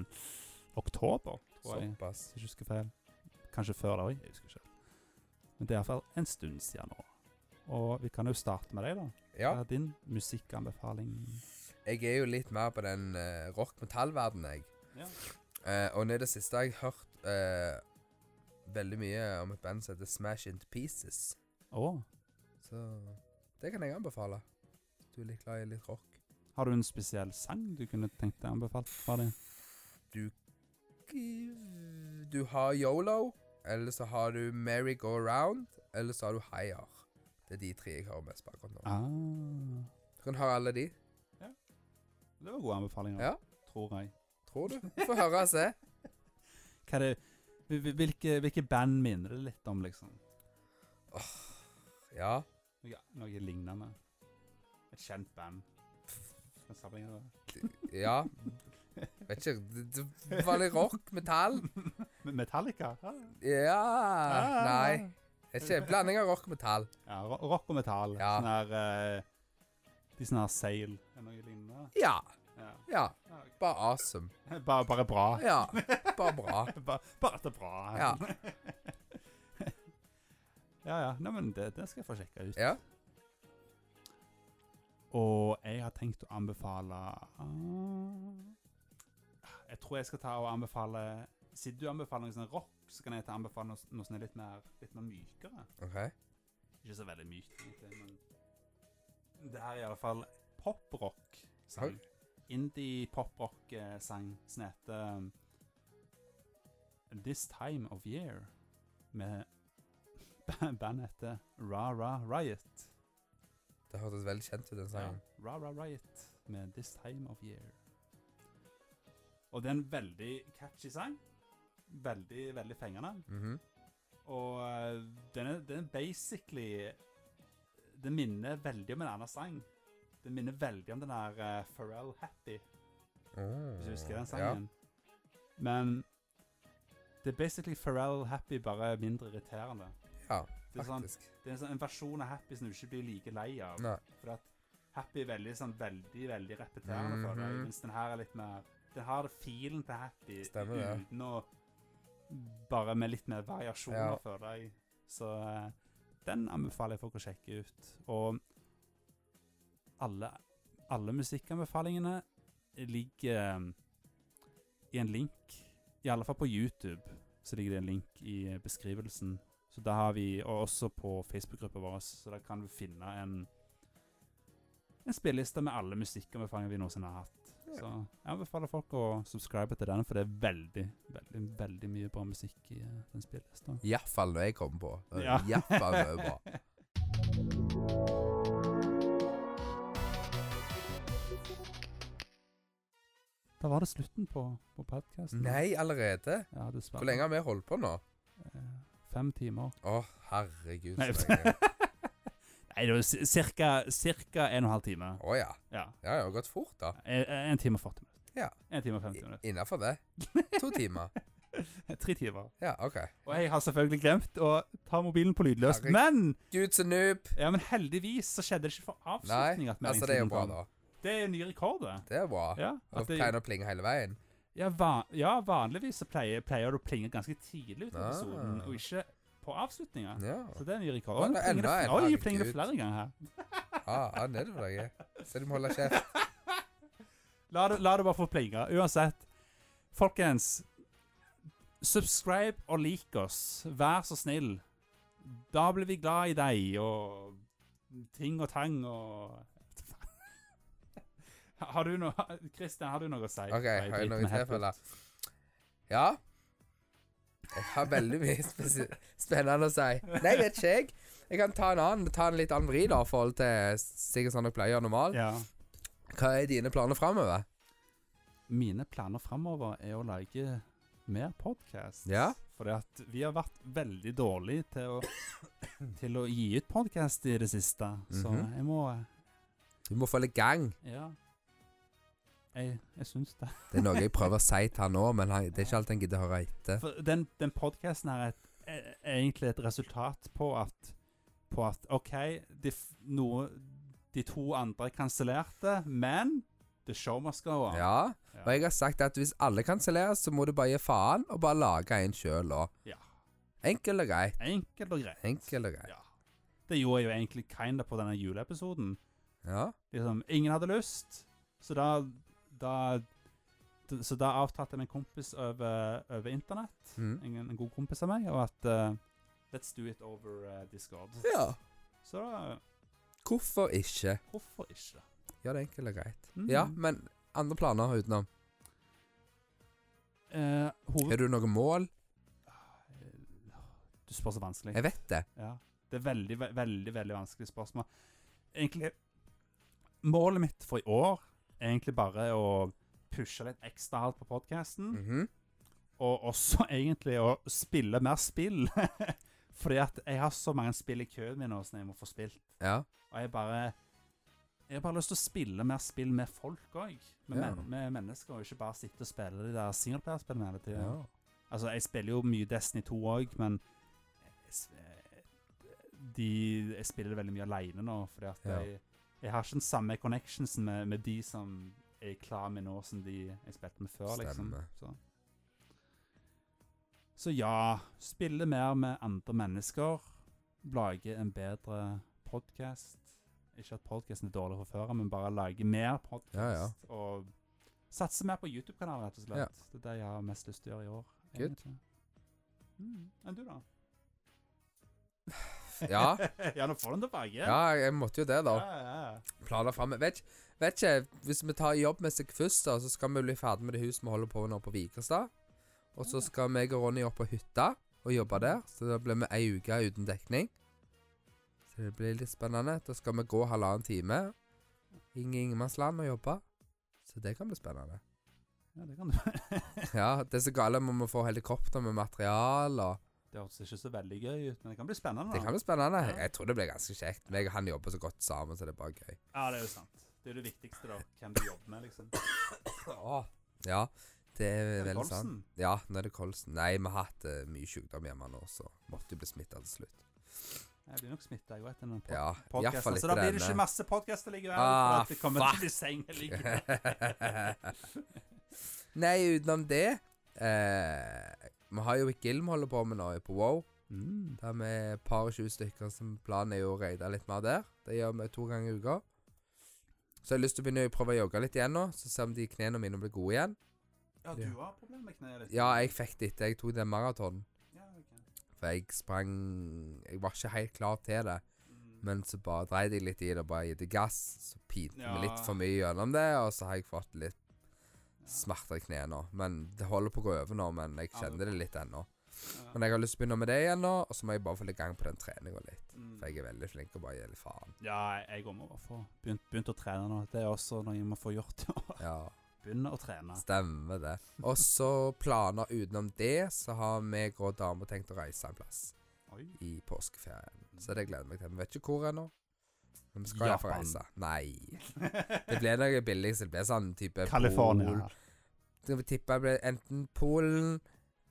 oktober, tror jeg.
Såpass.
Hvis jeg ikke husker feil. Kanskje før det òg. Jeg husker ikke. Men det er iallfall en stund siden nå. Og vi kan jo starte med deg, da.
Ja.
Hva er din musikkanbefaling?
Jeg er jo litt mer på den eh, rock-metall-verdenen, jeg.
Ja.
Eh, og nå i det siste har jeg hørt eh, veldig mye om et band som heter Smash Into Pieces.
Å,
Så det kan jeg anbefale. Hvis du er litt glad i litt rock.
har du en spesiell sang du kunne tenkt deg anbefalt fra dem?
Du har Yolo, eller så har du Merry Go Round, eller så har du Higher. Det er de tre jeg hører mest på akkurat nå.
Ah,
Du kan høre alle de,
det var gode anbefalinger,
Ja.
tror jeg.
tror du? Få høre og se.
Hva er det, hvil- hvil- hvilke, hvilke band minner det litt om, liksom?
Ja.
Noe, noe lignende. Et kjent band. Kan sammenligne det.
Ja. Vet ikke det- Det var litt rock, metall.
Med Metallica? Ja,
Ja
Ah.
Nei. Vet ikke. En Blanding av rock og metall.
Ja, ro- rock og metall.
Ja.
Sånn her eh, De sånne her Sail eller noe lignende.
Ja.
Ja.
Ja.
Ja, ok.
Bare awesome.
Bare, bare bra.
Ja. Bare bra.
bare, bare at det er bra.
Ja.
ja, ja. Nei, men det, det skal jeg få sjekka ut.
Ja.
Og jeg har tenkt å anbefale ah, Jeg tror jeg skal ta og anbefale Siden du anbefaler noe sånn rock, så kan jeg ta og anbefale noe, noe som er litt mer, litt mer mykere.
OK.
Ikke så veldig mykt, egentlig, men Det her er i alle fall poprock-sang. Indie-poprock-sang som heter um, This Time of Year. Med ba- bandet heter Ra Ra Riot.
Det hørtes veldig kjent ut, den
Ja.
sangen.
Ra Ra Riot med This Time of Year. Og det er en veldig catchy sang. Veldig, veldig fengende.
Mhm.
Og eh, den er, den er basically Det minner veldig om en annen sang. Det minner veldig om den der eh, Pharrell Happy, hvis du
Mm,
husker den sangen. Men det er basically Pharrell Happy, bare mindre irriterende.
Ja,
Det er, sånn,
faktisk.
det er en, sånn, en versjon av Happy som du ikke blir like lei av.
Nei.
For at Happy er veldig, sånn, veldig veldig repeterende for deg,
Mhm.
mens den her er litt mer Den har det feelen til Happy
Stemmer det.
uten å Bare med litt mer variasjoner
Ja.
for deg. Så eh, den anbefaler jeg folk å sjekke ut. Og alle, alle musikkanbefalingene ligger eh, i en link, i alle fall på YouTube, så ligger det en link i eh, beskrivelsen. Så da har vi, og også på Facebook-gruppa vår, så da kan du finne en, en spilleliste med alle musikkanbefalinger vi noensinne har hatt.
Ja.
Så jeg anbefaler folk å subscribe til den, for det er veldig, veldig, veldig mye bra musikk i eh, den spillelista.
Iallfall når jeg kommer på. Det er
Ja.
Iallfall når jeg er bra.
Da var det slutten på, på podkasten.
Nei, allerede?
Ja, dessverre.
Hvor lenge har vi holdt på nå?
Eh, Fem timer.
Å, herregud.
Nei,
så lenge.
Nei, det var ci- cirka, cirka en og en halv time.
Å ja.
Ja.
Ja, det har gått fort, da.
En, en time og 40 minutter.
Ja.
En time og 50 minutter.
Innafor det. To timer.
Tre timer.
Ja, OK.
Og jeg har selvfølgelig glemt å ta mobilen på lydløs.
Herregud.
Men,
Gud, så noob.
ja, men heldigvis så skjedde det ikke for
Nei,
avslutning. at
altså, det er
meldingstiden
jo bra,
kom.
da.
Det er en ny rekord, det.
Det er bra.
Ja,
Og
at det,
pleier å plinge hele veien.
ja, va ja vanligvis så pleier, pleier det å plinge ganske tidlig ut i
Ah.
episoden, og ikke på avslutninga.
Ja.
Så det er en ny rekord. Oi,
Nå er
plinger
det
det,
enda en,
fl- Oi, plinger det
herregud.
flere ganger her.
Ah, ah, nedover deg. Så du må holde kjeft.
La det, la det bare få plinge. Uansett, folkens Subscribe og lik oss. Vær så snill. Da blir vi glad i deg og ting og tang og Har du noe Kristian, har du noe å si?
OK,
Nei,
har jeg
driten
noe
er helt
tilfelle?
ut.
Ja. Jeg har veldig mye spesi spennende å si. Nei, vet ikke jeg. Jeg kan ta en annen, ta en litt annen vri, da, i forhold til sikkert sånn dere pleier normalt.
Ja.
Hva er dine planer framover?
Mine planer framover er å lage mer podkast.
Ja.
Fordi at vi har vært veldig dårlige til å, til å gi ut podkast i det siste. Så
Mhm.
jeg må
Du må få litt gang.
Ja. Jeg, jeg syns det.
Det er noe jeg prøver å si til han nå, men han, det er ikke alt han gidder å høre etter.
For den, den podkasten her er, et, er er egentlig et resultat på at På at OK, de, f- noe, de to andre kansellerte, men the show must go on.
Ja, og jeg har sagt at hvis alle kanselleres, så må du bare gi faen og bare lage en sjøl òg.
Ja.
Enkelt og greit.
Enkelt og greit.
Enkelt og greit.
Ja. Det gjorde jeg jo egentlig kinda på denne juleepisoden.
Ja.
Liksom, ingen hadde lyst, så da, da d- Så da avtalte jeg med en kompis over, over internett,
Mm.
en, en god kompis av meg, og at eh, Let's do it over eh, Discord.
ja.
Så da
Hvorfor ikke?
Hvorfor ikke?
Gjør det enkelt og greit.
Mm.
Ja, men andre planer utenom?
Eh, hoved...
Har du noe mål?
Du spør så vanskelig.
Jeg vet det.
Ja. Det er veldig, ve- veldig veldig vanskelig spørsmål. Egentlig Målet mitt for i år er egentlig bare å pushe litt ekstra hardt på podkasten.
Mhm.
Og også egentlig å spille mer spill. Fordi at jeg har så mange spill i køen min nå som jeg må få spilt.
Ja.
Og jeg bare Jeg har bare lyst til å spille mer spill med folk òg. Med,
Ja.
men, med mennesker, og ikke bare sitte og spille de der singelplayerspillene hele tida.
ja.
Altså, jeg spiller jo mye Destiny 2 òg, men jeg, s- eh, de, jeg spiller det veldig mye aleine nå, fordi at
Ja.
jeg, jeg har ikke den samme connectionsen med, med de som er klar med nå, som de jeg spilte med før, liksom.
Stemmer.
Så. Så ja, spille mer med andre mennesker. Lage en bedre podkast. Ikke at podkasten er dårlig fra før, men bare lage mer podkast.
Ja, ja.
Og satse mer på YouTube-kanalen, rett og slett.
Ja.
Det er det jeg har mest lyst til å gjøre i år.
Good.
egentlig. Mm. Enn du, da?
Ja.
ja, nå får du den tilbake.
ja, jeg måtte jo det, da.
ja, ja.
Planer framme. Vet, ikke- vet ikke. Hvis vi tar jobbmessig først, da, så skal vi bli ferdig med det huset vi holder på med nå på Vikerstad. Og så skal meg og Ronny opp på hytta og jobbe der. Så da blir vi ei uke uten dekning. Så det blir litt spennende. Da skal vi gå halvannen time inn i ingenmannsland og jobbe. Så det kan bli spennende.
ja, det kan du.
Ja, det er så gale om vi får helikopter med material og
det høres ikke så veldig gøy ut, men det kan bli spennende.
Det
da.
kan bli spennende.
Ja.
Jeg tror det blir ganske kjekt. Meg og han jobber så godt sammen, så det er bare gøy.
Ja, det er jo sant. Det er jo det viktigste, da. Hvem du jobber med, liksom.
Ja, det er
Er det
veldig sant.
Kolsen?
Ja, nå er det kolsen. Nei, vi har hatt eh, mye sykdom hjemme nå, så måtte jo bli smitta til slutt.
Jeg blir nok smittet jeg, jo etter noen pod
Ja,
podcaster.
iallfall
Så da
etter
blir det ikke
denne.
masse podcaster likevel.
Ah,
for at det kommer til
fuck.
å bli seng likevel.
Nei, utenom det eh, Vi har jo et Gilm holder på med nå på Wow.
mm.
Der vi er et par og tjue stykker som planen er jo å raide litt mer der. Det gjør vi to ganger i uka. Så jeg har lyst til å begynne å prøve å jogge litt igjen nå, så ser vi om de knærne mine blir gode igjen.
Ja, du har problemer med kneet ditt?
Ja, jeg fikk det etter jeg tok den maratonen.
Ja, ok.
For jeg sprang Jeg var ikke helt klar til det.
Mm.
Men så bare dreide jeg litt i det og bare gitt det gass. Så pinte vi
Ja.
litt for mye gjennom det, og så har jeg fått litt
Ja.
smerter i kneet nå. Men det holder på å gå over nå, men
Ja,
jeg
det er
kjenner det litt ennå.
Ja.
Men jeg har lyst til å begynne med det igjen nå, og så må jeg bare få litt gang på den treninga litt.
Mm.
For jeg er veldig flink og bare gir litt faen.
Ja, jeg òg må bare få begynt, begynt å trene nå. Det er også noe jeg må få gjort.
Ja,
Begynne å trene.
stemmer det. Og så planer utenom det, så har meg og dama tenkt å reise en plass
Oi.
i påskeferien. Så det gleder jeg meg til. Vi vet ikke hvor ennå. Men vi skal iallfall
Japan.
reise. Nei. Det ble noe billig, så det ble sånn type
California.
Pol- Så vi tipper det ble enten Polen,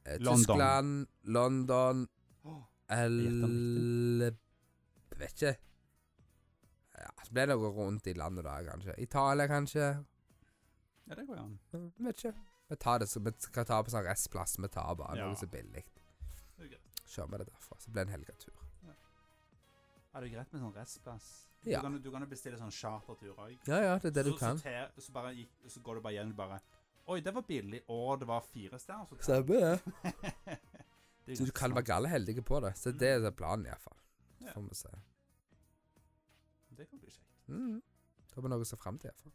eh,
London.
Tyskland, London
Åh, gjetter han
eller Vet ikke. Ja, så ble det noe rundt i landet da, kanskje. Italia, kanskje.
Ja, det går jo an.
Ja, Vet ikke. Vi tar det, så vi skal ta på sånn restplass. Vi tar bare
Ja.
noe som er billig.
Det er greit.
Kjører vi det derfra. Så blir det en helgetur.
Er det greit med sånn restplass?
Ja.
Du, kan, du kan jo bestille sånn chartertur òg.
Ja, ja, det er det du
så,
kan.
Så, te, så, bare gikk, så går du bare gjennom bare Oi, det var billig, og det var fire stjerner. Så
Stemmer det.
det er
Så du kan være gale heldige på det. Så det er planen, iallfall. Så
Mm. Ja.
får vi se.
Det kan bli kjekt.
Mm. Det kommer noe å se fram til, iallfall.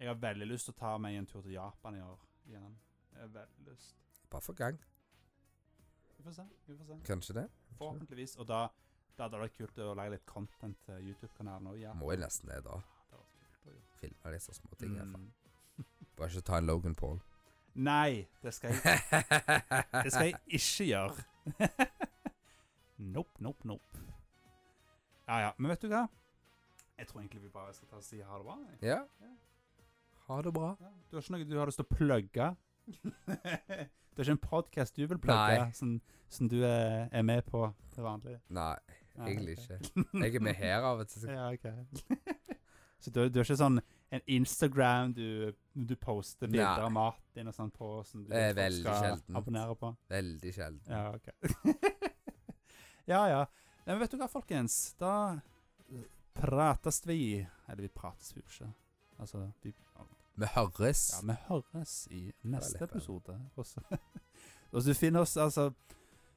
Jeg har veldig lyst til å ta meg en tur til Japan i år igjen. Jeg har veldig lyst.
Bare for gang.
Vi får se. vi får se.
Kanskje det.
Forhåpentligvis. Og da, da hadde det vært kult å lage litt content til YouTube-kanalen òg. Ja.
Må jo nesten det, da.
Det hadde vært kult å gjøre.
Filme disse små tingene. iallfall.
Mm.
Bare ikke ta en Logan Paul.
Nei, det skal jeg, det skal jeg ikke gjøre. nope, nope, nope. Ja ja. Men vet du hva? Jeg tror egentlig vi bare skal ta og si ha det bra. jeg.
Ja.
Ja.
Ha det bra.
Ja. Du har ikke noe du har lyst til å plugge? det er ikke en podkast du vil plugge,
Nei.
som, som du er, er med på til vanlig?
Nei,
Nei,
egentlig
ok.
ikke. Jeg er med her av og til.
Ja, ok. Så du, du er ikke sånn en Instagram du, du poster
Nei.
bilder av maten din og sånn på, som du
Det
vet
er
folk
veldig
skal
sjeldent.
abonnere på?
Veldig sjelden.
Ja, ok. ja, ja. Nei, men vet du hva, folkens? Da prates vi Eller vi prates jo ikke. Altså, vi
Vi høres.
Ja, vi høres i neste
litt bedre.
episode. Og så- og så finner oss altså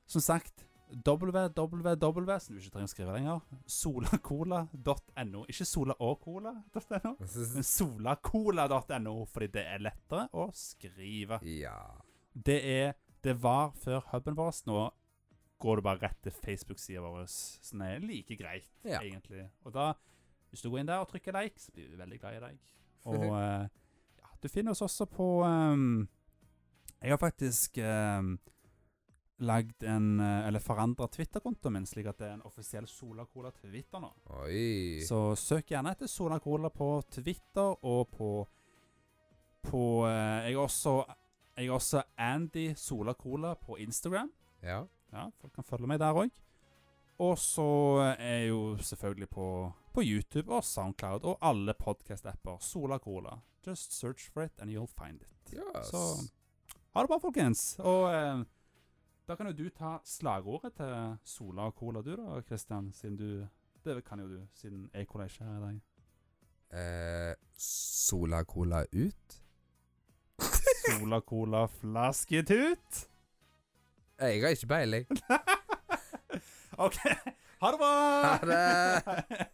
Som sagt www, som du ikke trenger å skrive lenger, solacola.no. Ikke sola og cola.no, men solacola.no, fordi det er lettere å skrive.
Ja.
Det er Det var før huben vår. Nå går du bare rett til Facebook-sida vår, som er like greit
ja.
egentlig. Og da, hvis du går inn der og trykker like, så blir vi veldig glad i deg. Og eh, ja, du finner oss også på ehm, Jeg har faktisk um, lagd en eh, Eller forandra Twitter-kontoen min, slik at det er en offisiell Sola Cola Twitter nå.
Oi.
Så søk gjerne etter Sola Cola på Twitter og på På eh, Jeg er også jeg er også Andy Sola Cola på Instagram.
Ja.
Ja, folk kan følge meg der òg. Og så er jeg jo selvfølgelig på, på YouTube og Soundcloud og alle podcast-apper. Sola Cola. Just search for it, and you'll find it.
Yes.
Så ha det bra, folkens. Og eh, da kan jo du ta slagordet til Sola og Cola, du da, Christian. Siden du Det kan jo du, siden E-Cola ikke er her i dag.
Eh, sola cola ut.
Sola Cola flasketut.
Jeg har ikke peiling.
OK. Ha det bra.
Ha det.